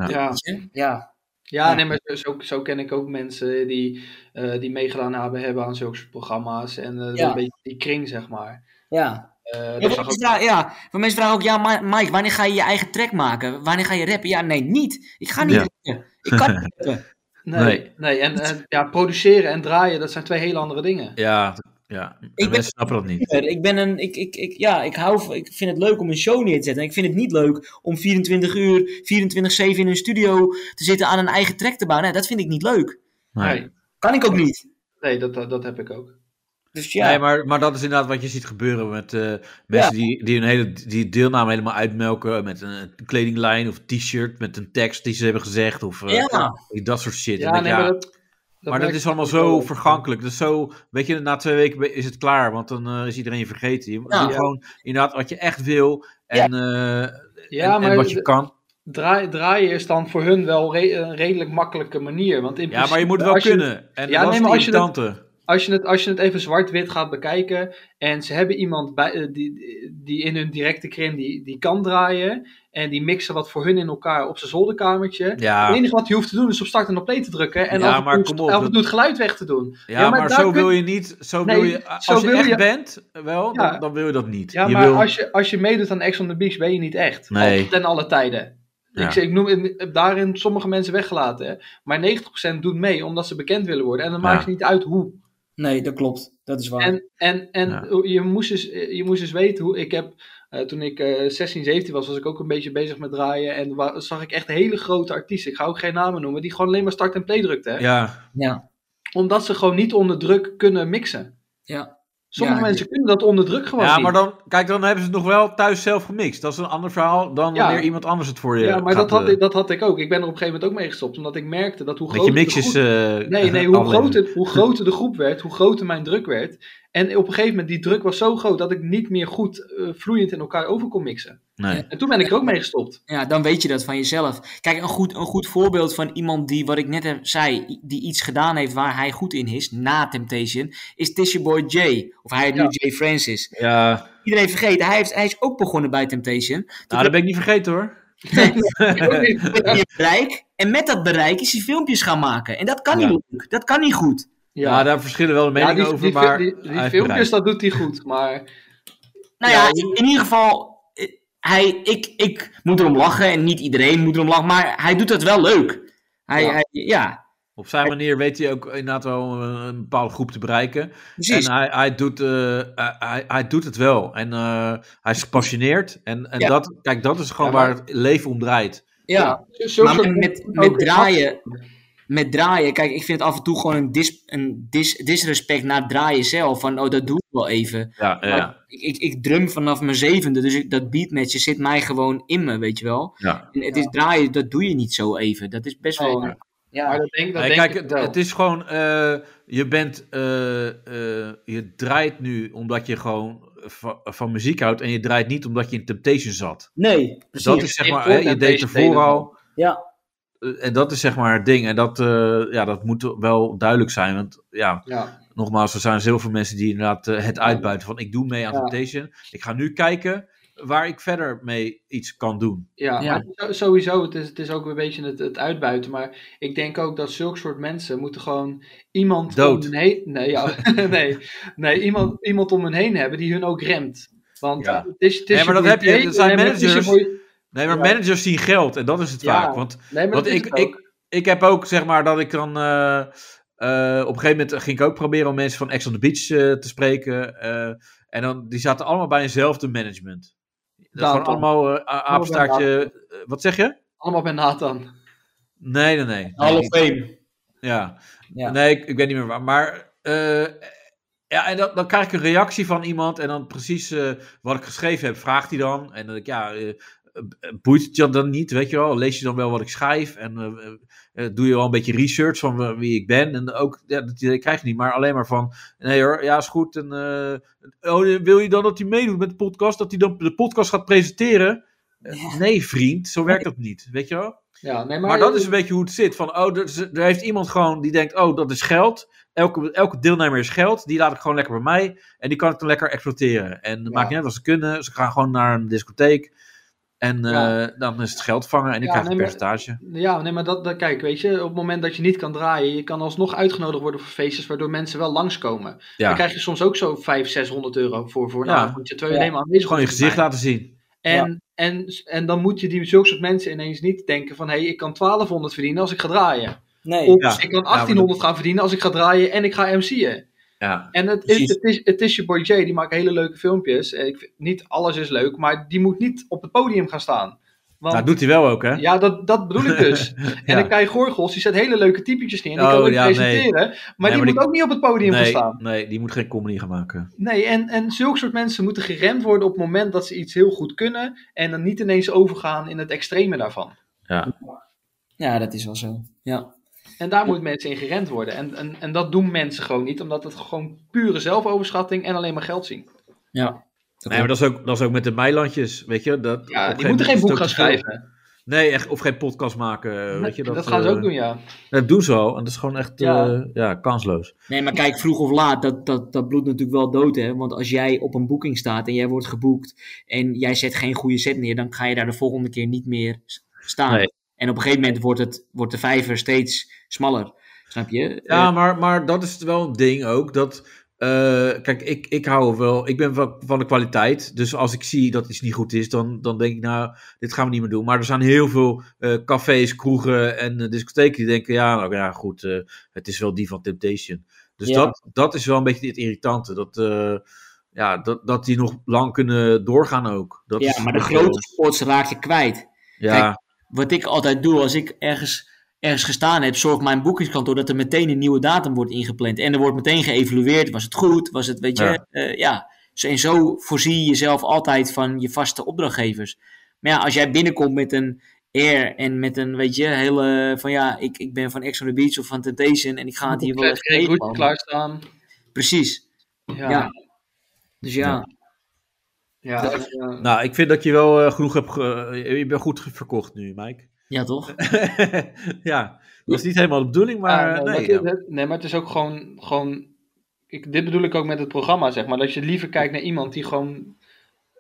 [SPEAKER 4] ja.
[SPEAKER 3] weet je, ja.
[SPEAKER 4] ja, nee, maar zo, zo ken ik ook mensen die, eh, die meegedaan hebben, hebben aan zulke soort programma's. En eh,
[SPEAKER 3] Ja.
[SPEAKER 4] een beetje die kring, zeg maar.
[SPEAKER 3] ja.
[SPEAKER 4] Eh,
[SPEAKER 3] Ja,
[SPEAKER 4] dat
[SPEAKER 3] want
[SPEAKER 4] zag ook-
[SPEAKER 3] mensen vragen- ja, want mensen vragen ook, ja, Ma- Mike, wanneer ga je je eigen track maken? Wanneer ga je rappen? Ja, nee, niet. Ik ga niet
[SPEAKER 2] Ja.
[SPEAKER 3] rappen. Ik kan niet rappen.
[SPEAKER 4] nee,
[SPEAKER 2] Nee.
[SPEAKER 4] nee. en eh, ja, produceren en draaien, dat zijn twee hele andere dingen.
[SPEAKER 2] Ja, ja.
[SPEAKER 3] ben-
[SPEAKER 2] mensen snappen dat niet.
[SPEAKER 3] Ik ben een, ik, ik, ik, ja, ik hou, van- ik vind het leuk om een show neer te zetten. En ik vind het niet leuk om 24 uur, 24-7 in een studio te zitten aan een eigen track te bouwen. Nee, dat vind ik niet leuk.
[SPEAKER 2] Nee.
[SPEAKER 4] Nee,
[SPEAKER 3] Kan ik ook niet.
[SPEAKER 4] nee dat, dat, dat heb ik ook.
[SPEAKER 3] Dus ja.
[SPEAKER 2] Nee, maar, maar dat is inderdaad wat je ziet gebeuren met eh, mensen die, die hun hele die deelname helemaal uitmelken met een, een kledinglijn of t-shirt met een tekst die ze hebben gezegd of eh,
[SPEAKER 3] Ja.
[SPEAKER 2] dat soort shit. En
[SPEAKER 4] Ja,
[SPEAKER 2] dat-
[SPEAKER 4] nee, maar dat,
[SPEAKER 2] maar dat
[SPEAKER 4] merk
[SPEAKER 2] is
[SPEAKER 4] ik
[SPEAKER 2] allemaal
[SPEAKER 4] ook wel.
[SPEAKER 2] zo vergankelijk. Dat is zo, weet je, na twee weken be- is het klaar, want dan eh, is iedereen je vergeten. Je
[SPEAKER 3] Ja.
[SPEAKER 2] doet gewoon inderdaad wat je echt wil en, eh, en,
[SPEAKER 4] Ja,
[SPEAKER 2] en
[SPEAKER 4] maar
[SPEAKER 2] wat je kan.
[SPEAKER 4] Draai, draaien is dan voor hun wel re- een redelijk makkelijke manier. Want
[SPEAKER 2] Ja,
[SPEAKER 4] in
[SPEAKER 2] maar je
[SPEAKER 4] principe,
[SPEAKER 2] moet het wel
[SPEAKER 4] als
[SPEAKER 2] kunnen. En
[SPEAKER 4] Ja,
[SPEAKER 2] dat
[SPEAKER 4] nee,
[SPEAKER 2] is
[SPEAKER 4] maar
[SPEAKER 2] het
[SPEAKER 4] als je dat-
[SPEAKER 2] irritante.
[SPEAKER 4] als, je het, als je het even zwart-wit gaat bekijken. En ze hebben iemand bij, eh, die, die in hun directe krim die, die kan draaien. En die mixen wat voor hun in elkaar op zijn zolderkamertje. Het
[SPEAKER 2] Ja,
[SPEAKER 4] enige wat je hoeft te doen is op start en op play te drukken. En
[SPEAKER 2] Ja,
[SPEAKER 4] af en
[SPEAKER 2] maar
[SPEAKER 4] toe-
[SPEAKER 2] kom op,
[SPEAKER 4] af en
[SPEAKER 2] dat-
[SPEAKER 4] toe het geluid weg te doen.
[SPEAKER 2] ja,
[SPEAKER 4] Ja,
[SPEAKER 2] maar,
[SPEAKER 4] maar daar
[SPEAKER 2] zo
[SPEAKER 4] kun-
[SPEAKER 2] wil je niet. Zo
[SPEAKER 4] Nee,
[SPEAKER 2] wil je, als
[SPEAKER 4] zo
[SPEAKER 2] je
[SPEAKER 4] wil
[SPEAKER 2] echt
[SPEAKER 4] je-
[SPEAKER 2] bent, wel,
[SPEAKER 4] Ja.
[SPEAKER 2] dan, dan wil je dat niet.
[SPEAKER 4] Ja,
[SPEAKER 2] je
[SPEAKER 4] maar
[SPEAKER 2] wil...
[SPEAKER 4] als, je, als je meedoet aan Ex on the Beach ben je niet echt.
[SPEAKER 2] Nee.
[SPEAKER 4] Al- Ten alle tijden.
[SPEAKER 2] Ja.
[SPEAKER 4] Ik, zeg- ik noem ik heb daarin sommige mensen weggelaten. hè. Maar 90% doet mee omdat ze bekend willen worden. En dan
[SPEAKER 2] Ja.
[SPEAKER 4] maakt het niet uit hoe.
[SPEAKER 3] Nee, dat klopt. Dat is waar.
[SPEAKER 4] En, en, en
[SPEAKER 2] Ja.
[SPEAKER 4] je, moest dus, je moest dus weten hoe ik heb. eh, toen ik eh 16, 17 was, was ik ook een beetje bezig met draaien. En wa- zag ik echt hele grote artiesten. Ik ga ook geen namen noemen. Die gewoon alleen maar start en play drukten. hè.
[SPEAKER 2] Ja,
[SPEAKER 3] ja.
[SPEAKER 4] Omdat ze gewoon niet onder druk kunnen mixen.
[SPEAKER 3] Ja.
[SPEAKER 4] Sommige
[SPEAKER 3] Ja,
[SPEAKER 4] mensen kunnen dat onder druk gewoon.
[SPEAKER 2] ja
[SPEAKER 4] niet.
[SPEAKER 2] maar dan, kijk, dan hebben ze het nog wel thuis zelf gemixt. Dat is een ander verhaal dan
[SPEAKER 4] Ja.
[SPEAKER 2] wanneer iemand anders het voor je
[SPEAKER 4] ja, maar
[SPEAKER 2] gaat,
[SPEAKER 4] dat had,
[SPEAKER 2] eh,
[SPEAKER 4] ik, dat had ik ook. Ik ben er op een gegeven moment ook mee gestopt. Omdat ik merkte dat hoe
[SPEAKER 2] met je
[SPEAKER 4] groter de
[SPEAKER 2] mixjes...
[SPEAKER 4] groep-
[SPEAKER 2] eh,
[SPEAKER 4] Nee, nee hoe,
[SPEAKER 2] afleveren.
[SPEAKER 4] groter, hoe groter de groep werd, hoe groter mijn druk werd. En op een gegeven moment, die druk was zo groot dat ik niet meer goed eh, vloeiend in elkaar over kon mixen.
[SPEAKER 2] Nee.
[SPEAKER 4] En toen ben ik er ook mee gestopt.
[SPEAKER 3] Ja, dan weet je dat van jezelf. Kijk, een goed, een goed voorbeeld van iemand die, wat ik net heb, zei, i- die iets gedaan heeft waar hij goed in is, na Temptation, is Tissue Boy Jay. Of hij heet nu
[SPEAKER 4] Ja.
[SPEAKER 3] Jay Francis.
[SPEAKER 2] Ja,
[SPEAKER 3] Iedereen vergeten, hij, heeft, hij is ook begonnen bij Temptation.
[SPEAKER 2] nou, dat ben ik niet vergeten hoor.
[SPEAKER 3] Met meer bereik. En met dat bereik is hij filmpjes gaan maken. En dat kan
[SPEAKER 2] Ja.
[SPEAKER 3] niet leuk. Dat kan niet goed.
[SPEAKER 2] Ja, daar verschillen wel de
[SPEAKER 4] Ja,
[SPEAKER 2] meningen
[SPEAKER 4] die,
[SPEAKER 2] over,
[SPEAKER 4] die,
[SPEAKER 2] maar...
[SPEAKER 4] die,
[SPEAKER 2] hij
[SPEAKER 4] die
[SPEAKER 2] heeft
[SPEAKER 4] filmpjes,
[SPEAKER 2] bereikt.
[SPEAKER 4] dat doet hij goed. Maar
[SPEAKER 3] Nou ja, in, in ieder geval, eh, hij, ik, ik moet erom lachen. En niet iedereen moet erom lachen. Maar hij doet dat wel leuk. Hij,
[SPEAKER 4] Ja.
[SPEAKER 3] Hij, ja
[SPEAKER 2] Op zijn manier weet hij ook inderdaad wel een, een bepaalde groep te bereiken.
[SPEAKER 3] precies.
[SPEAKER 2] En hij, hij, doet, eh, hij, hij- hij doet het wel. En eh, hij is gepassioneerd. En, en
[SPEAKER 3] Ja.
[SPEAKER 2] dat, kijk, dat is gewoon
[SPEAKER 4] Ja, maar-
[SPEAKER 2] waar het leven om draait.
[SPEAKER 3] eh, ja.
[SPEAKER 4] zo- zo-
[SPEAKER 3] Maar
[SPEAKER 4] zo-
[SPEAKER 3] met, met,
[SPEAKER 4] ook-
[SPEAKER 3] met draaien. Met draaien, kijk, ik vind het af en toe gewoon een, dis, een dis, disrespect naar het draaien zelf. Van, oh, dat doe ik wel even.
[SPEAKER 2] Ja, ja, ja.
[SPEAKER 3] Maar Ik, ik, ik drum vanaf mijn zevende, dus ik, dat beatmatchen zit mij gewoon in me, weet je wel.
[SPEAKER 2] Ja.
[SPEAKER 3] En het is draaien, dat doe je niet zo even. Dat is best wel...
[SPEAKER 4] Oh,
[SPEAKER 3] ja.
[SPEAKER 4] Maar dat denk, dat
[SPEAKER 2] Nee,
[SPEAKER 4] denk
[SPEAKER 2] kijk,
[SPEAKER 4] ik
[SPEAKER 2] het,
[SPEAKER 4] wel.
[SPEAKER 2] het is gewoon, eh, je bent, eh, eh, je draait nu omdat je gewoon va- van muziek houdt en je draait niet omdat je in Temptation zat.
[SPEAKER 3] Nee, precies.
[SPEAKER 2] Dat is zeg
[SPEAKER 4] Ik
[SPEAKER 2] maar,
[SPEAKER 4] hoor
[SPEAKER 2] hè, je deed
[SPEAKER 4] Temptation
[SPEAKER 2] ervoor al.
[SPEAKER 3] Ja.
[SPEAKER 2] Eh, En dat is zeg maar het ding. En dat, eh, ja, dat moet wel duidelijk zijn. Want ja,
[SPEAKER 4] Ja,
[SPEAKER 2] nogmaals, er zijn heel veel mensen die inderdaad eh, het uitbuiten van ik doe mee aan
[SPEAKER 4] Ja.
[SPEAKER 2] Temptation. Ik ga nu kijken waar ik verder mee iets kan doen.
[SPEAKER 4] ja,
[SPEAKER 3] Ja.
[SPEAKER 4] maar het is zo- sowieso. Het is, het is ook een beetje het, het uitbuiten. Maar ik denk ook dat zulke soort mensen moeten gewoon iemand
[SPEAKER 2] Dood.
[SPEAKER 4] om hun heen... Nee, ja, nee, nee iemand, iemand om hun heen hebben die hun ook remt. Want
[SPEAKER 2] Ja.
[SPEAKER 4] het is, het is
[SPEAKER 2] Nee, maar dat
[SPEAKER 4] voor
[SPEAKER 2] heb je.
[SPEAKER 4] idee,
[SPEAKER 2] Dat zijn dus
[SPEAKER 4] nee, maar het is
[SPEAKER 2] managers.
[SPEAKER 4] voor je-
[SPEAKER 2] Nee, maar
[SPEAKER 4] Ja.
[SPEAKER 2] managers zien geld en dat is het
[SPEAKER 4] Ja.
[SPEAKER 2] vaak. Want
[SPEAKER 4] Nee, maar
[SPEAKER 2] Want
[SPEAKER 4] dat is
[SPEAKER 2] ik,
[SPEAKER 4] het ook.
[SPEAKER 2] ik, ik heb ook, zeg maar, dat ik dan. eh, eh, op een gegeven moment ging ik ook proberen om mensen van Ex on the Beach eh, te spreken. eh, en dan, die zaten allemaal bij eenzelfde management. Dat
[SPEAKER 4] Datum.
[SPEAKER 2] waren allemaal eh, a- apenstaartje. eh, wat zeg je?
[SPEAKER 4] Allemaal bij Nathan.
[SPEAKER 2] Nee, nee, nee.
[SPEAKER 3] Hall of Fame.
[SPEAKER 2] Ja.
[SPEAKER 3] Ja.
[SPEAKER 2] Nee, ik, ik weet niet meer waar. Maar eh, Ja, en dan, dan krijg ik een reactie van iemand en dan precies eh, wat ik geschreven heb, vraagt hij dan. En dan denk ik, ja, eh, boeit het je dan niet, weet je wel? Lees je dan wel wat ik schrijf en eh, eh, doe je wel een beetje research van eh, wie ik ben? En ook, ja, dat idee krijg je niet, maar alleen maar van, nee hoor, ja, is goed. En, eh, oh, wil je dan dat hij meedoet met de podcast, dat hij dan de podcast gaat presenteren? Eh, Nee, vriend, zo werkt dat niet, weet je wel?
[SPEAKER 4] Ja, nee, maar, eh,
[SPEAKER 2] Maar, dat is een beetje hoe het zit. Van, oh, er, is- er heeft iemand gewoon die denkt, oh, dat is geld. Elke, elke deelnemer is geld. Die laat ik gewoon lekker bij mij. En die kan ik dan lekker exploiteren. En dat
[SPEAKER 4] Ja.
[SPEAKER 2] maakt niet uit wat ze kunnen. Ze gaan gewoon naar een discotheek. En eh,
[SPEAKER 4] Ja.
[SPEAKER 2] dan is het geld vangen. En ik
[SPEAKER 4] Ja,
[SPEAKER 2] krijg een
[SPEAKER 4] nee, maar-
[SPEAKER 2] percentage.
[SPEAKER 4] Ja, nee, maar dat, dat, kijk, weet je, op het moment dat je niet kan draaien, je kan alsnog uitgenodigd worden voor feestjes waardoor mensen wel langskomen. Dan
[SPEAKER 2] Ja.
[SPEAKER 4] krijg je soms ook zo 500, 600 euro voor, voor een
[SPEAKER 2] Ja.
[SPEAKER 4] avondje, terwijl je
[SPEAKER 3] Ja.
[SPEAKER 4] alleen maar aanwezig
[SPEAKER 2] Gewoon je
[SPEAKER 4] hoeft te
[SPEAKER 2] gezicht
[SPEAKER 4] zijn.
[SPEAKER 2] laten zien.
[SPEAKER 4] En, en, en dan moet je die zulke soort mensen ineens niet denken van, hé, hey, ik kan 1200 verdienen als ik ga draaien.
[SPEAKER 3] Nee.
[SPEAKER 4] Of
[SPEAKER 2] Ja.
[SPEAKER 4] ik kan
[SPEAKER 2] Ja, maar
[SPEAKER 4] 1800 gaan verdienen als ik ga draaien en ik ga MC'en.
[SPEAKER 2] Ja.
[SPEAKER 4] En het is,
[SPEAKER 3] Precies.
[SPEAKER 4] het, is, het is je boy Jay, die maakt hele leuke filmpjes. En Ik, vind- niet alles is leuk, maar die moet niet op het podium gaan staan. Want,
[SPEAKER 2] Nou, dat doet hij wel ook, hè?
[SPEAKER 4] ja, dat, dat bedoel ik dus. En
[SPEAKER 2] Ja.
[SPEAKER 4] dan Kai Gorgels, die zet hele leuke typetjes neer. en Die
[SPEAKER 2] Oh,
[SPEAKER 4] kan ook
[SPEAKER 2] ja, nee.
[SPEAKER 4] presenteren. Maar die
[SPEAKER 2] maar
[SPEAKER 4] moet
[SPEAKER 2] die-
[SPEAKER 4] ook niet op het podium gaan
[SPEAKER 2] nee,
[SPEAKER 4] staan.
[SPEAKER 2] nee, die moet geen comedy gaan maken.
[SPEAKER 4] Nee, en, en zulke soort mensen moeten geremd worden op het moment dat ze iets heel goed kunnen. En dan niet ineens overgaan in het extreme daarvan.
[SPEAKER 2] Ja.
[SPEAKER 3] Ja, dat is wel zo. Ja.
[SPEAKER 4] En daar moeten mensen in geremd worden. En, en, en dat doen mensen gewoon niet, omdat het gewoon pure zelfoverschatting en alleen maar geld zien.
[SPEAKER 3] Ja.
[SPEAKER 2] Nee, maar dat is, ook, dat is ook met de Meilandjes, weet je? Dat, op een
[SPEAKER 4] Ja, die
[SPEAKER 2] gegeven
[SPEAKER 4] moeten geen
[SPEAKER 2] moment is het
[SPEAKER 4] boek
[SPEAKER 2] ook
[SPEAKER 4] gaan
[SPEAKER 2] te veel.
[SPEAKER 4] schrijven.
[SPEAKER 2] Nee, echt, of geen podcast maken, weet je?
[SPEAKER 4] dat, gaan ze
[SPEAKER 2] eh,
[SPEAKER 4] ook doen, ja.
[SPEAKER 2] Dat doen ze al. En dat is gewoon echt
[SPEAKER 4] Ja.
[SPEAKER 2] ja. ja, kansloos.
[SPEAKER 3] Nee, maar kijk, vroeg of laat, dat, dat, dat bloedt natuurlijk wel dood, hè. Want als jij op een boeking staat en jij wordt geboekt en jij zet geen goede set neer, dan ga je daar de volgende keer niet meer s- staan.
[SPEAKER 2] Nee.
[SPEAKER 3] En op een gegeven moment wordt, het, wordt de vijver steeds smaller. Snap je?
[SPEAKER 2] Ja,
[SPEAKER 3] Eh,
[SPEAKER 2] maar, maar dat is wel een ding ook. Dat, eh, kijk, ik, ik hou wel. Ik ben van, van de kwaliteit. Dus als ik zie dat iets niet goed is, dan, dan denk ik, nou, dit gaan we niet meer doen. Maar er zijn heel veel eh, cafés, kroegen en eh, discotheken die denken, ja, nou ja, goed, eh, het is wel die van Temptation. Dus
[SPEAKER 3] Ja.
[SPEAKER 2] dat, dat is wel een beetje het irritante. Dat, eh, ja, dat, dat die nog lang kunnen doorgaan ook. Dat is
[SPEAKER 3] ja, maar de
[SPEAKER 2] wel-
[SPEAKER 3] grote sports raak je kwijt.
[SPEAKER 2] Ja,
[SPEAKER 3] wat ik altijd doe als ik ergens, ergens gestaan heb, zorgt mijn boekingskantoor dat er meteen een nieuwe datum wordt ingepland. En er wordt meteen geëvalueerd. Was het goed? Was het, weet je,
[SPEAKER 2] Ja.
[SPEAKER 3] eh, ja. Zo- En zo voorzie je jezelf altijd van je vaste opdrachtgevers. Maar ja, als jij binnenkomt met een air en met een, weet je, hele van ja, ik, ik ben van Ex on the Beach of van Temptation en ik ga het hier wel
[SPEAKER 4] Fred
[SPEAKER 3] even
[SPEAKER 4] Grey goed
[SPEAKER 3] tegenkomen.
[SPEAKER 4] klaarstaan.
[SPEAKER 3] Precies,
[SPEAKER 4] Ja.
[SPEAKER 3] ja.
[SPEAKER 4] ja.
[SPEAKER 3] Dus ja,
[SPEAKER 2] Ja.
[SPEAKER 4] dat, eh,
[SPEAKER 2] nou, ik vind dat je wel eh, genoeg hebt. ge- je je bent goed verkocht nu, Mike.
[SPEAKER 3] ja toch?
[SPEAKER 2] ja, dat was niet helemaal de bedoeling, maar
[SPEAKER 4] ja,
[SPEAKER 2] eh,
[SPEAKER 4] Ah, nee,
[SPEAKER 2] nee.
[SPEAKER 4] maar
[SPEAKER 2] ja.
[SPEAKER 4] het- het- nee, maar het is ook gewoon. gewoon ik, dit bedoel ik ook met het programma, zeg maar. Dat je liever kijkt naar iemand die gewoon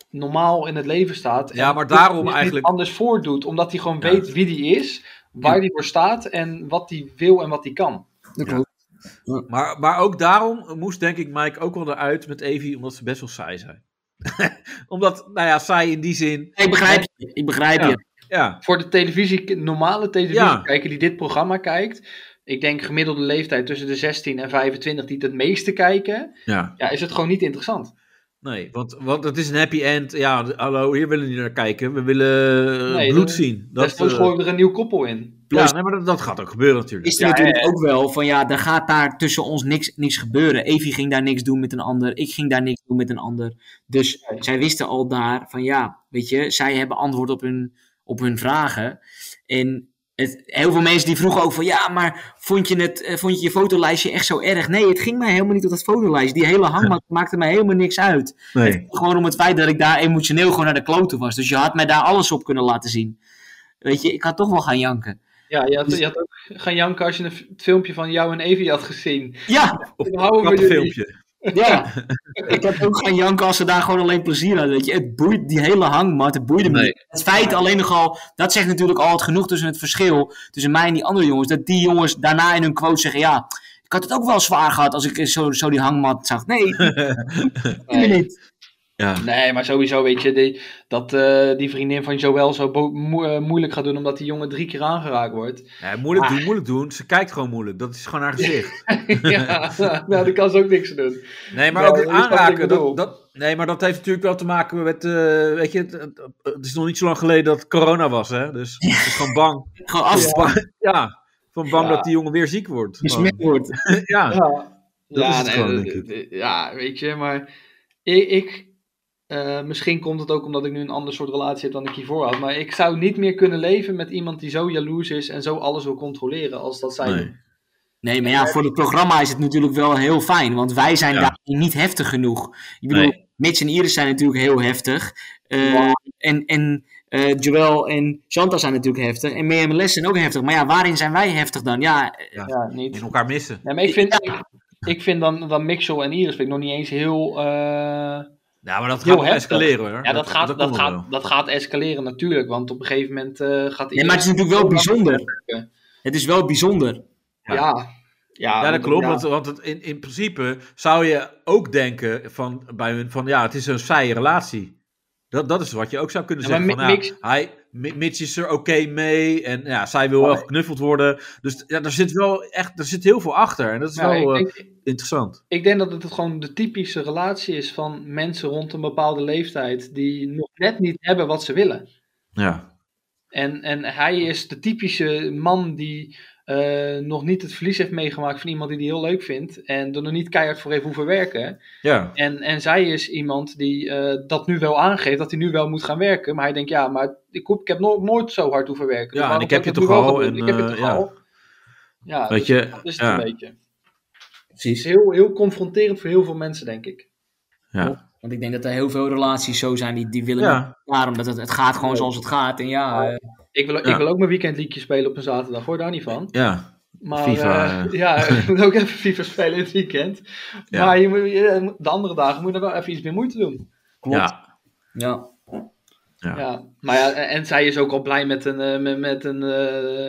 [SPEAKER 4] normaal in het leven staat. en
[SPEAKER 2] Ja, maar
[SPEAKER 4] zich
[SPEAKER 2] daarom
[SPEAKER 4] niet
[SPEAKER 2] eigenlijk-
[SPEAKER 4] anders voordoet, omdat hij gewoon
[SPEAKER 2] Ja.
[SPEAKER 4] weet wie die is, waar die voor staat en wat die wil en wat die kan.
[SPEAKER 3] Dat
[SPEAKER 2] Ja.
[SPEAKER 3] klopt.
[SPEAKER 2] Maar, maar ook daarom moest denk ik Mike ook wel eruit met Evie, omdat ze best wel saai zijn. omdat, nou ja, saai in die zin,
[SPEAKER 3] Ik begrijp je, ik begrijp
[SPEAKER 2] Ja.
[SPEAKER 3] je.
[SPEAKER 2] ja.
[SPEAKER 4] Voor de televisie, normale televisie
[SPEAKER 2] Ja.
[SPEAKER 4] kijken die dit programma kijkt. Ik denk gemiddelde leeftijd tussen de 16 en 25 die het het meeste kijken.
[SPEAKER 2] Ja,
[SPEAKER 4] Ja, is het gewoon niet interessant.
[SPEAKER 2] nee, want, want het is een happy end. Ja, d- hallo, hier willen we niet naar kijken. We willen eh,
[SPEAKER 4] Nee,
[SPEAKER 2] bloed
[SPEAKER 4] dat-
[SPEAKER 2] zien.
[SPEAKER 4] Dat
[SPEAKER 2] Dat,
[SPEAKER 4] Desnoods
[SPEAKER 2] eh,
[SPEAKER 4] gooien we er een nieuw koppel in.
[SPEAKER 2] ja, nee, maar dat, dat gaat ook gebeuren natuurlijk.
[SPEAKER 3] is er natuurlijk ook wel van ja, er gaat daar tussen ons niks, niks gebeuren. Evie ging daar niks doen met een ander. Ik ging daar niks doen met een ander. Dus
[SPEAKER 4] Nee.
[SPEAKER 3] zij wisten al daar van ja, weet je, zij hebben antwoord op hun, op hun vragen. En het, heel veel mensen die vroegen ook van ja, maar vond je, het, eh, vond je je fotolijstje echt zo erg? Nee, het ging mij helemaal niet om dat fotolijstje. Die hele hangmat maakte mij helemaal niks uit.
[SPEAKER 2] Nee.
[SPEAKER 3] Gewoon om het feit dat ik daar emotioneel gewoon naar de kloten was. Dus je had mij daar alles op kunnen laten zien. Weet je, ik had toch wel gaan janken.
[SPEAKER 4] Ja, je
[SPEAKER 2] Dus-
[SPEAKER 4] had, je had ook gaan janken als je een f- het filmpje van jou en Evie had gezien.
[SPEAKER 3] Ja,
[SPEAKER 2] Of
[SPEAKER 4] Dan houden we
[SPEAKER 2] een
[SPEAKER 4] jullie.
[SPEAKER 2] filmpje.
[SPEAKER 3] Ja, ik heb ook gaan janken als ze daar gewoon alleen plezier aan. Weet je. Het boeit die hele hangmat, het boeide me.
[SPEAKER 2] Nee.
[SPEAKER 3] niet. Het feit alleen nogal, dat zegt natuurlijk al het genoeg tussen het verschil tussen mij en die andere jongens. Dat die jongens daarna in hun quote zeggen: Ja, ik had het ook wel zwaar gehad als ik eens zo, zo die hangmat zag. Nee, nee. niet.
[SPEAKER 2] Ja.
[SPEAKER 4] Nee, maar sowieso weet je die, dat eh, die vriendin van Joël zo bo- moe- eh, moeilijk gaat doen omdat die jongen drie keer aangeraakt wordt.
[SPEAKER 2] Nee, moeilijk doen, moeilijk doen. Ze kijkt gewoon moeilijk. Dat is gewoon haar gezicht.
[SPEAKER 4] ja, nou, daar kan ze ook niks aan doen.
[SPEAKER 2] Nee, maar
[SPEAKER 4] Ja,
[SPEAKER 2] ook
[SPEAKER 4] dat
[SPEAKER 2] het
[SPEAKER 4] is wat ik
[SPEAKER 2] aanraken.
[SPEAKER 4] bedoel.
[SPEAKER 2] Dat, dat, nee, maar dat heeft natuurlijk wel te maken met. eh, weet je, het, het- het is nog niet zo lang geleden dat corona was, hè? Dus het is gewoon bang.
[SPEAKER 3] Gewoon af.
[SPEAKER 2] Ja, van bang
[SPEAKER 4] Ja.
[SPEAKER 2] dat die jongen weer ziek wordt. Gewoon.
[SPEAKER 3] Besmet wordt.
[SPEAKER 2] Ja.
[SPEAKER 4] Ja.
[SPEAKER 2] Ah. Dat is het gewoon,
[SPEAKER 4] dat-
[SPEAKER 2] denk
[SPEAKER 4] dat- Ja, weet je, maar ik. ik eh, misschien komt het ook omdat ik nu een ander soort relatie heb dan ik hiervoor had. Maar ik zou niet meer kunnen leven met iemand die zo jaloers is en zo alles wil controleren als dat zij.
[SPEAKER 2] Nee.
[SPEAKER 3] Nee, maar ja, voor het programma is het natuurlijk wel heel fijn. Want wij zijn
[SPEAKER 2] Ja.
[SPEAKER 3] daar niet heftig genoeg. Ik bedoel,
[SPEAKER 2] Nee.
[SPEAKER 3] Mitch en Iris zijn natuurlijk heel heftig. Eh, En, en eh, Joël en Shanta zijn natuurlijk heftig. En Mirjam en Les zijn ook heftig. Maar ja, waarin zijn wij heftig dan? Ja, eh,
[SPEAKER 4] Ja, niet.
[SPEAKER 2] In elkaar missen.
[SPEAKER 4] Ja, maar ik vind, ik, ik vind dan, dan Mixel en Iris vind ik nog niet eens heel. eh,
[SPEAKER 2] Ja, maar dat
[SPEAKER 4] Heel
[SPEAKER 2] gaat nog
[SPEAKER 4] heftig.
[SPEAKER 2] escaleren hoor.
[SPEAKER 4] Ja, dat, gaat, dat,
[SPEAKER 2] komt nog wel.
[SPEAKER 4] gaat, dat gaat escaleren natuurlijk, want op een gegeven moment eh, gaat
[SPEAKER 3] nee, maar het is natuurlijk wel bijzonder. Het is wel bijzonder.
[SPEAKER 4] Ja, ja,
[SPEAKER 2] Ja, dat
[SPEAKER 4] want-
[SPEAKER 2] klopt.
[SPEAKER 4] ja.
[SPEAKER 2] Want, want het, in, in principe zou je ook denken van, bij hun van ja, het is een saaie relatie. Dat, dat is wat je ook zou kunnen
[SPEAKER 4] Ja,
[SPEAKER 2] zeggen.
[SPEAKER 4] maar
[SPEAKER 2] van,
[SPEAKER 4] Mi-
[SPEAKER 2] ja, hij, Mi- Mitch is er oké mee en ja, zij wil wel geknuffeld worden. Dus ja, daar zit wel echt daar zit heel veel achter. En dat is
[SPEAKER 4] Ja,
[SPEAKER 2] wel
[SPEAKER 4] ik,
[SPEAKER 2] eh,
[SPEAKER 4] denk,
[SPEAKER 2] interessant.
[SPEAKER 4] ik denk dat het gewoon de typische relatie is van mensen rond een bepaalde leeftijd die nog net niet hebben wat ze willen.
[SPEAKER 2] Ja.
[SPEAKER 4] En, en hij is de typische man die eh, nog niet het verlies heeft meegemaakt van iemand die hij heel leuk vindt en er nog niet keihard voor heeft hoeven werken.
[SPEAKER 2] Ja.
[SPEAKER 4] En, en zij is iemand die eh, dat nu wel aangeeft, dat hij nu wel moet gaan werken. Maar hij denkt, ja, maar ik, hoef- ik heb nog nooit zo hard hoeven werken. Dus
[SPEAKER 2] Ja, en
[SPEAKER 4] waarom
[SPEAKER 2] ik heb
[SPEAKER 4] zou
[SPEAKER 2] je
[SPEAKER 4] dat
[SPEAKER 2] toch
[SPEAKER 4] nu wel
[SPEAKER 2] al
[SPEAKER 4] gaan
[SPEAKER 2] en,
[SPEAKER 4] doen? Ik heb je
[SPEAKER 2] eh,
[SPEAKER 4] toch
[SPEAKER 2] ja.
[SPEAKER 4] al. Ja,
[SPEAKER 2] Weet
[SPEAKER 4] dus
[SPEAKER 2] je,
[SPEAKER 4] dat is het
[SPEAKER 2] ja.
[SPEAKER 4] een beetje. Het
[SPEAKER 3] Precies.
[SPEAKER 4] is heel, heel confronterend voor heel veel mensen, denk ik.
[SPEAKER 2] Ja.
[SPEAKER 3] Want ik denk dat er heel veel relaties zo zijn die, die willen
[SPEAKER 2] Ja.
[SPEAKER 3] met elkaar. Omdat het, het gaat gewoon zoals het gaat. En ja, eh,
[SPEAKER 4] Ik wil,
[SPEAKER 2] Ja.
[SPEAKER 4] ik wil ook mijn weekendliedje spelen op een zaterdag, hoor, daar niet van.
[SPEAKER 2] ja.
[SPEAKER 4] Maar,
[SPEAKER 2] FIFA,
[SPEAKER 4] eh,
[SPEAKER 2] ja.
[SPEAKER 4] ja, ik moet ook even FIFA spelen in het weekend.
[SPEAKER 2] Ja.
[SPEAKER 4] Maar je moet, je- de andere dagen moet je er wel even iets meer moeite doen.
[SPEAKER 3] klopt. Ja.
[SPEAKER 2] Ja.
[SPEAKER 4] Ja.
[SPEAKER 2] Ja.
[SPEAKER 4] Maar ja, en en zij is ook al blij met een... eh, Met, met een eh,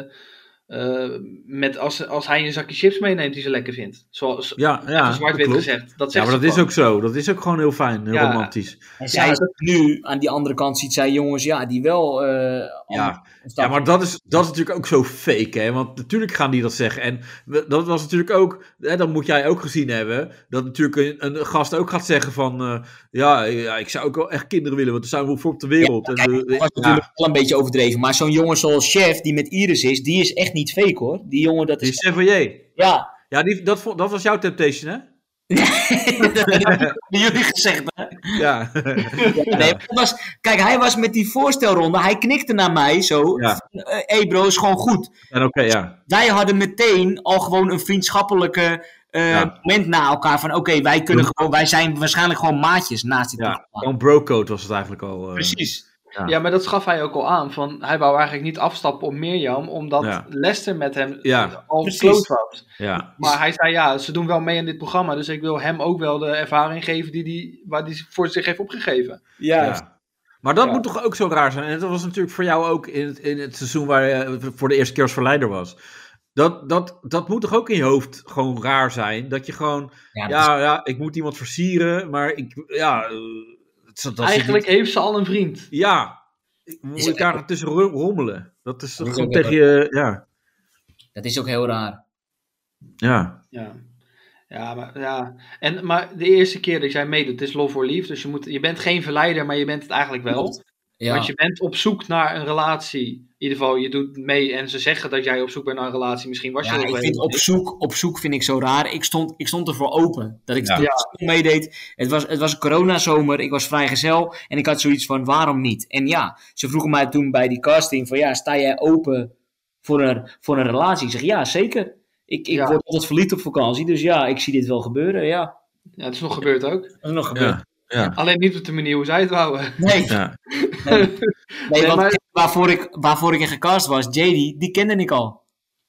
[SPEAKER 4] eh, met als, als hij een zakje chips meeneemt die ze lekker vindt. Zoals
[SPEAKER 2] Ja, ja, dat
[SPEAKER 4] zwart-wit
[SPEAKER 2] klopt.
[SPEAKER 4] gezegd. Dat
[SPEAKER 2] Ja,
[SPEAKER 4] zegt
[SPEAKER 2] maar dat
[SPEAKER 4] ze
[SPEAKER 2] is
[SPEAKER 4] gewoon.
[SPEAKER 2] ook zo. Dat is ook gewoon heel fijn, heel
[SPEAKER 4] Ja.
[SPEAKER 2] romantisch.
[SPEAKER 3] En zij
[SPEAKER 4] Ja,
[SPEAKER 3] is nu aan die andere kant ziet zij jongens ja, die wel eh
[SPEAKER 2] Ja,
[SPEAKER 3] stappen
[SPEAKER 2] Ja, maar dat is, dat is natuurlijk ook zo fake, hè? Want natuurlijk gaan die dat zeggen. En we- dat was natuurlijk ook, hè, dat moet jij ook gezien hebben, dat natuurlijk een, een gast ook gaat zeggen van, eh, ja, ja, ik zou ook wel echt kinderen willen, want er zijn we voor op de wereld. en, we-
[SPEAKER 3] Dat was
[SPEAKER 2] ja,
[SPEAKER 3] natuurlijk wel een beetje overdreven. Maar zo'n jongen zoals Chef, die met Iris is, die is echt niet fake hoor. Die jongen, dat
[SPEAKER 2] die
[SPEAKER 3] is.
[SPEAKER 2] Chevalier.
[SPEAKER 3] Ja,
[SPEAKER 2] Ja, die, dat, vond- dat was jouw temptation, hè?
[SPEAKER 3] dat hebben jullie gezegd. Hè?
[SPEAKER 2] Ja.
[SPEAKER 3] Nee, dat was, kijk, hij was met die voorstelronde, hij knikte naar mij zo.
[SPEAKER 2] Ja.
[SPEAKER 3] van, eh, hey bro, is gewoon goed.
[SPEAKER 2] En oké, ja.
[SPEAKER 3] Wij hadden meteen al gewoon een vriendschappelijke eh,
[SPEAKER 2] Ja.
[SPEAKER 3] moment na elkaar. Van oké, wij kunnen gewoon, wij zijn waarschijnlijk gewoon maatjes naast dit
[SPEAKER 2] Ja,
[SPEAKER 3] programma.
[SPEAKER 2] gewoon brocode was het eigenlijk al. eh.
[SPEAKER 3] Precies.
[SPEAKER 4] Ja. maar dat gaf hij ook al aan. Van, hij wou eigenlijk niet afstappen op Mirjam, omdat
[SPEAKER 2] Ja.
[SPEAKER 4] Lester met hem
[SPEAKER 2] Ja.
[SPEAKER 4] al
[SPEAKER 3] Precies.
[SPEAKER 4] close was.
[SPEAKER 2] Ja,
[SPEAKER 4] Maar hij zei ja, ze doen wel mee aan dit programma, dus ik wil hem ook wel de ervaring geven die die, waar hij voor zich heeft opgegeven.
[SPEAKER 2] ja. Maar dat
[SPEAKER 4] Ja.
[SPEAKER 2] moet toch ook zo raar zijn? En dat was natuurlijk voor jou ook in het, in het seizoen waar je voor de eerste keer als verleider was. Dat, dat, dat moet toch ook in je hoofd gewoon raar zijn? Dat je gewoon
[SPEAKER 3] Ja, dat is-
[SPEAKER 2] Ja, ja, ik moet iemand versieren, maar ik, ja, eh, het is- dat is
[SPEAKER 4] eigenlijk
[SPEAKER 2] niet-
[SPEAKER 4] heeft ze al een vriend.
[SPEAKER 2] ja, ik moet
[SPEAKER 3] Is-
[SPEAKER 2] ik daar tussen ro- rommelen. Dat is toch
[SPEAKER 3] is
[SPEAKER 2] gewoon
[SPEAKER 3] ook
[SPEAKER 2] tegen je, ja,
[SPEAKER 3] dat is ook heel raar.
[SPEAKER 2] ja,
[SPEAKER 4] Ja. Ja, maar, ja. En, maar de eerste keer dat jij meedoet, is love or leave. Dus je, moet, je bent geen verleider, maar je bent het eigenlijk wel.
[SPEAKER 3] Ja.
[SPEAKER 4] Want je bent op zoek naar een relatie. In ieder geval, je doet mee en ze zeggen dat jij op zoek bent naar een relatie. Misschien was je
[SPEAKER 3] Ja,
[SPEAKER 4] dat
[SPEAKER 3] ik
[SPEAKER 4] wel
[SPEAKER 3] vind
[SPEAKER 4] helemaal
[SPEAKER 3] op zoek, op zoek vind ik zo raar. Ik stond, ik stond ervoor open. Dat ik
[SPEAKER 2] Ja.
[SPEAKER 3] ja. meedeed. Het was, het was een coronazomer. Ik was vrijgezel. En ik had zoiets van, waarom niet? En ja, ze vroegen mij toen bij die casting van, ja, sta jij open voor een, voor een relatie? Ik zeg, ja, zeker. Ik, ik
[SPEAKER 4] Ja.
[SPEAKER 3] word altijd verliefd op vakantie. Dus ja, ik zie dit wel gebeuren. Ja,
[SPEAKER 4] niet. Ja, het is nog gebeurd ook.
[SPEAKER 3] dat is nog gebeurd.
[SPEAKER 2] ja, ja,
[SPEAKER 4] Alleen niet op de manier hoe zij het wouden.
[SPEAKER 3] Nee,
[SPEAKER 2] ja,
[SPEAKER 3] nee,
[SPEAKER 4] Nee,
[SPEAKER 3] want
[SPEAKER 4] maar-
[SPEAKER 3] waarvoor, ik, waarvoor ik in gecast was, JD, die kende ik al.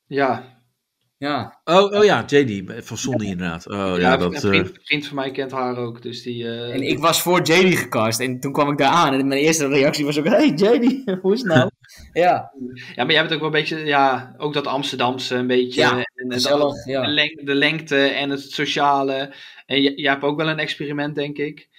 [SPEAKER 4] Ja,
[SPEAKER 3] Ja,
[SPEAKER 2] Oh, oh ja, JD van Sony inderdaad. Oh ja,
[SPEAKER 4] ja, een
[SPEAKER 2] dat. eh,
[SPEAKER 4] vriend, een vriend van mij kent haar ook. Dus die, eh,
[SPEAKER 3] en ik was voor JD gecast. En toen kwam ik daar aan. En mijn eerste reactie was ook, hey JD, hoe is het nou? ja.
[SPEAKER 4] Ja, maar jij bent ook wel een beetje, ja, ook dat Amsterdamse een beetje.
[SPEAKER 3] Ja,
[SPEAKER 4] en, en dat-
[SPEAKER 3] Gezellig,
[SPEAKER 4] de,
[SPEAKER 3] ja.
[SPEAKER 4] leng- de lengte en het sociale. En j- jij hebt ook wel een experiment, denk ik.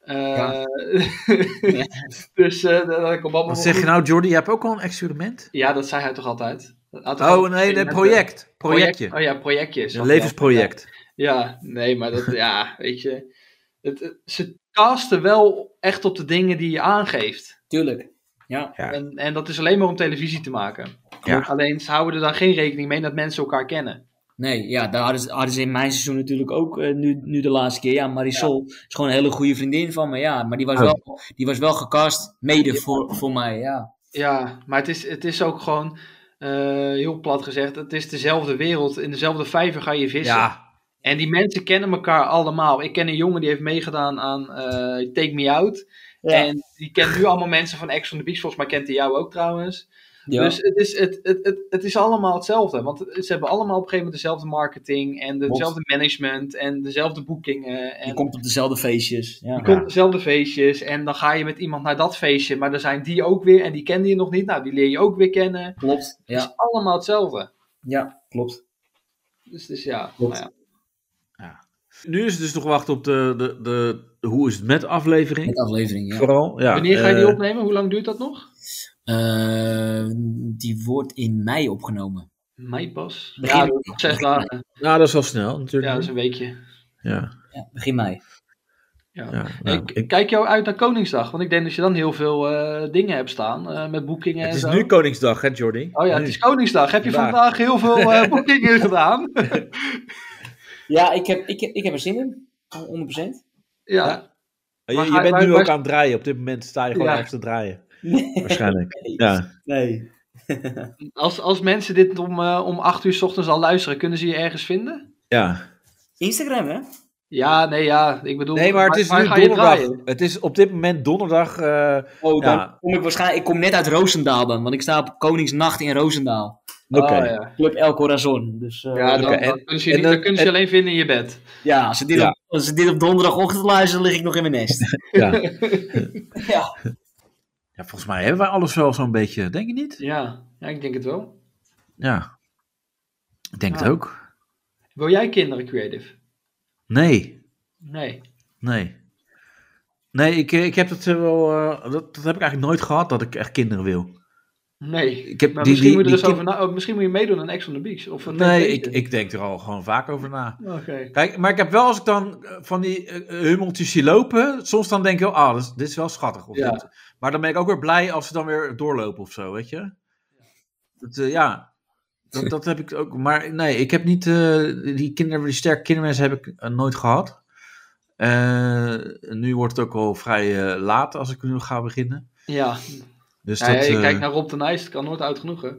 [SPEAKER 4] Eh,
[SPEAKER 3] Ja.
[SPEAKER 4] dus eh, dat, dat komt allemaal
[SPEAKER 2] wat
[SPEAKER 4] wel
[SPEAKER 2] zeg je
[SPEAKER 4] goed.
[SPEAKER 2] nou, Jordi? Je hebt ook al een experiment?
[SPEAKER 4] Ja, dat zei hij toch altijd? Hij had toch
[SPEAKER 2] Oh
[SPEAKER 4] altijd
[SPEAKER 2] nee, nee,
[SPEAKER 4] experimenten.
[SPEAKER 2] project,
[SPEAKER 4] Project-
[SPEAKER 2] projectje,
[SPEAKER 4] Oh ja, projectjes.
[SPEAKER 2] een
[SPEAKER 4] had hij
[SPEAKER 2] levensproject.
[SPEAKER 4] altijd. Ja, nee, maar dat, ja, weet je. Het, het- ze casten wel echt op de dingen die je aangeeft.
[SPEAKER 3] Tuurlijk. Ja.
[SPEAKER 2] Ja.
[SPEAKER 4] En, en dat is alleen maar om televisie te maken.
[SPEAKER 2] Ja.
[SPEAKER 4] Alleen ze houden er dan geen rekening mee dat mensen elkaar kennen.
[SPEAKER 3] Nee, ja, daar hadden ze, hadden ze in mijn seizoen natuurlijk ook eh, nu, nu de laatste keer. Ja, Marisol is gewoon een hele goede vriendin van me. Ja, maar die was
[SPEAKER 2] Oh.
[SPEAKER 3] wel, die was wel gecast mede voor, voor mij. Ja.
[SPEAKER 4] Ja, maar het is, het is ook gewoon, eh, heel plat gezegd, het is dezelfde wereld. In dezelfde vijver ga je vissen.
[SPEAKER 2] Ja,
[SPEAKER 4] En die mensen kennen elkaar allemaal. Ik ken een jongen die heeft meegedaan aan eh, Take Me Out. En die kent nu allemaal mensen van Ex on the Beach. Volgens mij kent hij jou ook trouwens.
[SPEAKER 3] Ja.
[SPEAKER 4] Dus het is, het, het, het, het is allemaal hetzelfde. Want ze hebben allemaal op een gegeven moment dezelfde marketing. En dezelfde management. En dezelfde boekingen. En
[SPEAKER 3] je komt op dezelfde feestjes. Ja.
[SPEAKER 4] je komt op dezelfde feestjes. En dan ga je met iemand naar dat feestje. Maar er zijn die ook weer. En die kende je nog niet. Nou, die leer je ook weer kennen. Het
[SPEAKER 3] Klopt. Ja,
[SPEAKER 4] is allemaal hetzelfde.
[SPEAKER 3] ja klopt.
[SPEAKER 4] Dus, dus ja.
[SPEAKER 3] Klopt.
[SPEAKER 4] nou ja.
[SPEAKER 2] nu is het dus nog wachten op de, de, de, de hoe is het met aflevering.
[SPEAKER 3] Met aflevering, ja.
[SPEAKER 2] Vooral, ja.
[SPEAKER 4] Wanneer ga je die
[SPEAKER 2] eh,
[SPEAKER 4] opnemen? Hoe lang duurt dat nog?
[SPEAKER 3] Eh, die wordt in mei opgenomen.
[SPEAKER 4] Mei pas.
[SPEAKER 3] Begin
[SPEAKER 4] Ja,
[SPEAKER 3] mei.
[SPEAKER 4] dat is nog zes
[SPEAKER 3] Begin mei.
[SPEAKER 4] dagen.
[SPEAKER 2] Nou, dat is wel snel
[SPEAKER 4] Ja, dat
[SPEAKER 2] natuurlijk.
[SPEAKER 4] is een weekje.
[SPEAKER 2] Ja,
[SPEAKER 3] Ja, begin mei.
[SPEAKER 4] Ja.
[SPEAKER 2] ja, nou,
[SPEAKER 4] ik,
[SPEAKER 2] ik-
[SPEAKER 4] Kijk jou uit naar Koningsdag, want ik denk dat je dan heel veel eh, dingen hebt staan eh, met boekingen
[SPEAKER 2] Het
[SPEAKER 4] en
[SPEAKER 2] is
[SPEAKER 4] zo.
[SPEAKER 2] nu Koningsdag, hè Jordi?
[SPEAKER 4] Oh ja, het
[SPEAKER 2] Nu.
[SPEAKER 4] is Koningsdag. Heb je
[SPEAKER 2] Vandaag.
[SPEAKER 4] vandaag heel veel eh, boekingen gedaan?
[SPEAKER 3] Ja, ik heb, ik, heb, ik heb er zin in. 100%.
[SPEAKER 4] ja.
[SPEAKER 2] Je,
[SPEAKER 4] Maar
[SPEAKER 2] je
[SPEAKER 4] ga-
[SPEAKER 2] bent
[SPEAKER 4] maar-
[SPEAKER 2] nu
[SPEAKER 4] maar-
[SPEAKER 2] ook aan het draaien. Op dit moment sta je gewoon
[SPEAKER 4] Ja.
[SPEAKER 2] ergens te draaien. Waarschijnlijk. Ja.
[SPEAKER 3] Nee.
[SPEAKER 4] Als, als mensen dit om, eh, om 8 uur 's ochtends al luisteren, kunnen ze je ergens vinden?
[SPEAKER 2] ja.
[SPEAKER 3] Instagram, hè?
[SPEAKER 4] Ja, nee, ja. Ik bedoel,
[SPEAKER 2] Nee, maar het is
[SPEAKER 4] waar-
[SPEAKER 2] nu
[SPEAKER 4] waar ga je
[SPEAKER 2] donderdag.
[SPEAKER 4] draaien?
[SPEAKER 2] Het is op dit moment donderdag. eh,
[SPEAKER 3] Oh, dan
[SPEAKER 2] Ja.
[SPEAKER 3] kom ik waarschijnlijk... Ik kom net uit Roosendaal dan, want ik sta op Koningsnacht in Roosendaal.
[SPEAKER 2] Oké.
[SPEAKER 4] Oh, ja,
[SPEAKER 3] Club El Corazon. Dus eh,
[SPEAKER 4] ja dan,
[SPEAKER 2] Oké,
[SPEAKER 4] dan
[SPEAKER 2] en-
[SPEAKER 4] kunnen ze, je
[SPEAKER 2] en
[SPEAKER 4] niet,
[SPEAKER 2] dat-
[SPEAKER 4] dan kunnen ze je
[SPEAKER 2] en-
[SPEAKER 4] alleen vinden in je bed.
[SPEAKER 3] ja, als ze, dit
[SPEAKER 2] Ja.
[SPEAKER 3] Op, als ze dit op donderdagochtend luisteren, lig ik nog in mijn nest.
[SPEAKER 2] ja.
[SPEAKER 3] ja.
[SPEAKER 2] ja, volgens mij hebben wij alles wel zo'n beetje. Denk je niet?
[SPEAKER 4] Ja. ja, ik denk het wel.
[SPEAKER 2] Ja. Ik denk het
[SPEAKER 4] Ja.
[SPEAKER 2] ook.
[SPEAKER 4] Wil jij kinderen creative?
[SPEAKER 2] Nee.
[SPEAKER 4] Nee.
[SPEAKER 2] Nee. Nee, ik, ik heb dat eh, wel. eh, dat, dat heb ik eigenlijk nooit gehad dat ik echt kinderen wil.
[SPEAKER 4] Nee.
[SPEAKER 2] Ik heb
[SPEAKER 4] Maar
[SPEAKER 2] die-
[SPEAKER 4] misschien,
[SPEAKER 2] die-
[SPEAKER 4] moet je er
[SPEAKER 2] die
[SPEAKER 4] eens
[SPEAKER 2] kind-
[SPEAKER 4] over na- oh, misschien moet je meedoen aan Ex on the Beach. Of een
[SPEAKER 2] Nee, ik,
[SPEAKER 4] Temptation.
[SPEAKER 2] ik denk er al gewoon vaak over na.
[SPEAKER 4] Oké.
[SPEAKER 2] Kijk, maar ik heb wel als ik dan eh, van die eh, hummeltjes zie lopen, soms dan denk ik, wel, ah, dit is, dit is wel schattig. Of
[SPEAKER 4] Ja.
[SPEAKER 2] dit- Maar dan ben ik ook weer blij als ze dan weer doorlopen of zo, weet je? Dat, eh, ja, dat, dat heb ik ook. Maar nee, ik heb niet eh, die, kinder, die sterke kindermensen heb ik eh, nooit gehad. Eh, nu wordt het ook al vrij eh, laat als ik nu ga beginnen.
[SPEAKER 4] Ja,
[SPEAKER 2] Dus
[SPEAKER 4] Nou ja,
[SPEAKER 2] dat,
[SPEAKER 4] je
[SPEAKER 2] eh,
[SPEAKER 4] kijkt naar Rob de Nijs, het kan nooit uit genoeg, hè?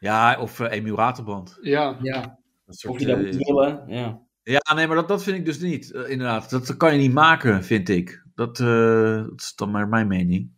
[SPEAKER 2] ja, of eh Emiel Raterband.
[SPEAKER 4] Ja,
[SPEAKER 3] ja.
[SPEAKER 2] Dat soort,
[SPEAKER 3] Of je dat
[SPEAKER 2] eh,
[SPEAKER 3] moet willen. Ja.
[SPEAKER 2] Ja, nee, maar dat, dat vind ik dus niet. eh, inderdaad, dat kan je niet maken, vind ik. Dat, eh, dat is dan maar mijn mening.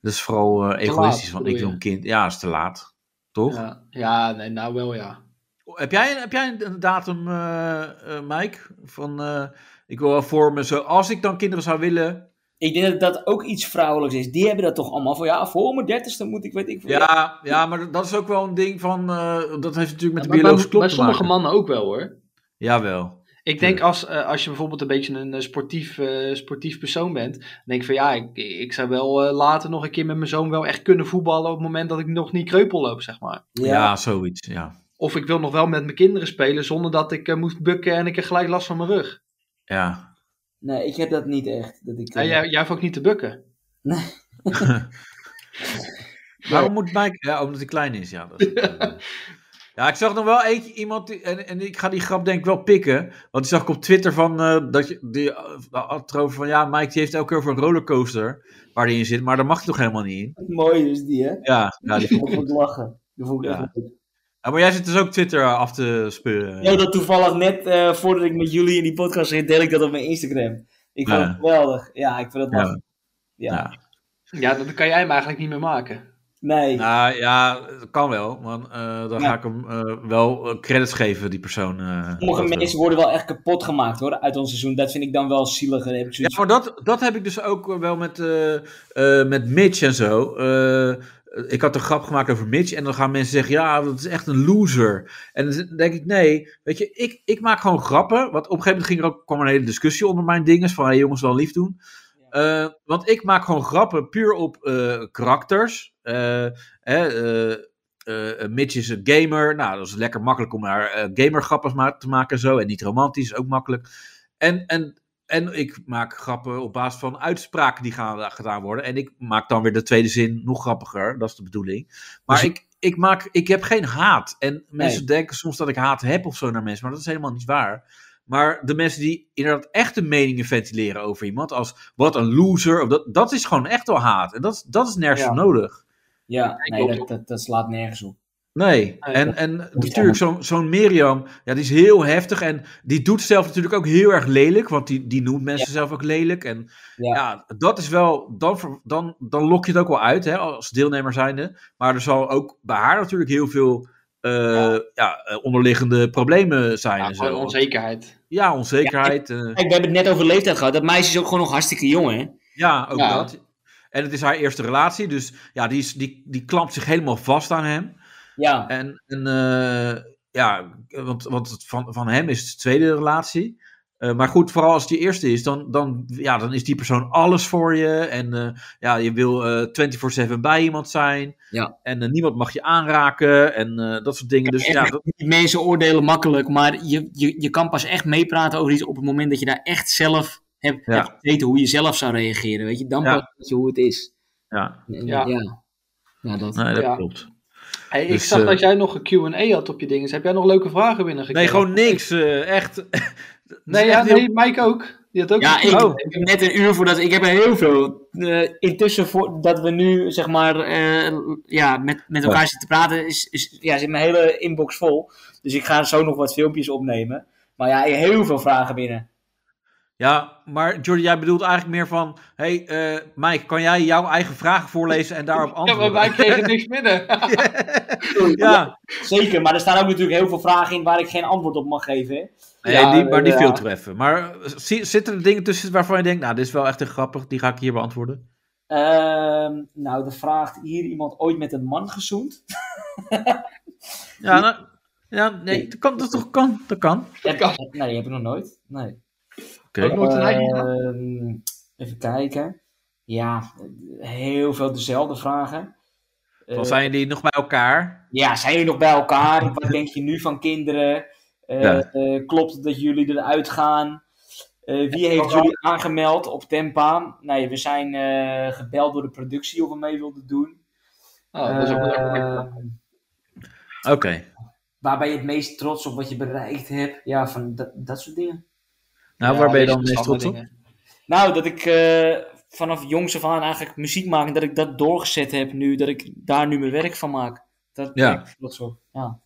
[SPEAKER 2] Dat is vooral eh,
[SPEAKER 4] laat,
[SPEAKER 2] egoïstisch, want ik
[SPEAKER 4] bedoel
[SPEAKER 2] wil
[SPEAKER 4] je?
[SPEAKER 2] een kind. Ja, is te laat. Toch? Oh,
[SPEAKER 4] ja, ja nee, nou wel ja.
[SPEAKER 2] Heb jij, een- heb jij een- een datum, eh, eh, Mike? Van, eh, ik wil wel vormen, zo, als ik dan kinderen zou willen.
[SPEAKER 3] Ik denk dat dat ook iets vrouwelijks is. Die hebben dat toch allemaal van... Ja, voor mijn dertigste moet ik... Weet ik veel.
[SPEAKER 2] Ja, ja, maar dat is ook wel een ding van, eh, dat heeft natuurlijk met
[SPEAKER 4] Maar
[SPEAKER 2] de biologische
[SPEAKER 4] bij,
[SPEAKER 2] klok
[SPEAKER 4] bij
[SPEAKER 2] te
[SPEAKER 4] sommige
[SPEAKER 2] maken.
[SPEAKER 4] mannen ook wel hoor.
[SPEAKER 2] Jawel.
[SPEAKER 4] Ik denk als, eh, als je bijvoorbeeld een beetje een eh, sportief, eh, sportief persoon bent, dan denk ik van ja, ik, ik zou wel eh, later nog een keer met mijn zoon wel echt kunnen voetballen op het moment dat ik nog niet kreupel loop, zeg maar.
[SPEAKER 2] Ja,
[SPEAKER 3] ja.
[SPEAKER 2] zoiets, ja.
[SPEAKER 4] Of ik wil nog wel met mijn kinderen spelen zonder dat ik eh, moet bukken en ik heb gelijk last van mijn rug.
[SPEAKER 2] Ja.
[SPEAKER 3] Nee, ik heb dat niet echt. Dat ik, eh,
[SPEAKER 4] Ja, jij, jij hoeft ook niet te bukken.
[SPEAKER 2] Waarom moet Mike... Ja, omdat hij klein is, ja. Dat is- ja, ik zag nog wel eentje, iemand, die, en, en ik ga die grap denk ik wel pikken. Want die zag ik op Twitter van, eh, dat je, die eh, had erover van, ja, Mike die heeft elke keer over een rollercoaster waar hij in zit, maar daar mag hij toch helemaal niet in?
[SPEAKER 3] Mooi is die, hè?
[SPEAKER 2] Ja, ja, die-
[SPEAKER 3] Ik moet lachen. Dat vond ik
[SPEAKER 2] Ja.
[SPEAKER 3] echt leuk.
[SPEAKER 2] ja, maar jij zit dus ook Twitter af te speuren.
[SPEAKER 3] Ja, dat toevallig net eh, voordat ik met jullie in die podcast zit, deel ik dat op mijn Instagram. Ik vond
[SPEAKER 2] Ja.
[SPEAKER 3] het geweldig. Ja, ik vind het
[SPEAKER 2] Ja.
[SPEAKER 3] lachen. Ja.
[SPEAKER 2] Ja.
[SPEAKER 4] Ja, dat kan jij hem eigenlijk niet meer maken.
[SPEAKER 3] Nee.
[SPEAKER 2] Nou ja, dat kan wel, want eh, dan
[SPEAKER 3] Ja.
[SPEAKER 2] ga ik hem eh, wel eh, credits geven, die persoon. eh,
[SPEAKER 3] Sommige
[SPEAKER 2] dat wel.
[SPEAKER 3] mensen worden wel echt kapot gemaakt hoor, uit ons seizoen. Dat vind ik dan wel zielig. Dan heb ik zoiets
[SPEAKER 2] Ja, maar dat, dat heb ik dus ook wel met, eh, eh, met Mitch en zo. Eh, ik had een grap gemaakt over Mitch en dan gaan mensen zeggen, ja, dat is echt een loser. En dan denk ik, nee, weet je, ik, ik maak gewoon grappen. Want op een gegeven moment ging er ook, kwam er een hele discussie onder mijn dinges van, hey, jongens, wel lief doen. Eh, want ik maak gewoon grappen puur op eh, karakters. Eh, hè, eh, eh, Mitch is een gamer. Nou, dat is lekker makkelijk om daar eh, gamergrappen ma- te maken en zo. En niet romantisch, ook makkelijk. En, en, en ik maak grappen op basis van uitspraken die gaan, gedaan worden. En ik maak dan weer de tweede zin nog grappiger. Dat is de bedoeling. Maar ik, ik, maak, ik heb geen haat. En mensen denken soms dat ik haat heb of zo naar mensen, maar dat is helemaal niet waar. Maar de mensen die inderdaad echte meningen ventileren over iemand, als wat een loser, of dat, dat is gewoon echt wel haat. En dat, is- dat is nergens
[SPEAKER 4] Ja.
[SPEAKER 2] voor nodig.
[SPEAKER 3] Ja, nee,
[SPEAKER 4] klopt.
[SPEAKER 3] dat, dat, dat slaat nergens op.
[SPEAKER 2] Nee,
[SPEAKER 4] Nee,
[SPEAKER 2] en,
[SPEAKER 4] dat
[SPEAKER 2] en natuurlijk, zo'n zo'n Miriam, ja, die is heel heftig en die doet zelf natuurlijk ook heel erg lelijk, want die, die noemt mensen zelf ook lelijk. En
[SPEAKER 3] Ja.
[SPEAKER 2] ja, dat is wel, dan, ver- dan, dan lok je het ook wel uit hè, als deelnemer zijnde. Maar er zal ook bij haar natuurlijk heel veel eh, ja. eh, onderliggende problemen zijn.
[SPEAKER 4] Ja,
[SPEAKER 2] en zo.
[SPEAKER 4] gewoon onzekerheid.
[SPEAKER 2] ja onzekerheid. eh, Ja,
[SPEAKER 3] Kijk, we hebben het net over leeftijd gehad. Dat meisje is ook gewoon nog hartstikke jong, hè?
[SPEAKER 2] ook
[SPEAKER 4] Ja.
[SPEAKER 2] dat. En het is haar eerste relatie, dus ja, die, is, die, die klampt zich helemaal vast aan hem.
[SPEAKER 3] Ja,
[SPEAKER 2] En, en eh, ja, want, want het van, van hem is het de tweede relatie. Eh, maar goed, vooral als die eerste is, dan, dan, ja, dan is die persoon alles voor je. En eh, ja, je wil eh 24-7 bij iemand zijn.
[SPEAKER 3] Ja.
[SPEAKER 2] En eh, niemand mag je aanraken en eh, dat soort dingen. Dus ja, dat,
[SPEAKER 3] Die mensen oordelen makkelijk, maar je, je, je kan pas echt meepraten over iets op het moment dat je daar echt zelf hebt,
[SPEAKER 2] Ja.
[SPEAKER 3] hebt weten hoe je zelf zou reageren. Weet je, dan
[SPEAKER 2] Ja.
[SPEAKER 3] pas weet je hoe het is.
[SPEAKER 2] ja,
[SPEAKER 3] En-
[SPEAKER 4] Ja.
[SPEAKER 3] ja. Ja, dat.
[SPEAKER 2] nee, dat
[SPEAKER 4] Ja.
[SPEAKER 2] klopt.
[SPEAKER 4] Hey, ik
[SPEAKER 2] Dus,
[SPEAKER 4] zag
[SPEAKER 2] eh,
[SPEAKER 4] dat jij nog een Q&A had op je dingen. Heb jij nog leuke vragen binnengekregen?
[SPEAKER 2] Nee, gewoon niks. eh, echt. Het is
[SPEAKER 4] Nee,
[SPEAKER 2] echt
[SPEAKER 4] ja,
[SPEAKER 2] heel-
[SPEAKER 4] nee, Mike ook. Die had ook
[SPEAKER 3] Ja,
[SPEAKER 4] een
[SPEAKER 3] ik,
[SPEAKER 4] Q&A.
[SPEAKER 3] ik heb net een uur voordat ik heb er heel veel. eh, intussen voordat we nu zeg maar eh, ja, met, met elkaar zitten praten, is, is, ja, zit mijn hele inbox vol. Dus ik ga zo nog wat filmpjes opnemen. Maar ja, heel veel vragen binnen.
[SPEAKER 2] Ja, maar Jordi, jij bedoelt eigenlijk meer van... hey, eh, Mike, kan jij jouw eigen vragen voorlezen en daarop
[SPEAKER 4] Ja,
[SPEAKER 2] antwoorden?
[SPEAKER 4] maar wij kregen niks binnen.
[SPEAKER 2] ja.
[SPEAKER 3] Zeker, maar er staan ook natuurlijk heel veel vragen in waar ik geen antwoord op mag geven. hè.
[SPEAKER 2] Nee,
[SPEAKER 4] Ja,
[SPEAKER 2] die, maar die
[SPEAKER 4] ja.
[SPEAKER 2] filteren even. Maar eh, zi- zitten er dingen tussen waarvan je denkt, nou, dit is wel echt een grappig, die ga ik hier beantwoorden?
[SPEAKER 3] Ehm, nou, er vraagt hier iemand ooit met een man gezoend.
[SPEAKER 2] Ja, nou, ja nee, dat kan, dat toch kan, dat kan.
[SPEAKER 3] Heb-
[SPEAKER 4] kan.
[SPEAKER 3] heb- nee, heb ik nog nooit. Nee.
[SPEAKER 2] Oké.
[SPEAKER 4] Ook nooit een eigen vraag?
[SPEAKER 3] Ehm, even kijken. Ja, heel veel dezelfde vragen.
[SPEAKER 2] Dan
[SPEAKER 3] Eh,
[SPEAKER 2] zijn die nog bij elkaar.
[SPEAKER 3] Ja, zijn jullie nog bij elkaar? Wat denk je nu van kinderen? Eh,
[SPEAKER 2] Ja.
[SPEAKER 3] eh, klopt het dat jullie eruit gaan? Eh, wie heeft jullie aangemeld op Tempa? Nee, we zijn eh, gebeld door de productie of we mee wilden doen.
[SPEAKER 4] Oh, dat is ook wel lekker.
[SPEAKER 3] Ehm,
[SPEAKER 2] Oké.
[SPEAKER 3] waar ben je het meest trots op wat je bereikt hebt? Ja, van dat, dat soort dingen.
[SPEAKER 2] Nou,
[SPEAKER 4] Ja,
[SPEAKER 2] waar ben je
[SPEAKER 4] deze
[SPEAKER 2] dan het meest trots
[SPEAKER 4] verstandige
[SPEAKER 2] op?
[SPEAKER 4] dingen.
[SPEAKER 3] Nou, dat ik eh, vanaf jongs af aan eigenlijk muziek maak en dat ik dat doorgezet heb nu, dat ik daar nu mijn werk van maak. Dat
[SPEAKER 2] Ja.
[SPEAKER 3] ben ik trots op. Ja.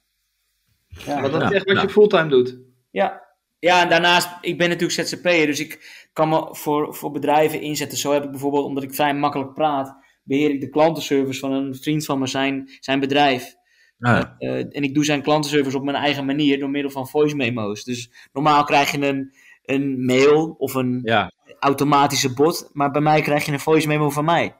[SPEAKER 3] Ja.
[SPEAKER 4] Maar dat
[SPEAKER 2] Ja, nou.
[SPEAKER 4] is echt wat
[SPEAKER 2] ja.
[SPEAKER 4] je fulltime doet.
[SPEAKER 3] Ja. ja, en daarnaast, ik ben natuurlijk ZZP'er, dus ik kan me voor, voor bedrijven inzetten. Zo heb ik bijvoorbeeld, omdat ik vrij makkelijk praat, beheer ik de klantenservice van een vriend van me, zijn, zijn bedrijf.
[SPEAKER 2] Nou,
[SPEAKER 3] Eh, en ik doe zijn klantenservice op mijn eigen manier door middel van voice memo's. Dus normaal krijg je een, een mail of een
[SPEAKER 2] ja.
[SPEAKER 3] automatische bot, maar bij mij krijg je een voice memo van mij.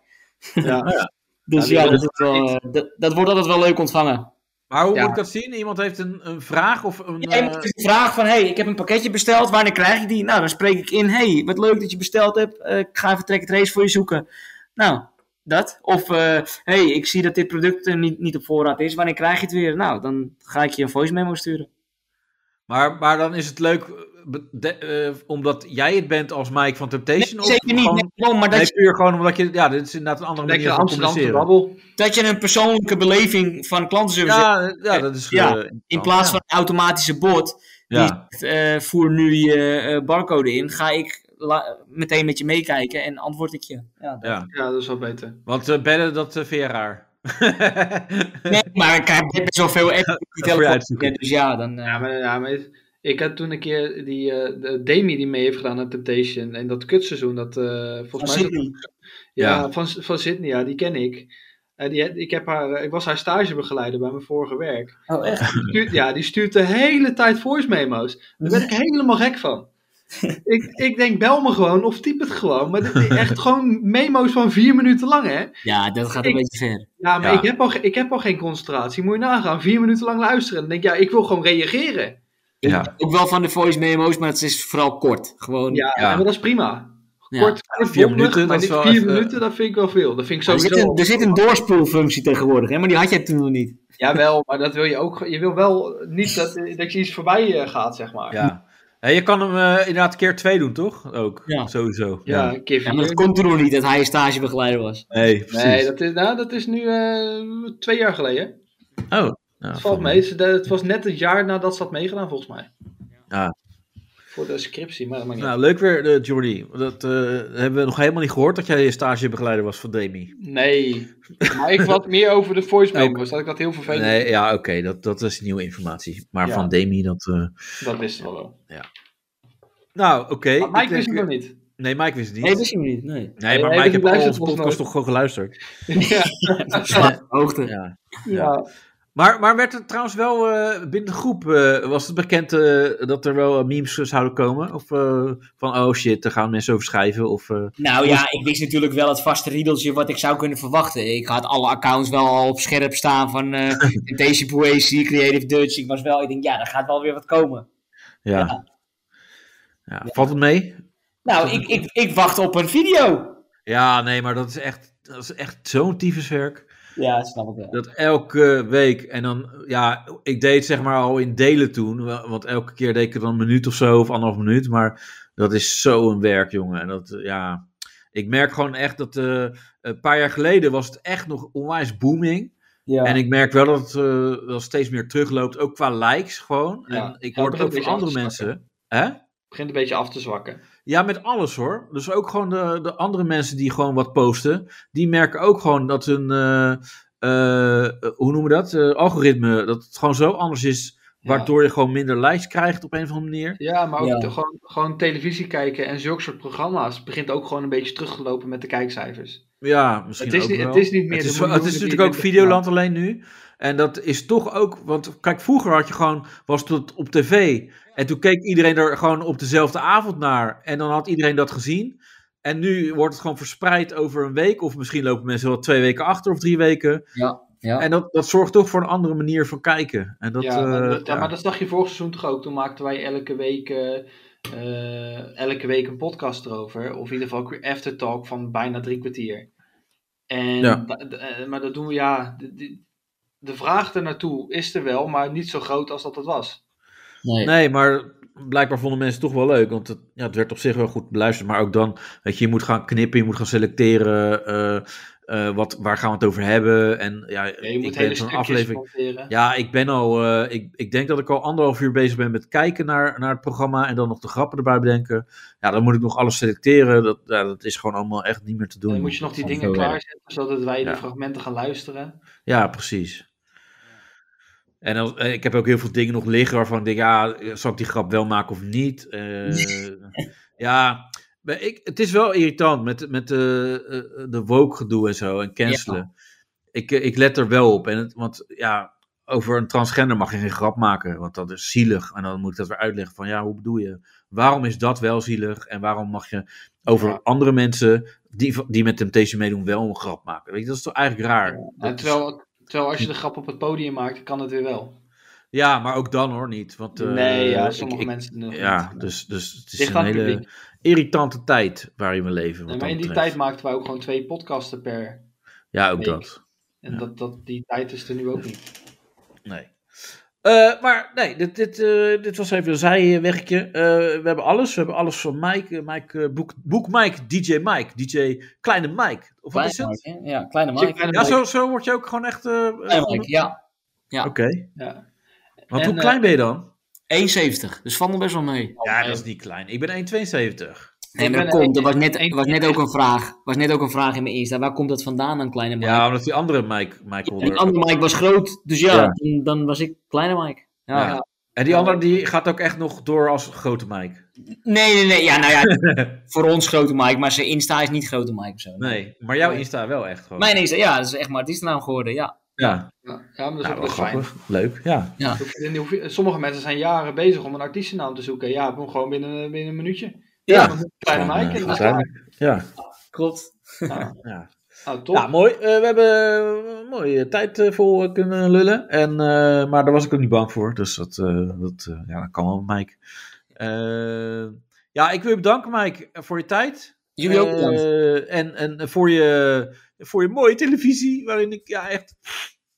[SPEAKER 4] Ja.
[SPEAKER 3] Dus
[SPEAKER 4] Ja,
[SPEAKER 3] ja,
[SPEAKER 4] die
[SPEAKER 3] dat, is wel, eh, dat, dat wordt altijd wel leuk ontvangen.
[SPEAKER 2] Maar hoe
[SPEAKER 4] Ja.
[SPEAKER 2] moet ik dat zien? Iemand heeft een, een vraag of een...
[SPEAKER 3] Jij
[SPEAKER 2] eh,
[SPEAKER 3] moet dus de vraag van, hey, ik heb een pakketje besteld, wanneer krijg ik die? Nou, dan spreek ik in, hey, wat leuk dat je besteld hebt, Eh, ik ga even Track Race voor je zoeken. Nou, dat. Of, eh, hey, ik zie dat dit product eh, niet, niet op voorraad is, wanneer krijg je het weer? Nou, dan ga ik je een voice memo sturen.
[SPEAKER 2] maar, maar dan is het leuk eh, be- de- eh, omdat jij het bent als Mike van
[SPEAKER 3] Nee,
[SPEAKER 2] Temptation? of
[SPEAKER 3] zeker niet,
[SPEAKER 2] gewoon-
[SPEAKER 3] nee, gewoon, maar dat,
[SPEAKER 2] nee,
[SPEAKER 3] je,
[SPEAKER 2] puur gewoon omdat je... Ja, dit is inderdaad een andere
[SPEAKER 4] Lekker
[SPEAKER 2] manier van
[SPEAKER 4] Amsterdam te
[SPEAKER 2] communiceren.
[SPEAKER 4] babbel.
[SPEAKER 3] dat je een persoonlijke beleving van klantenservice hebt,
[SPEAKER 2] Ja, ja, dat is...
[SPEAKER 3] Ja,
[SPEAKER 2] eh,
[SPEAKER 3] in
[SPEAKER 2] interessant, ja.
[SPEAKER 3] plaats van een automatische bot,
[SPEAKER 2] Ja.
[SPEAKER 3] Die zegt, eh, voer nu je eh, barcode in. Ga ik la- meteen met je meekijken en antwoord ik je. Ja, dat-
[SPEAKER 2] Ja.
[SPEAKER 4] Ja, dat is wel beter.
[SPEAKER 2] Want eh, bellen, dat eh, vind je raar.
[SPEAKER 3] Nee, maar ik heb best wel veel apps op die
[SPEAKER 2] Dat voor je
[SPEAKER 3] telefoon.
[SPEAKER 2] uitzoeken.
[SPEAKER 3] dus ja, dan... eh,
[SPEAKER 4] Ja, maar, ja, maar ik had toen een keer die eh, de Demi die mee heeft gedaan aan Temptation. En dat kutseizoen, dat eh,
[SPEAKER 3] van
[SPEAKER 2] Oh,
[SPEAKER 4] volgens mij... is dat-
[SPEAKER 3] Sydney.
[SPEAKER 4] ja,
[SPEAKER 2] Ja.
[SPEAKER 4] Van, van Sydney, ja, die ken ik. En die, ik, heb haar, eh, ik was haar stagebegeleider bij mijn vorige werk.
[SPEAKER 3] Oh, echt?
[SPEAKER 4] Die stuurt- ja, die stuurt de hele tijd voice memo's. Daar ben ik helemaal gek van. ik, ik denk, bel me gewoon of typ het gewoon. Maar dit is echt gewoon memo's van vier minuten lang, hè?
[SPEAKER 3] Ja, dat gaat een
[SPEAKER 4] Ik-
[SPEAKER 3] beetje ver.
[SPEAKER 4] Ja, maar
[SPEAKER 2] Ja.
[SPEAKER 4] Ik, heb al, ge- ik heb al geen concentratie. Moet je nagaan. Vier minuten lang luisteren. Dan denk ik, ja, ik wil gewoon reageren.
[SPEAKER 3] Ik
[SPEAKER 2] Ja.
[SPEAKER 3] ben Ook wel van de voice memo's, maar het is vooral kort. Gewoon...
[SPEAKER 4] Ja,
[SPEAKER 2] Ja.
[SPEAKER 4] maar dat is prima.
[SPEAKER 3] Ja.
[SPEAKER 4] Kort, kort
[SPEAKER 2] Vier
[SPEAKER 4] vier
[SPEAKER 2] minuten,
[SPEAKER 4] minuten,
[SPEAKER 2] dat
[SPEAKER 4] maar
[SPEAKER 2] is
[SPEAKER 4] dit
[SPEAKER 2] wel eh,
[SPEAKER 4] vier
[SPEAKER 2] even-
[SPEAKER 4] minuten, dat vind ik wel veel. Dat vind ik
[SPEAKER 3] er, zit
[SPEAKER 4] sowieso
[SPEAKER 3] een, er zit een doorspoelfunctie tegenwoordig, hè? maar die had jij toen nog niet.
[SPEAKER 4] Jawel, maar dat wil je ook. Je wil wel niet dat, dat je iets voorbij eh, gaat, zeg maar.
[SPEAKER 2] ja. Ja, je kan hem eh, inderdaad keer twee doen, toch? Ook,
[SPEAKER 3] Ja.
[SPEAKER 2] sowieso.
[SPEAKER 4] Ja, een keer
[SPEAKER 3] Ja, maar dat
[SPEAKER 4] vier.
[SPEAKER 3] komt toen nog niet, dat hij stagebegeleider was.
[SPEAKER 2] Nee, precies.
[SPEAKER 4] nee, dat is, nou, dat is nu eh, twee jaar geleden.
[SPEAKER 2] Oh. nou,
[SPEAKER 4] Het valt mee. Ze- de- Het was net het jaar nadat ze had meegedaan, volgens mij.
[SPEAKER 2] Ah.
[SPEAKER 4] Voor de scriptie, maar dat maakt niet
[SPEAKER 2] Nou, leuk weer, eh, Jordi. Dat eh, hebben we nog helemaal niet gehoord dat jij stagebegeleider was van Demi.
[SPEAKER 4] uit. Nee. Maar ik had meer over de voice
[SPEAKER 2] Nee.
[SPEAKER 4] memos. Dat ik dat heel vervelend
[SPEAKER 2] Nee, ja, oké, dat, dat is nieuwe informatie. Maar
[SPEAKER 4] Ja.
[SPEAKER 2] van Demi, dat. eh,
[SPEAKER 4] Dat wisten we wel.
[SPEAKER 2] Nou, oké.
[SPEAKER 4] Maar Mike
[SPEAKER 2] ik denk-
[SPEAKER 4] wist het nog niet.
[SPEAKER 2] Nee, Mike wist het niet.
[SPEAKER 3] Nee, wist je niet. Nee.
[SPEAKER 2] Nee, maar Mike
[SPEAKER 4] Nee, die
[SPEAKER 2] heeft al
[SPEAKER 4] luistert
[SPEAKER 2] onze
[SPEAKER 4] ons
[SPEAKER 2] podcast
[SPEAKER 4] nooit.
[SPEAKER 2] toch gewoon geluisterd.
[SPEAKER 4] ja.
[SPEAKER 2] Ja.
[SPEAKER 3] Hoogte.
[SPEAKER 2] Ja.
[SPEAKER 4] ja.
[SPEAKER 2] Maar, maar werd er trouwens wel eh, binnen de groep, eh, was het bekend eh, dat er wel eh, memes zouden komen? Of eh, van, oh shit, daar gaan mensen over schrijven? Of, eh,
[SPEAKER 3] Nou ja, ik wist natuurlijk wel het vaste riedeltje wat ik zou kunnen verwachten. Ik had alle accounts wel al op scherp staan van eh Daisy Poesie, Creative Dutch. Ik was wel, ik denk, ja, daar gaat wel weer wat komen.
[SPEAKER 2] ja. Ja. Valt het mee?
[SPEAKER 3] Nou, ik, ik, ik wacht op een video.
[SPEAKER 2] Ja, nee, maar dat is echt, dat is echt zo'n tyfuswerk.
[SPEAKER 3] Ja, dat snap ik wel.
[SPEAKER 2] Dat elke week, en dan, ja, ik deed het zeg maar al in delen toen. wa- Want elke keer deed ik er dan een minuut of zo, of anderhalf minuut. Maar dat is zo'n werk, jongen. En dat, eh, ja, ik merk gewoon echt dat eh, een paar jaar geleden was het echt nog onwijs booming.
[SPEAKER 3] Ja.
[SPEAKER 2] En ik merk wel dat het eh, wel steeds meer terugloopt, ook qua likes gewoon.
[SPEAKER 4] Ja.
[SPEAKER 2] En ik
[SPEAKER 4] Ja,
[SPEAKER 2] hoor
[SPEAKER 4] het
[SPEAKER 2] het ook van
[SPEAKER 4] begint
[SPEAKER 2] andere
[SPEAKER 4] een beetje
[SPEAKER 2] mensen. Hè?
[SPEAKER 4] Begint een beetje af te zwakken.
[SPEAKER 2] Ja, met alles hoor. Dus ook gewoon de, de andere mensen die gewoon wat posten, die merken ook gewoon dat hun, eh, eh, hoe noemen we dat, Eh, algoritme, dat het gewoon zo anders is, waardoor je gewoon minder likes krijgt op een of andere manier.
[SPEAKER 4] Ja, maar ook
[SPEAKER 3] Ja.
[SPEAKER 4] te- gewoon, gewoon televisie kijken en zulke soort programma's begint ook gewoon een beetje terug te lopen met de kijkcijfers.
[SPEAKER 2] Ja, misschien
[SPEAKER 4] Het is
[SPEAKER 2] ook
[SPEAKER 4] niet-
[SPEAKER 2] wel.
[SPEAKER 4] het is niet meer
[SPEAKER 2] Het
[SPEAKER 4] de
[SPEAKER 2] is,
[SPEAKER 4] miljoenen
[SPEAKER 2] het is
[SPEAKER 4] die
[SPEAKER 2] natuurlijk ook
[SPEAKER 4] je bent
[SPEAKER 2] Videoland alleen nu. En dat is toch ook... Want kijk, vroeger had je gewoon... Was het op tv. En toen keek iedereen er gewoon op dezelfde avond naar. En dan had iedereen dat gezien. En nu wordt het gewoon verspreid over een week. Of misschien lopen mensen wel twee weken achter of drie weken.
[SPEAKER 3] ja, ja.
[SPEAKER 2] En dat, dat zorgt toch voor een andere manier van kijken. En dat,
[SPEAKER 4] ja, maar
[SPEAKER 2] eh,
[SPEAKER 4] dat-
[SPEAKER 2] ja.
[SPEAKER 4] maar dat zag je vorig seizoen toch ook. Toen maakten wij elke week, eh, eh, elke week een podcast erover. Of in ieder geval een aftertalk van bijna drie kwartier. En,
[SPEAKER 2] Ja.
[SPEAKER 4] da- da- eh, maar dat doen we ja. De, de, de vraag er naartoe is er wel, maar niet zo groot als dat het was.
[SPEAKER 3] nee.
[SPEAKER 2] Nee, maar blijkbaar vonden mensen het toch wel leuk. Want het, ja, het werd op zich wel goed beluisterd. Maar ook dan, weet je, je moet gaan knippen, je moet gaan selecteren. eh, eh, wat, waar gaan we het over hebben? En ja,
[SPEAKER 4] Ja, je
[SPEAKER 2] Eh, ik
[SPEAKER 4] moet
[SPEAKER 2] ben
[SPEAKER 4] hele
[SPEAKER 2] zo'n
[SPEAKER 4] stukjes monteren.
[SPEAKER 2] Ja, ik ben al. eh, ik, ik denk dat ik al anderhalf uur bezig ben met kijken naar, naar het programma. En dan nog de grappen erbij bedenken. Ja, dan moet ik nog alles selecteren. Dat, ja, dat is gewoon allemaal echt niet meer te doen.
[SPEAKER 4] En dan moet je nog die
[SPEAKER 2] Dat is
[SPEAKER 4] dingen
[SPEAKER 2] gewoon-
[SPEAKER 4] klaarzetten, zodat wij
[SPEAKER 2] Ja.
[SPEAKER 4] die fragmenten gaan luisteren.
[SPEAKER 2] Ja, precies. En als, eh, ik heb ook heel veel dingen nog liggen waarvan ik denk, ja, eh, zal ik die grap wel maken of niet? Eh, ja, maar ik, het is wel irritant met, met de, eh, de woke gedoe en zo en cancelen. Ik, eh, ik let er wel op, en het, want ja, over een transgender mag je geen grap maken, want dat is zielig. En dan moet ik dat weer uitleggen van, ja, hoe bedoel je? Waarom is dat wel zielig en waarom mag je over
[SPEAKER 4] Ja.
[SPEAKER 2] andere mensen die, die met Temptation meedoen wel een grap maken? Weet je, dat is toch eigenlijk raar? Dat
[SPEAKER 4] En
[SPEAKER 2] is- Hm.
[SPEAKER 4] terwijl, terwijl als je de grap op het podium maakt, kan het weer wel.
[SPEAKER 2] Ja, maar ook dan hoor niet. Want, eh,
[SPEAKER 4] nee, ja,
[SPEAKER 2] ik-
[SPEAKER 4] sommige
[SPEAKER 2] ik-
[SPEAKER 4] mensen doen het
[SPEAKER 2] Ja,
[SPEAKER 4] niet.
[SPEAKER 2] dus, dus het is
[SPEAKER 4] Ligt aan
[SPEAKER 2] een
[SPEAKER 4] het
[SPEAKER 2] hele
[SPEAKER 4] publiek.
[SPEAKER 2] irritante tijd waarin we leven. Wat
[SPEAKER 4] Nee, maar in
[SPEAKER 2] dat
[SPEAKER 4] die
[SPEAKER 2] betreft.
[SPEAKER 4] tijd maakten wij ook gewoon twee podcasten per.
[SPEAKER 2] Ja, ook
[SPEAKER 4] week.
[SPEAKER 2] dat.
[SPEAKER 4] En
[SPEAKER 2] Ja.
[SPEAKER 4] dat, dat, die tijd is er nu ook niet.
[SPEAKER 2] Nee. Eh, maar nee, dit, dit, eh, dit was even een zijwegje. Eh, we hebben alles. We hebben alles van Mike. eh, Mike eh, boek, boek Mike, DJ Mike, DJ Kleine Mike. Of wat is het?
[SPEAKER 3] Mike, hè? Ja, kleine
[SPEAKER 4] Check
[SPEAKER 3] Mike.
[SPEAKER 4] Kleine
[SPEAKER 2] Ja,
[SPEAKER 4] Mike.
[SPEAKER 2] zo, zo word je ook gewoon echt... eh,
[SPEAKER 3] Kleine
[SPEAKER 2] Oké,
[SPEAKER 3] Mike, ja.
[SPEAKER 4] Ja.
[SPEAKER 2] want
[SPEAKER 4] En,
[SPEAKER 2] hoe
[SPEAKER 4] eh,
[SPEAKER 2] klein ben je dan?
[SPEAKER 3] 1,70. Dus valt nog best wel mee.
[SPEAKER 2] Ja,
[SPEAKER 4] eh,
[SPEAKER 2] dat is niet klein. Ik ben 1,72.
[SPEAKER 3] Nee, maar
[SPEAKER 4] Ik
[SPEAKER 3] dat
[SPEAKER 4] ben
[SPEAKER 3] komt. Er
[SPEAKER 4] een-
[SPEAKER 3] was net,
[SPEAKER 4] een-
[SPEAKER 3] was net ook een vraag. was net ook een vraag in mijn Insta. Waar komt dat vandaan, een kleine Mike?
[SPEAKER 2] Ja, omdat die andere Mike, Michael...
[SPEAKER 3] Die
[SPEAKER 2] er-
[SPEAKER 3] andere Mike was groot. Dus ja,
[SPEAKER 2] Ja.
[SPEAKER 3] Dan, dan was ik kleine Mike.
[SPEAKER 2] Ja.
[SPEAKER 3] ja.
[SPEAKER 2] En die andere die gaat ook echt nog door als grote Mike.
[SPEAKER 3] Nee, nee, nee. Ja, nou ja, voor ons grote Mike, maar zijn Insta is niet grote Mike of zo.
[SPEAKER 2] Nee, maar jouw Insta wel echt gewoon.
[SPEAKER 3] Mijn Insta, ja, dat is echt mijn artiestennaam geworden, ja.
[SPEAKER 2] Ja,
[SPEAKER 4] Ja, ja, maar dat
[SPEAKER 2] nou,
[SPEAKER 4] is ook
[SPEAKER 2] wel
[SPEAKER 4] wel fijn.
[SPEAKER 2] grappig. Leuk, ja.
[SPEAKER 4] Hoef je- dan hoef je- Sommige mensen zijn jaren bezig om een artiestennaam te zoeken. Ja, doe hem gewoon binnen, binnen een minuutje.
[SPEAKER 3] Ja,
[SPEAKER 4] Dan moet je Kleine
[SPEAKER 2] Gewoon,
[SPEAKER 4] Mike.
[SPEAKER 2] eh,
[SPEAKER 4] en dat is Nou,
[SPEAKER 2] uiteindelijk. Ja.
[SPEAKER 3] klopt.
[SPEAKER 4] klaar.
[SPEAKER 2] ja.
[SPEAKER 4] Nou, top.
[SPEAKER 2] Nou, mooi. Eh, we hebben eh, een mooie tijd eh, vol eh, kunnen lullen. En, eh, maar daar was ik ook niet bang voor. Dus dat, eh, dat, eh, ja, dat kan wel, Mike. Eh, ja, ik wil je bedanken, Mike, voor je tijd.
[SPEAKER 3] Jullie ook bedankt.
[SPEAKER 2] Eh, en en voor, je, voor je mooie televisie, waarin ik ja, echt...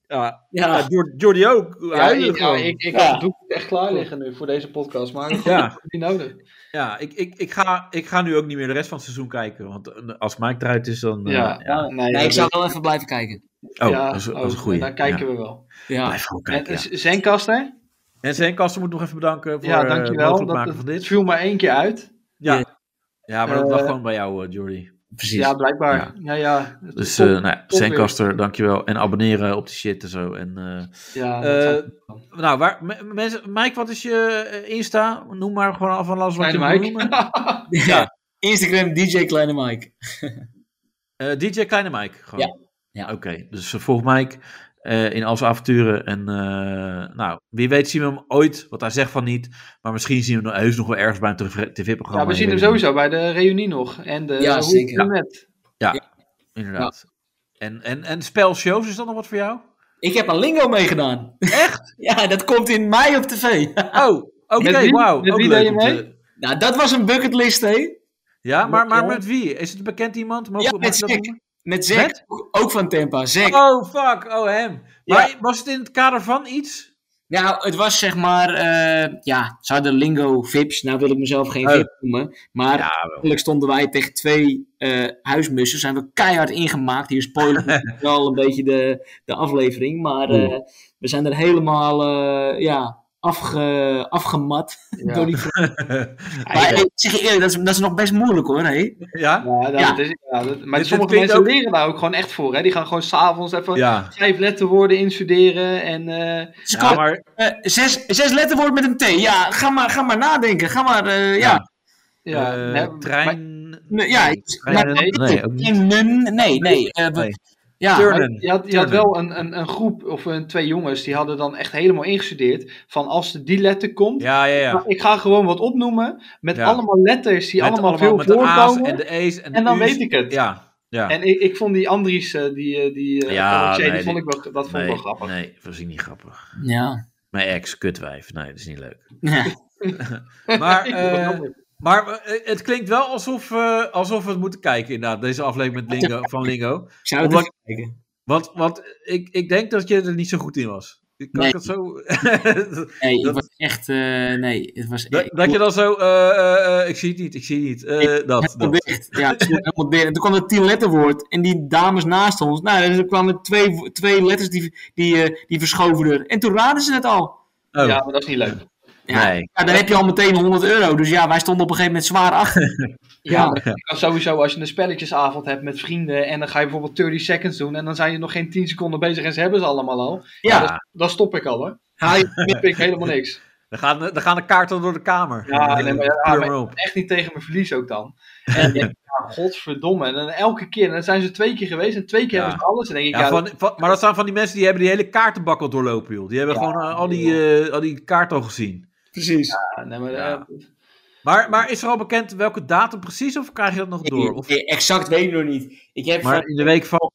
[SPEAKER 2] Ja,
[SPEAKER 3] Ja,
[SPEAKER 2] ja, Jor- Jordi ook.
[SPEAKER 4] Ah. ja,
[SPEAKER 2] Huilen
[SPEAKER 4] ik, ja,
[SPEAKER 2] gewoon.
[SPEAKER 4] ik, ik
[SPEAKER 3] Ja.
[SPEAKER 4] had het doek echt klaar liggen nu voor deze podcast, maar ik
[SPEAKER 2] Ja.
[SPEAKER 4] heb het niet nodig.
[SPEAKER 2] Ja, ik, ik, ik, ga, ik ga nu ook niet meer de rest van het seizoen kijken. Want eh, als Mike eruit is, dan. eh,
[SPEAKER 4] Ja.
[SPEAKER 2] ja.
[SPEAKER 4] nee,
[SPEAKER 3] nee, ik
[SPEAKER 4] dat
[SPEAKER 3] zou wel even blijven kijken.
[SPEAKER 2] Oh,
[SPEAKER 4] ja,
[SPEAKER 2] dat is, dat
[SPEAKER 4] oh,
[SPEAKER 2] is een goeie.
[SPEAKER 4] Daar kijken
[SPEAKER 2] Ja.
[SPEAKER 4] we wel.
[SPEAKER 3] Ja,
[SPEAKER 2] Blijf gewoon
[SPEAKER 4] En
[SPEAKER 2] kijken, ja.
[SPEAKER 4] Zenkaster,
[SPEAKER 2] En Sven Kasten moet nog even bedanken voor
[SPEAKER 4] ja,
[SPEAKER 2] eh,
[SPEAKER 4] dankjewel.
[SPEAKER 2] mogelijk
[SPEAKER 4] Dat,
[SPEAKER 2] maken van
[SPEAKER 4] het
[SPEAKER 2] dit.
[SPEAKER 4] viel maar één keer uit.
[SPEAKER 2] Ja. ja, maar dat lag
[SPEAKER 4] Eh,
[SPEAKER 2] gewoon bij jou, eh, Jordi.
[SPEAKER 3] precies.
[SPEAKER 4] Ja, blijkbaar.
[SPEAKER 2] Ja.
[SPEAKER 4] Ja, ja.
[SPEAKER 2] Dus
[SPEAKER 4] Top.
[SPEAKER 2] eh nou ja,
[SPEAKER 4] weer.
[SPEAKER 2] Zenkaster, dankjewel. En abonneren op die shit en zo. En, eh,
[SPEAKER 4] ja, dat zou-
[SPEAKER 2] nou, waar, me- mensen, Mike, wat is je eh, Insta? Noem maar gewoon van alles wat
[SPEAKER 4] Kleine
[SPEAKER 2] je wil
[SPEAKER 4] Mike.
[SPEAKER 2] noemen.
[SPEAKER 3] Ja. Instagram DJ Kleine Mike.
[SPEAKER 2] Eh, DJ Kleine Mike, gewoon.
[SPEAKER 3] Ja, ja.
[SPEAKER 2] Oké, dus eh, volg Mike eh, in al zijn avonturen. En eh, nou, wie weet zien we hem ooit, wat hij zegt van niet. Maar misschien zien we hem heus nog wel ergens bij een tv- tv-programma.
[SPEAKER 4] ja, we zien
[SPEAKER 2] Ik
[SPEAKER 4] hem
[SPEAKER 2] weet het
[SPEAKER 4] sowieso bij de reunie nog. En de,
[SPEAKER 3] Ja,
[SPEAKER 4] hoe-
[SPEAKER 3] zeker.
[SPEAKER 4] hoe net.
[SPEAKER 2] niet. Inderdaad. En, en, en spelshows, is dat nog wat voor jou?
[SPEAKER 3] Ik heb aan Lingo meegedaan. Echt? Ja, dat komt in mei op tv.
[SPEAKER 2] Oh, oké,
[SPEAKER 4] Met wie?
[SPEAKER 2] wauw.
[SPEAKER 4] Met
[SPEAKER 2] ook
[SPEAKER 4] wie
[SPEAKER 2] leuk
[SPEAKER 4] deed je
[SPEAKER 2] om te-
[SPEAKER 4] mee?
[SPEAKER 3] nou, dat was een bucketlist, hè?
[SPEAKER 2] Ja, maar, maar
[SPEAKER 3] Ja.
[SPEAKER 2] met wie? Is het bekend iemand? Mogen,
[SPEAKER 3] Ja,
[SPEAKER 2] mag
[SPEAKER 3] met
[SPEAKER 2] ik dat
[SPEAKER 3] Zack.
[SPEAKER 2] noemen?
[SPEAKER 3] Met Zack. Ook van Tempa. Zack.
[SPEAKER 2] Oh, fuck. Oh, hem.
[SPEAKER 3] Ja.
[SPEAKER 2] Maar was het in het kader van iets?
[SPEAKER 3] Nou, het was zeg maar... eh, ja, ze hadden Lingo Vips. Nou wil ik mezelf geen
[SPEAKER 2] Oh.
[SPEAKER 3] Vip noemen. Maar
[SPEAKER 2] wel.
[SPEAKER 3] eigenlijk stonden wij tegen twee eh, huismussen. Zijn we keihard ingemaakt. Hier spoilen we wel een beetje de, de aflevering. Maar eh, we zijn er helemaal eh, ja, afge, afgemat
[SPEAKER 4] Ja.
[SPEAKER 3] door die Maar eh, ik zeg je eerlijk, dat is, dat is nog best moeilijk hoor. Hé.
[SPEAKER 2] Ja?
[SPEAKER 4] Ja, dat
[SPEAKER 3] Ja.
[SPEAKER 4] Is, ja, dat- maar
[SPEAKER 2] dit
[SPEAKER 4] sommige
[SPEAKER 2] vind
[SPEAKER 4] mensen
[SPEAKER 2] ik ook-
[SPEAKER 4] leren daar ook gewoon echt voor. Hè? Die gaan gewoon s'avonds even
[SPEAKER 2] Ja.
[SPEAKER 4] vijf letterwoorden instuderen. En, eh,
[SPEAKER 3] Ze
[SPEAKER 2] Ja,
[SPEAKER 3] komen-
[SPEAKER 2] maar
[SPEAKER 3] eh, zes, zes letterwoord met een T. Ja, ga maar, ga maar nadenken. Ga maar, eh, ja.
[SPEAKER 4] ja,
[SPEAKER 2] eh,
[SPEAKER 4] hè, maar-
[SPEAKER 2] trein...
[SPEAKER 3] Nee, ja, iets-
[SPEAKER 2] trein-
[SPEAKER 3] maar-
[SPEAKER 2] nee, nee, ook niet.
[SPEAKER 3] Nee, nee. nee, eh, we-
[SPEAKER 2] Nee.
[SPEAKER 3] Ja,
[SPEAKER 2] Turn.
[SPEAKER 4] Maar je had, je had
[SPEAKER 2] Turner.
[SPEAKER 4] wel een, een, een groep of een, twee jongens die hadden dan echt helemaal ingestudeerd van als er die letter komt,
[SPEAKER 2] Ja, ja, ja.
[SPEAKER 4] ik ga gewoon wat opnoemen met
[SPEAKER 2] Ja.
[SPEAKER 4] allemaal letters die
[SPEAKER 2] Met
[SPEAKER 4] allemaal,
[SPEAKER 2] met
[SPEAKER 4] veel
[SPEAKER 2] de A's
[SPEAKER 4] voorkomen
[SPEAKER 2] en
[SPEAKER 4] en,
[SPEAKER 2] de E's en de
[SPEAKER 4] dan
[SPEAKER 2] U's.
[SPEAKER 4] weet ik het.
[SPEAKER 2] Dus- Ja, ja.
[SPEAKER 4] En ik, ik vond die Andries, eh, die, eh, die, eh,
[SPEAKER 2] Ja,
[SPEAKER 4] Alexei,
[SPEAKER 2] nee,
[SPEAKER 4] die vond ik wel, dat vond ik wel grappig.
[SPEAKER 2] Nee, dat was niet grappig.
[SPEAKER 3] ja.
[SPEAKER 2] Mijn ex, kutwijf. Nee, dat is niet leuk.
[SPEAKER 3] ja.
[SPEAKER 2] Maar,
[SPEAKER 4] Ik vond het
[SPEAKER 2] eh,
[SPEAKER 4] jammer.
[SPEAKER 2] maar eh, het klinkt wel alsof, eh, alsof we het moeten kijken, inderdaad. Deze aflevering met Lingo, van Lingo.
[SPEAKER 3] Ik zou het
[SPEAKER 2] Omdat-
[SPEAKER 3] even kijken.
[SPEAKER 2] Want, want ik, ik denk dat je er niet zo goed in was. Kan
[SPEAKER 3] Nee.
[SPEAKER 2] ik dat zo...
[SPEAKER 3] Nee,
[SPEAKER 2] dat-
[SPEAKER 3] het was echt... eh, nee, het was
[SPEAKER 2] dat, dat je dan zo... eh, eh, eh, ik zie het niet, ik zie het niet. eh, dat,
[SPEAKER 3] Helemaal
[SPEAKER 2] dat.
[SPEAKER 3] dicht. Ja, het stond helemaal dicht. En toen kwam dat tien letterwoord en die dames naast ons, nou, er kwamen twee, wo- twee letters die, die, eh, die verschoven er. En toen raden ze het al.
[SPEAKER 2] Oh,
[SPEAKER 4] Ja, maar dat is niet leuk.
[SPEAKER 3] Ja,
[SPEAKER 2] nee.
[SPEAKER 3] ja, dan heb je al meteen 100 euro. Dus ja, wij stonden op een gegeven moment zwaar achter.
[SPEAKER 4] Ja,
[SPEAKER 3] Ja.
[SPEAKER 4] maar dat kan sowieso als je een spelletjesavond hebt met vrienden en dan ga je bijvoorbeeld 30 seconds doen en dan zijn je nog geen 10 seconden bezig en ze hebben ze allemaal al.
[SPEAKER 3] Ja,
[SPEAKER 2] Ja.
[SPEAKER 3] dan
[SPEAKER 4] Dan stop ik al hoor.
[SPEAKER 3] haal je-
[SPEAKER 4] Dan vind ik helemaal niks.
[SPEAKER 2] Dan gaan, de- dan gaan de kaarten door de kamer.
[SPEAKER 4] Ja,
[SPEAKER 2] Eh,
[SPEAKER 4] nee, maar ja,
[SPEAKER 2] kleur
[SPEAKER 4] maar-
[SPEAKER 2] maar op.
[SPEAKER 4] Echt niet tegen mijn verlies ook dan. En ja, godverdomme. En dan elke keer, en dan zijn ze twee keer geweest en twee keer
[SPEAKER 2] Ja.
[SPEAKER 4] hebben ze alles. En dan denk ik,
[SPEAKER 2] Ja,
[SPEAKER 4] ja,
[SPEAKER 2] van, van- maar dat zijn van die mensen die hebben die hele kaartenbak al doorlopen, joh. Die hebben
[SPEAKER 4] Ja,
[SPEAKER 2] gewoon eh, al, die, eh, al die kaarten al gezien.
[SPEAKER 3] Precies.
[SPEAKER 4] ja, nee, maar,
[SPEAKER 2] Ja.
[SPEAKER 4] eh,
[SPEAKER 2] Maar, maar is er al bekend welke datum precies, of krijg je dat nog door? Of,
[SPEAKER 3] Nee, exact weet ik nog niet. Ik heb
[SPEAKER 2] maar in de week van...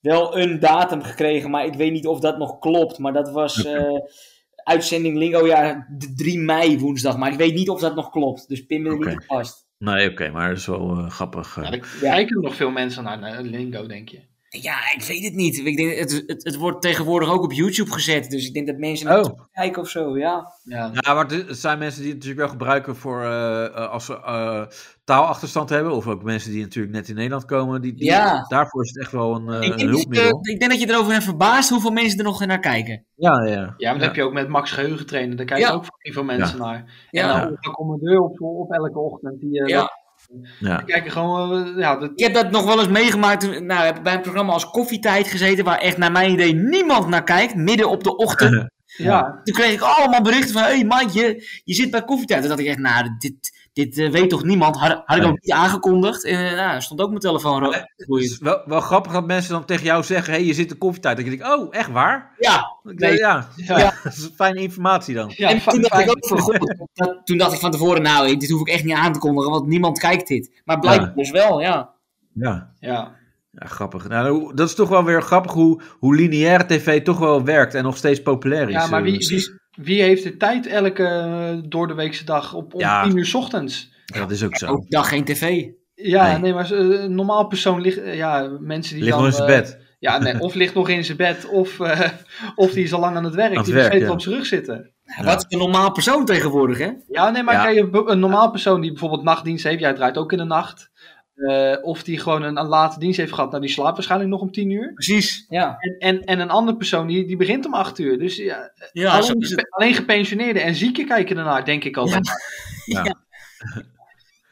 [SPEAKER 3] wel een datum gekregen, maar ik weet niet of dat nog klopt. Maar dat was eh, uitzending Lingojaar d- 3 mei woensdag. Maar ik weet niet of dat nog klopt. Dus pin me er
[SPEAKER 2] Oké.
[SPEAKER 3] niet op vast.
[SPEAKER 2] Nee, oké, maar dat is wel eh, grappig. eh.
[SPEAKER 4] ja, nou, dan kijken er nog veel mensen naar, naar Lingo, denk je.
[SPEAKER 3] Ja, ik weet het niet. Ik denk, het, het, het wordt tegenwoordig ook op YouTube gezet. Dus ik denk dat mensen naar
[SPEAKER 2] Oh.
[SPEAKER 3] kijken of zo. Ja.
[SPEAKER 4] Ja,
[SPEAKER 2] Ja, maar het het zijn mensen die het natuurlijk wel gebruiken voor eh, eh, als ze eh, taalachterstand hebben. Of ook mensen die natuurlijk net in Nederland komen. Die, die-
[SPEAKER 3] Ja.
[SPEAKER 2] Daarvoor is het echt wel een, eh,
[SPEAKER 3] ik,
[SPEAKER 2] een
[SPEAKER 3] denk, dat
[SPEAKER 2] hulpmiddel.
[SPEAKER 3] je- ik denk dat je erover bent verbaasd hoeveel mensen er nog naar kijken.
[SPEAKER 2] ja, ja.
[SPEAKER 4] ja maar dat heb je ook met Max Geheugen trainen. Daar kijken
[SPEAKER 3] Ja.
[SPEAKER 4] ook fucking veel mensen naar.
[SPEAKER 3] Ja.
[SPEAKER 4] En eh, dan dan komen er op, op elke ochtend. Die, eh,
[SPEAKER 3] Ja.
[SPEAKER 4] dat-
[SPEAKER 2] ja.
[SPEAKER 4] die kijken gewoon, eh, ja, dat,
[SPEAKER 3] Ik heb dat nog wel eens meegemaakt. Toen, nou, heb ik bij een programma als Koffietijd gezeten, waar echt naar mijn idee niemand naar kijkt, midden op de ochtend.
[SPEAKER 4] ja.
[SPEAKER 3] Toen kreeg ik allemaal berichten van, hé hey, man, je, je zit bij Koffietijd. Toen dacht ik echt, nou, dit, dit eh, weet toch niemand? Had, had ik
[SPEAKER 2] Nee.
[SPEAKER 3] ook niet aangekondigd. En eh, nou, stond ook mijn telefoon rood.
[SPEAKER 2] Het is wel, wel grappig dat mensen dan tegen jou zeggen: hey, je zit in koffietijd. Dat je denkt: oh, echt waar?
[SPEAKER 3] Ja,
[SPEAKER 2] Ik
[SPEAKER 3] Nee.
[SPEAKER 2] denk, Ja,
[SPEAKER 4] Ja.
[SPEAKER 2] Ja, dat is fijne informatie dan.
[SPEAKER 4] Ja,
[SPEAKER 3] en
[SPEAKER 4] fa-
[SPEAKER 3] toen dacht
[SPEAKER 4] fa-
[SPEAKER 3] ik ook van, "Goh, dat, toen dacht ik van tevoren, nou, dit hoef ik echt niet aan te kondigen, want niemand kijkt dit. Maar blijkbaar
[SPEAKER 2] Ja.
[SPEAKER 3] dus wel, ja.
[SPEAKER 2] Ja,
[SPEAKER 4] ja.
[SPEAKER 2] ja grappig. Nou, hoe- dat is toch wel weer grappig hoe, hoe lineaire tv toch wel werkt en nog steeds populair is.
[SPEAKER 4] ja, maar
[SPEAKER 2] eh,
[SPEAKER 4] wie,
[SPEAKER 2] precies.
[SPEAKER 4] wie, wie heeft de tijd elke eh, doordeweekse dag op, om
[SPEAKER 2] Ja.
[SPEAKER 4] 10 uur 's ochtends?
[SPEAKER 2] Ja, Eh, dat is ook zo.
[SPEAKER 3] Ook dag geen tv.
[SPEAKER 4] Ja,
[SPEAKER 2] Nee.
[SPEAKER 4] nee, maar eh, een normaal persoon ligt, eh, ja, mensen die
[SPEAKER 2] Ligt
[SPEAKER 4] dan...
[SPEAKER 2] nog in zijn
[SPEAKER 4] eh,
[SPEAKER 2] bed.
[SPEAKER 4] Ja, nee, of ligt nog in zijn bed, of, eh, of die is al lang aan het werk.
[SPEAKER 2] het
[SPEAKER 4] die
[SPEAKER 2] werk,
[SPEAKER 4] werk, steeds
[SPEAKER 2] ja.
[SPEAKER 4] op zijn rug zitten.
[SPEAKER 2] Ja.
[SPEAKER 3] Wat een normaal persoon tegenwoordig, hè?
[SPEAKER 4] Ja, nee, maar
[SPEAKER 2] Ja.
[SPEAKER 4] kijk, een, be- een normaal persoon die bijvoorbeeld nachtdienst heeft, jij draait ook in de nacht. Eh, of die gewoon een, een late dienst heeft gehad. Nou, die slaapt waarschijnlijk nog om tien uur.
[SPEAKER 3] Precies. Ja,
[SPEAKER 4] En, en, en een andere persoon, die, die begint om acht uur. Dus ja,
[SPEAKER 3] ja zo
[SPEAKER 4] alleen,
[SPEAKER 3] is het.
[SPEAKER 4] gepe- alleen gepensioneerden en zieken kijken ernaar, denk ik altijd.
[SPEAKER 2] Ja.
[SPEAKER 4] ja.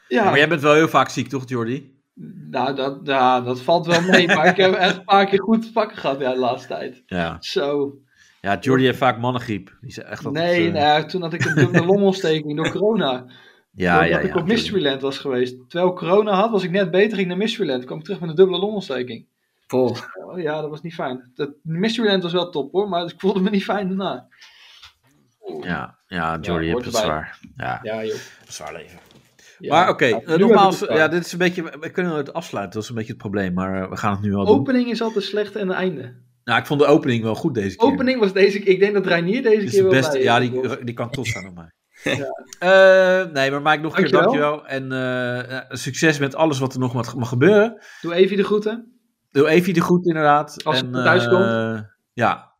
[SPEAKER 2] Ja, maar jij bent wel heel vaak ziek, toch, Jordi?
[SPEAKER 4] Nou, dat, ja, dat valt wel mee. Maar ik heb echt een paar keer goed te pakken gehad ja, de laatste tijd.
[SPEAKER 2] Ja.
[SPEAKER 4] Zo.
[SPEAKER 2] Ja, Jordi heeft vaak mannengriep. Die is echt altijd,
[SPEAKER 4] nee,
[SPEAKER 2] eh,
[SPEAKER 4] nou, ja, toen had ik een dubbele longontsteking door corona.
[SPEAKER 2] Ja,
[SPEAKER 4] Doordat
[SPEAKER 2] ja, ja.
[SPEAKER 4] ik op Mysteryland was geweest. Terwijl ik corona had, was ik net beter, ging naar Mysteryland. kwam ik terug met een dubbele longontsteking.
[SPEAKER 3] Poh.
[SPEAKER 4] Oh, ja, dat was niet fijn. Dat, Mysteryland was wel top hoor, maar ik voelde me niet fijn daarna.
[SPEAKER 2] Ja, ja Jordi
[SPEAKER 4] Ja,
[SPEAKER 2] heeft
[SPEAKER 4] hoort
[SPEAKER 2] het
[SPEAKER 4] erbij.
[SPEAKER 2] zwaar. Ja,
[SPEAKER 4] Ja, joh.
[SPEAKER 2] zwaar leven.
[SPEAKER 4] Ja.
[SPEAKER 2] Maar oké,
[SPEAKER 4] Ja,
[SPEAKER 2] eh,
[SPEAKER 4] nu heb
[SPEAKER 2] nogmaals,
[SPEAKER 4] ik het
[SPEAKER 2] ja,
[SPEAKER 4] gedaan.
[SPEAKER 2] dit is een beetje, we kunnen het afsluiten, dat is een beetje het probleem, maar eh, we gaan het nu al doen.
[SPEAKER 4] Opening is altijd slecht en het einde.
[SPEAKER 2] Nou, ik vond de opening wel goed deze keer.
[SPEAKER 4] Opening was deze keer, ik denk dat Reinier deze
[SPEAKER 2] Dit is
[SPEAKER 4] keer
[SPEAKER 2] de
[SPEAKER 4] wel
[SPEAKER 2] beste,
[SPEAKER 4] bij eh,
[SPEAKER 2] ja,
[SPEAKER 4] is.
[SPEAKER 2] die, die kan trots zijn op mij. Eh, nee, maar Mike, nog een keer
[SPEAKER 4] Dankjewel.
[SPEAKER 2] dankjewel. En eh, ja, succes met alles wat er nog mag, mag gebeuren.
[SPEAKER 4] Doe Evie de groeten.
[SPEAKER 2] Doe Evie de groet, inderdaad.
[SPEAKER 4] Als ze
[SPEAKER 2] en,
[SPEAKER 4] thuis
[SPEAKER 2] eh,
[SPEAKER 4] komt.
[SPEAKER 2] ja.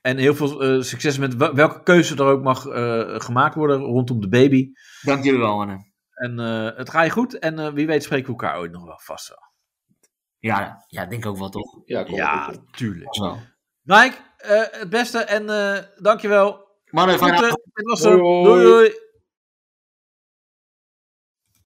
[SPEAKER 2] En heel veel eh, succes met wel- welke keuze er ook mag eh, gemaakt worden rondom de baby.
[SPEAKER 3] Dank jullie wel, mannen.
[SPEAKER 2] En eh, het gaat je goed. En eh, wie weet spreken we elkaar ooit nog wel vast wel.
[SPEAKER 3] Ja, ja, denk ook wel toch.
[SPEAKER 4] Ja, kom
[SPEAKER 2] ja,
[SPEAKER 4] op.
[SPEAKER 2] tuurlijk.
[SPEAKER 3] Zo.
[SPEAKER 2] Mike, eh, het beste en eh dankjewel.
[SPEAKER 3] Mannen, fijne eh,
[SPEAKER 2] Groeten. Dit was
[SPEAKER 4] Hoi,
[SPEAKER 2] er.
[SPEAKER 4] hoi.
[SPEAKER 2] Doei doei.